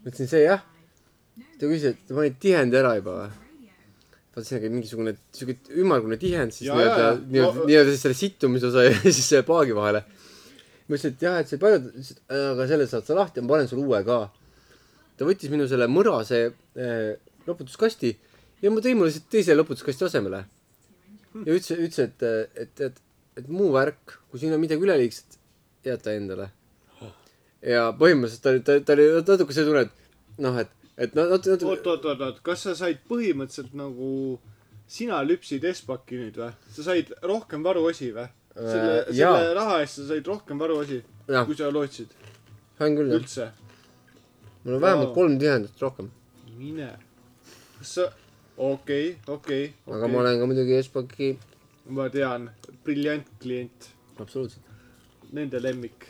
[SPEAKER 1] ma ütlesin , see jah . ta küsis , et ma olin tihendi ära juba või ? vaata siin on mingisugune siuke ümmargune tihend siis
[SPEAKER 2] Jaa,
[SPEAKER 1] nii-öelda
[SPEAKER 2] jaa, jaa. ,
[SPEAKER 1] nii-öelda
[SPEAKER 2] No-
[SPEAKER 1] nii-öelda siis selle sittumise osa ja siis selle paagi vahele . ma ütlesin , et jah , et see paljud , aga selle saad sa lahti , ma panen sulle uue ka ta võttis minu selle mõrase äh, loputuskasti ja ma tõin mulle lihtsalt teise loputuskasti asemele . ja ütles , ütles , et , et , et , et muu värk , kui siin on midagi üleliigset , jäta endale . ja põhimõtteliselt ta oli , ta , ta oli natuke see tunne , et noh , et , et no nat- ,
[SPEAKER 2] oot ,
[SPEAKER 1] nat- ,
[SPEAKER 2] oot , oot , oot , kas sa said põhimõtteliselt nagu , sina lüpsid Espaki nüüd või ? sa said rohkem varuosi või ? selle
[SPEAKER 1] Äh, , jaa.
[SPEAKER 2] selle raha eest sa said rohkem varuosi ,
[SPEAKER 1] jah ,
[SPEAKER 2] kui sa lootsid
[SPEAKER 1] sain küll jah ,
[SPEAKER 2] üldse .
[SPEAKER 1] mul on vähemalt
[SPEAKER 2] Jaa.
[SPEAKER 1] kolm tihendat rohkem ,
[SPEAKER 2] mine . kas sa , okei , okei .
[SPEAKER 1] aga ma . olen ka muidugi Espaki
[SPEAKER 2] ma tean , briljant klient ,
[SPEAKER 1] absoluutselt .
[SPEAKER 2] nende lemmik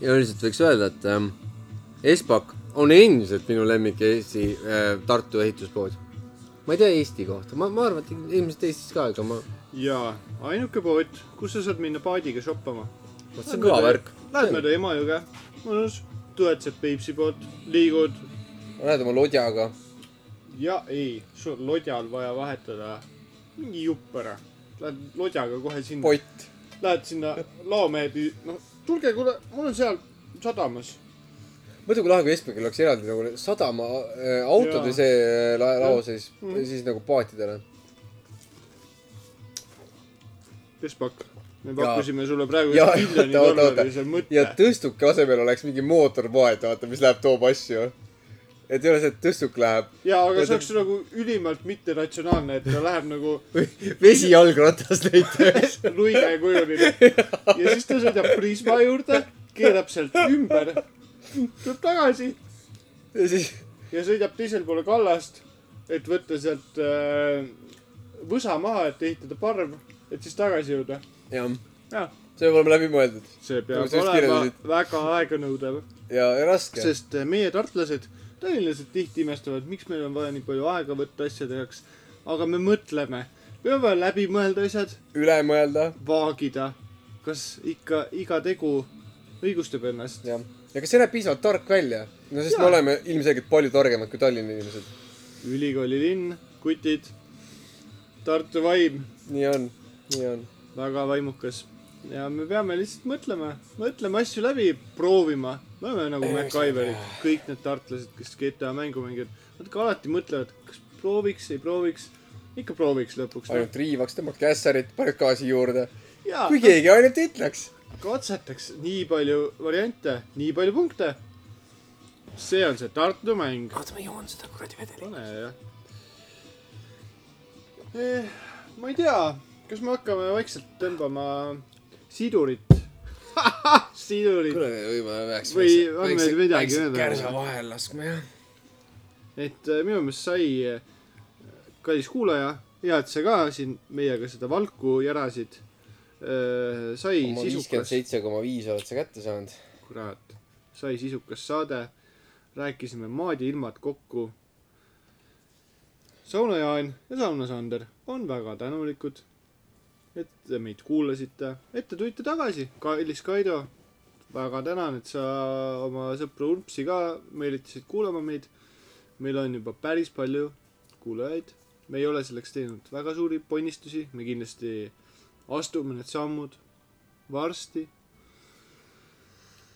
[SPEAKER 1] ja üldiselt võiks öelda , et ähm, Espak on endiselt minu lemmik Eesti äh, Tartu ehituspood . ma ei tea Eesti kohta , ma , ma arvan , et ilmselt Eestis ka , aga ma ,
[SPEAKER 2] jaa , ainuke pood , kus sa saad minna paadiga shoppama .
[SPEAKER 1] vot see on kõva värk .
[SPEAKER 2] Lähed mööda Emajõge , mõnus , tõetsed Peipsi poolt , liigud
[SPEAKER 1] Lähed oma lodjaga .
[SPEAKER 2] ja ei , sul on lodjal vaja vahetada mingi jupp ära . Lähed lodjaga kohe sinna ,
[SPEAKER 1] pott .
[SPEAKER 2] lähed sinna laomehe püü- , noh , tulge , kuule , mul on seal sadamas .
[SPEAKER 1] mõtle , kui lahe , kui Espakil oleks eraldi nagu sadama äh, autod
[SPEAKER 2] Jaa.
[SPEAKER 1] ja see äh, la- lao siis
[SPEAKER 2] Mhm. ,
[SPEAKER 1] siis nagu paatidele .
[SPEAKER 2] Espakk , me
[SPEAKER 1] Jaa.
[SPEAKER 2] pakkusime sulle praegu
[SPEAKER 1] Jaa,
[SPEAKER 2] miljoni
[SPEAKER 1] oota, oota, oota.
[SPEAKER 2] dollarilise
[SPEAKER 1] ja
[SPEAKER 2] mõtte .
[SPEAKER 1] tõstuke asemel oleks mingi mootorpoed , vaata , mis läheb , toob asju . et ei ole see , et tõstuk läheb .
[SPEAKER 2] jaa , aga
[SPEAKER 1] ja
[SPEAKER 2] see
[SPEAKER 1] ta-
[SPEAKER 2] oleks nagu ülimalt mitteratsionaalne , et ta läheb nagu
[SPEAKER 1] vesi jalgratas näiteks .
[SPEAKER 2] luige kujuline . ja siis ta sõidab Prisma juurde , keerab sealt ümber , tuleb tagasi
[SPEAKER 1] ja siis
[SPEAKER 2] ja sõidab teisel pool kallast , et võtta sealt äh, võsa maha , et ehitada parv , et siis tagasi jõuda .
[SPEAKER 1] jah ,
[SPEAKER 2] jah ,
[SPEAKER 1] see peab olema läbimõeldud
[SPEAKER 2] see peab
[SPEAKER 1] Nagu sa just
[SPEAKER 2] olema
[SPEAKER 1] kirjeldasid.
[SPEAKER 2] väga aeganõudev ,
[SPEAKER 1] ja , ja raske .
[SPEAKER 2] sest äh, meie tartlased , tallinlased tihti imestavad , miks meil on vaja nii palju aega võtta asjade jaoks . aga me mõtleme , meil on vaja läbi mõelda asjad ,
[SPEAKER 1] üle mõelda ,
[SPEAKER 2] vaagida , kas ikka iga tegu õigustab ennast ?
[SPEAKER 1] jah , ja kas see näeb piisavalt tark välja ? no sest ja. me
[SPEAKER 2] Jaa.
[SPEAKER 1] oleme ilmselgelt palju targemad kui Tallinna inimesed .
[SPEAKER 2] ülikooli linn , kutid , Tartu vaim ,
[SPEAKER 1] nii on , nii on .
[SPEAKER 2] väga vaimukas . ja me peame lihtsalt mõtlema , mõtlema asju läbi , proovima . me oleme nagu MacGyverid , kõik need tartlased , kes GTA mängu mängivad , nad ka alati mõtlevad , kas prooviks , ei prooviks . ikka prooviks lõpuks .
[SPEAKER 1] ainult riivaks , tõmbad kässarit , paned gaasi juurde .
[SPEAKER 2] jaa ,
[SPEAKER 1] kui keegi ainult ütleks .
[SPEAKER 2] katsetaks nii palju variante , nii palju punkte . see on see Tartu mäng .
[SPEAKER 1] oota , ma joon seda kuradi vedelikku .
[SPEAKER 2] pane jah eh, . ma ei tea , kas me hakkame vaikselt tõmbama sidurit ? sidurit ,
[SPEAKER 1] kuule , võib-olla peaks
[SPEAKER 2] Või on meil midagi öelda?
[SPEAKER 1] kärsa vahel laskma , jah .
[SPEAKER 2] et eh, minu meelest sai , kallis kuulaja , hea , et sa ka siin meiega seda valku järasid . sai
[SPEAKER 1] oma viiskümmend
[SPEAKER 2] sisukas ,
[SPEAKER 1] seitse koma viis oled sa kätte saanud .
[SPEAKER 2] kurat , sai sisukas saade . rääkisime maad ja ilmad kokku . Sauna Jaan ja Sauna Sander on väga tänulikud , et te meid kuulasite , et te tulite tagasi . kallis Kaido , väga tänan , et sa oma sõpra Urpsi ka meelitasid kuulama meid . meil on juba päris palju kuulajaid , me ei ole selleks teinud väga suuri ponnistusi , me kindlasti astume need sammud varsti ,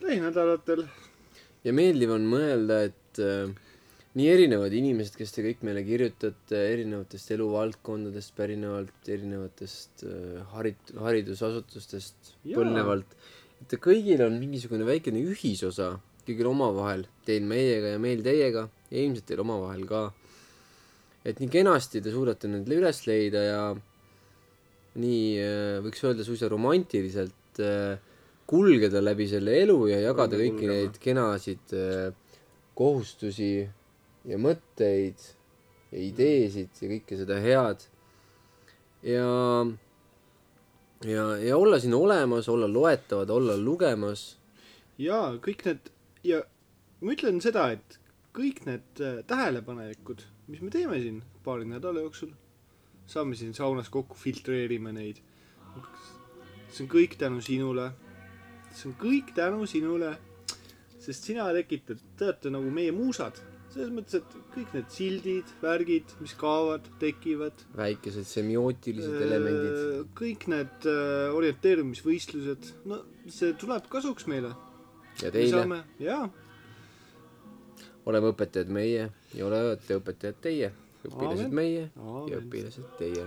[SPEAKER 2] lähinädalatel .
[SPEAKER 1] ja meeldiv on mõelda , et äh, nii erinevad inimesed , kes te kõik meile kirjutate erinevatest eluvaldkondadest pärinevalt , erinevatest äh, harit- , haridusasutustest
[SPEAKER 2] Jaa.
[SPEAKER 1] põlnevalt , et te kõigil on mingisugune väikene ühisosa kõigil omavahel , teil meiega ja meil teiega ja ilmselt teil omavahel ka . et nii kenasti te suudate need üles leida ja nii äh, võiks öelda suisa romantiliselt äh, kulgeda läbi selle elu ja jagada
[SPEAKER 2] Peame
[SPEAKER 1] kõiki
[SPEAKER 2] kulgema.
[SPEAKER 1] neid kenasid äh, kohustusi ja mõtteid ja ideesid ja kõike seda head . ja , ja , ja olla siin olemas , olla loetavad , olla lugemas .
[SPEAKER 2] jaa , kõik need ja ma ütlen seda , et kõik need äh, tähelepanelikud , mis me teeme siin paari nädala jooksul , saame siin saunas kokku , filtreerime neid . see on kõik tänu sinule . see on kõik tänu sinule , sest sina tekitad , te olete nagu meie muusad , selles mõttes , et kõik need sildid , värgid , mis kaovad , tekivad ,
[SPEAKER 1] väikesed semiootilised
[SPEAKER 2] Äh,
[SPEAKER 1] elemendid .
[SPEAKER 2] kõik need äh, orienteerumisvõistlused , no see tuleb kasuks meile .
[SPEAKER 1] ja
[SPEAKER 2] me
[SPEAKER 1] teile ,
[SPEAKER 2] saame , jaa
[SPEAKER 1] oleme õpetajad meie ja olete õpetajad teie , õpilased
[SPEAKER 2] Aamen.
[SPEAKER 1] meie ja
[SPEAKER 2] Aamen.
[SPEAKER 1] õpilased teie .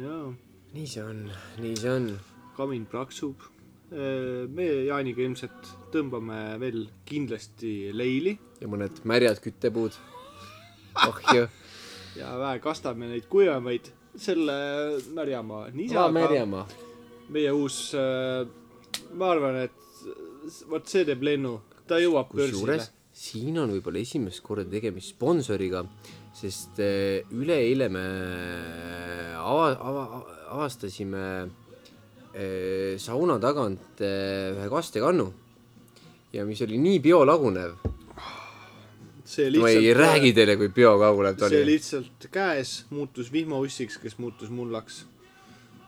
[SPEAKER 2] jaa ,
[SPEAKER 1] nii see on , nii see on .
[SPEAKER 2] kamin praksub . me Jaaniga ilmselt tõmbame veel kindlasti leili
[SPEAKER 1] ja mõned märjad küttepuud . oh ju ,
[SPEAKER 2] ja vähe kastame neid kuivemaid selle märjamaa .
[SPEAKER 1] aa märjamaa .
[SPEAKER 2] meie uus , ma arvan , et vot see teeb lennu , ta jõuab börsile
[SPEAKER 1] kusjuures . siin on võib-olla esimest korda tegemist sponsoriga , sest eh, üleeile me eh, ava, ava, avastasime eh, sauna tagant eh, ühe kastekannu ja mis oli nii biolagunev .
[SPEAKER 2] see
[SPEAKER 1] ma ei räägi teile , kui biolagunev ta
[SPEAKER 2] eh, see
[SPEAKER 1] oli .
[SPEAKER 2] lihtsalt käes muutus vihmaussiks , kes muutus mullaks .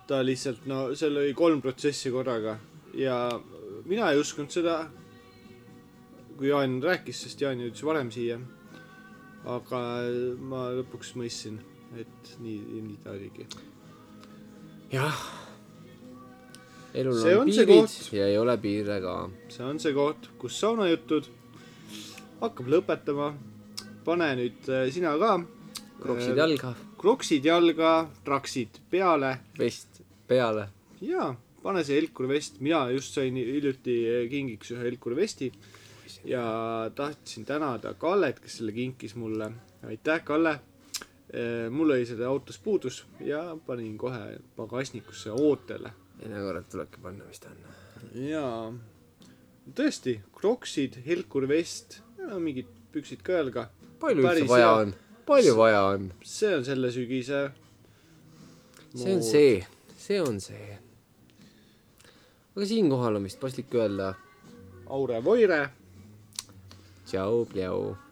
[SPEAKER 2] ta lihtsalt , no seal oli kolm protsessi korraga ja mina ei uskunud seda , kui Jaan rääkis , sest Jaan jõudis varem siia . aga ma lõpuks mõistsin , et nii , nii ta oligi .
[SPEAKER 1] jah . elul
[SPEAKER 2] See
[SPEAKER 1] on,
[SPEAKER 2] on
[SPEAKER 1] on
[SPEAKER 2] see
[SPEAKER 1] piirid
[SPEAKER 2] koht.
[SPEAKER 1] ja ei ole piire ka .
[SPEAKER 2] see on see koht , kus saunajutud hakkab lõpetama . pane nüüd äh, sina ka . Äh,
[SPEAKER 1] kroksid . jalga ,
[SPEAKER 2] kroksid jalga , traksid peale
[SPEAKER 1] vest peale .
[SPEAKER 2] jaa , pane see Helkuri vest , mina just sain hiljuti eh, kingiks ühe Helkuri vesti ja tahtsin tänada Kallet , kes selle kinkis mulle . aitäh , Kalle . mul oli seda autos puudus ja panin kohe pagasnikusse ootele .
[SPEAKER 1] enne korrat tulebki panna , mis ta on .
[SPEAKER 2] jaa , tõesti , kroksid , Helkuri vest , mingid püksid ka jalga .
[SPEAKER 1] palju üldse
[SPEAKER 2] Päris
[SPEAKER 1] vaja
[SPEAKER 2] hea.
[SPEAKER 1] on , palju vaja on ?
[SPEAKER 2] see on selle sügise .
[SPEAKER 1] see on . see , see on see . aga siinkohal on vist paslik öelda
[SPEAKER 2] Aure Voire
[SPEAKER 1] tšau , pljau .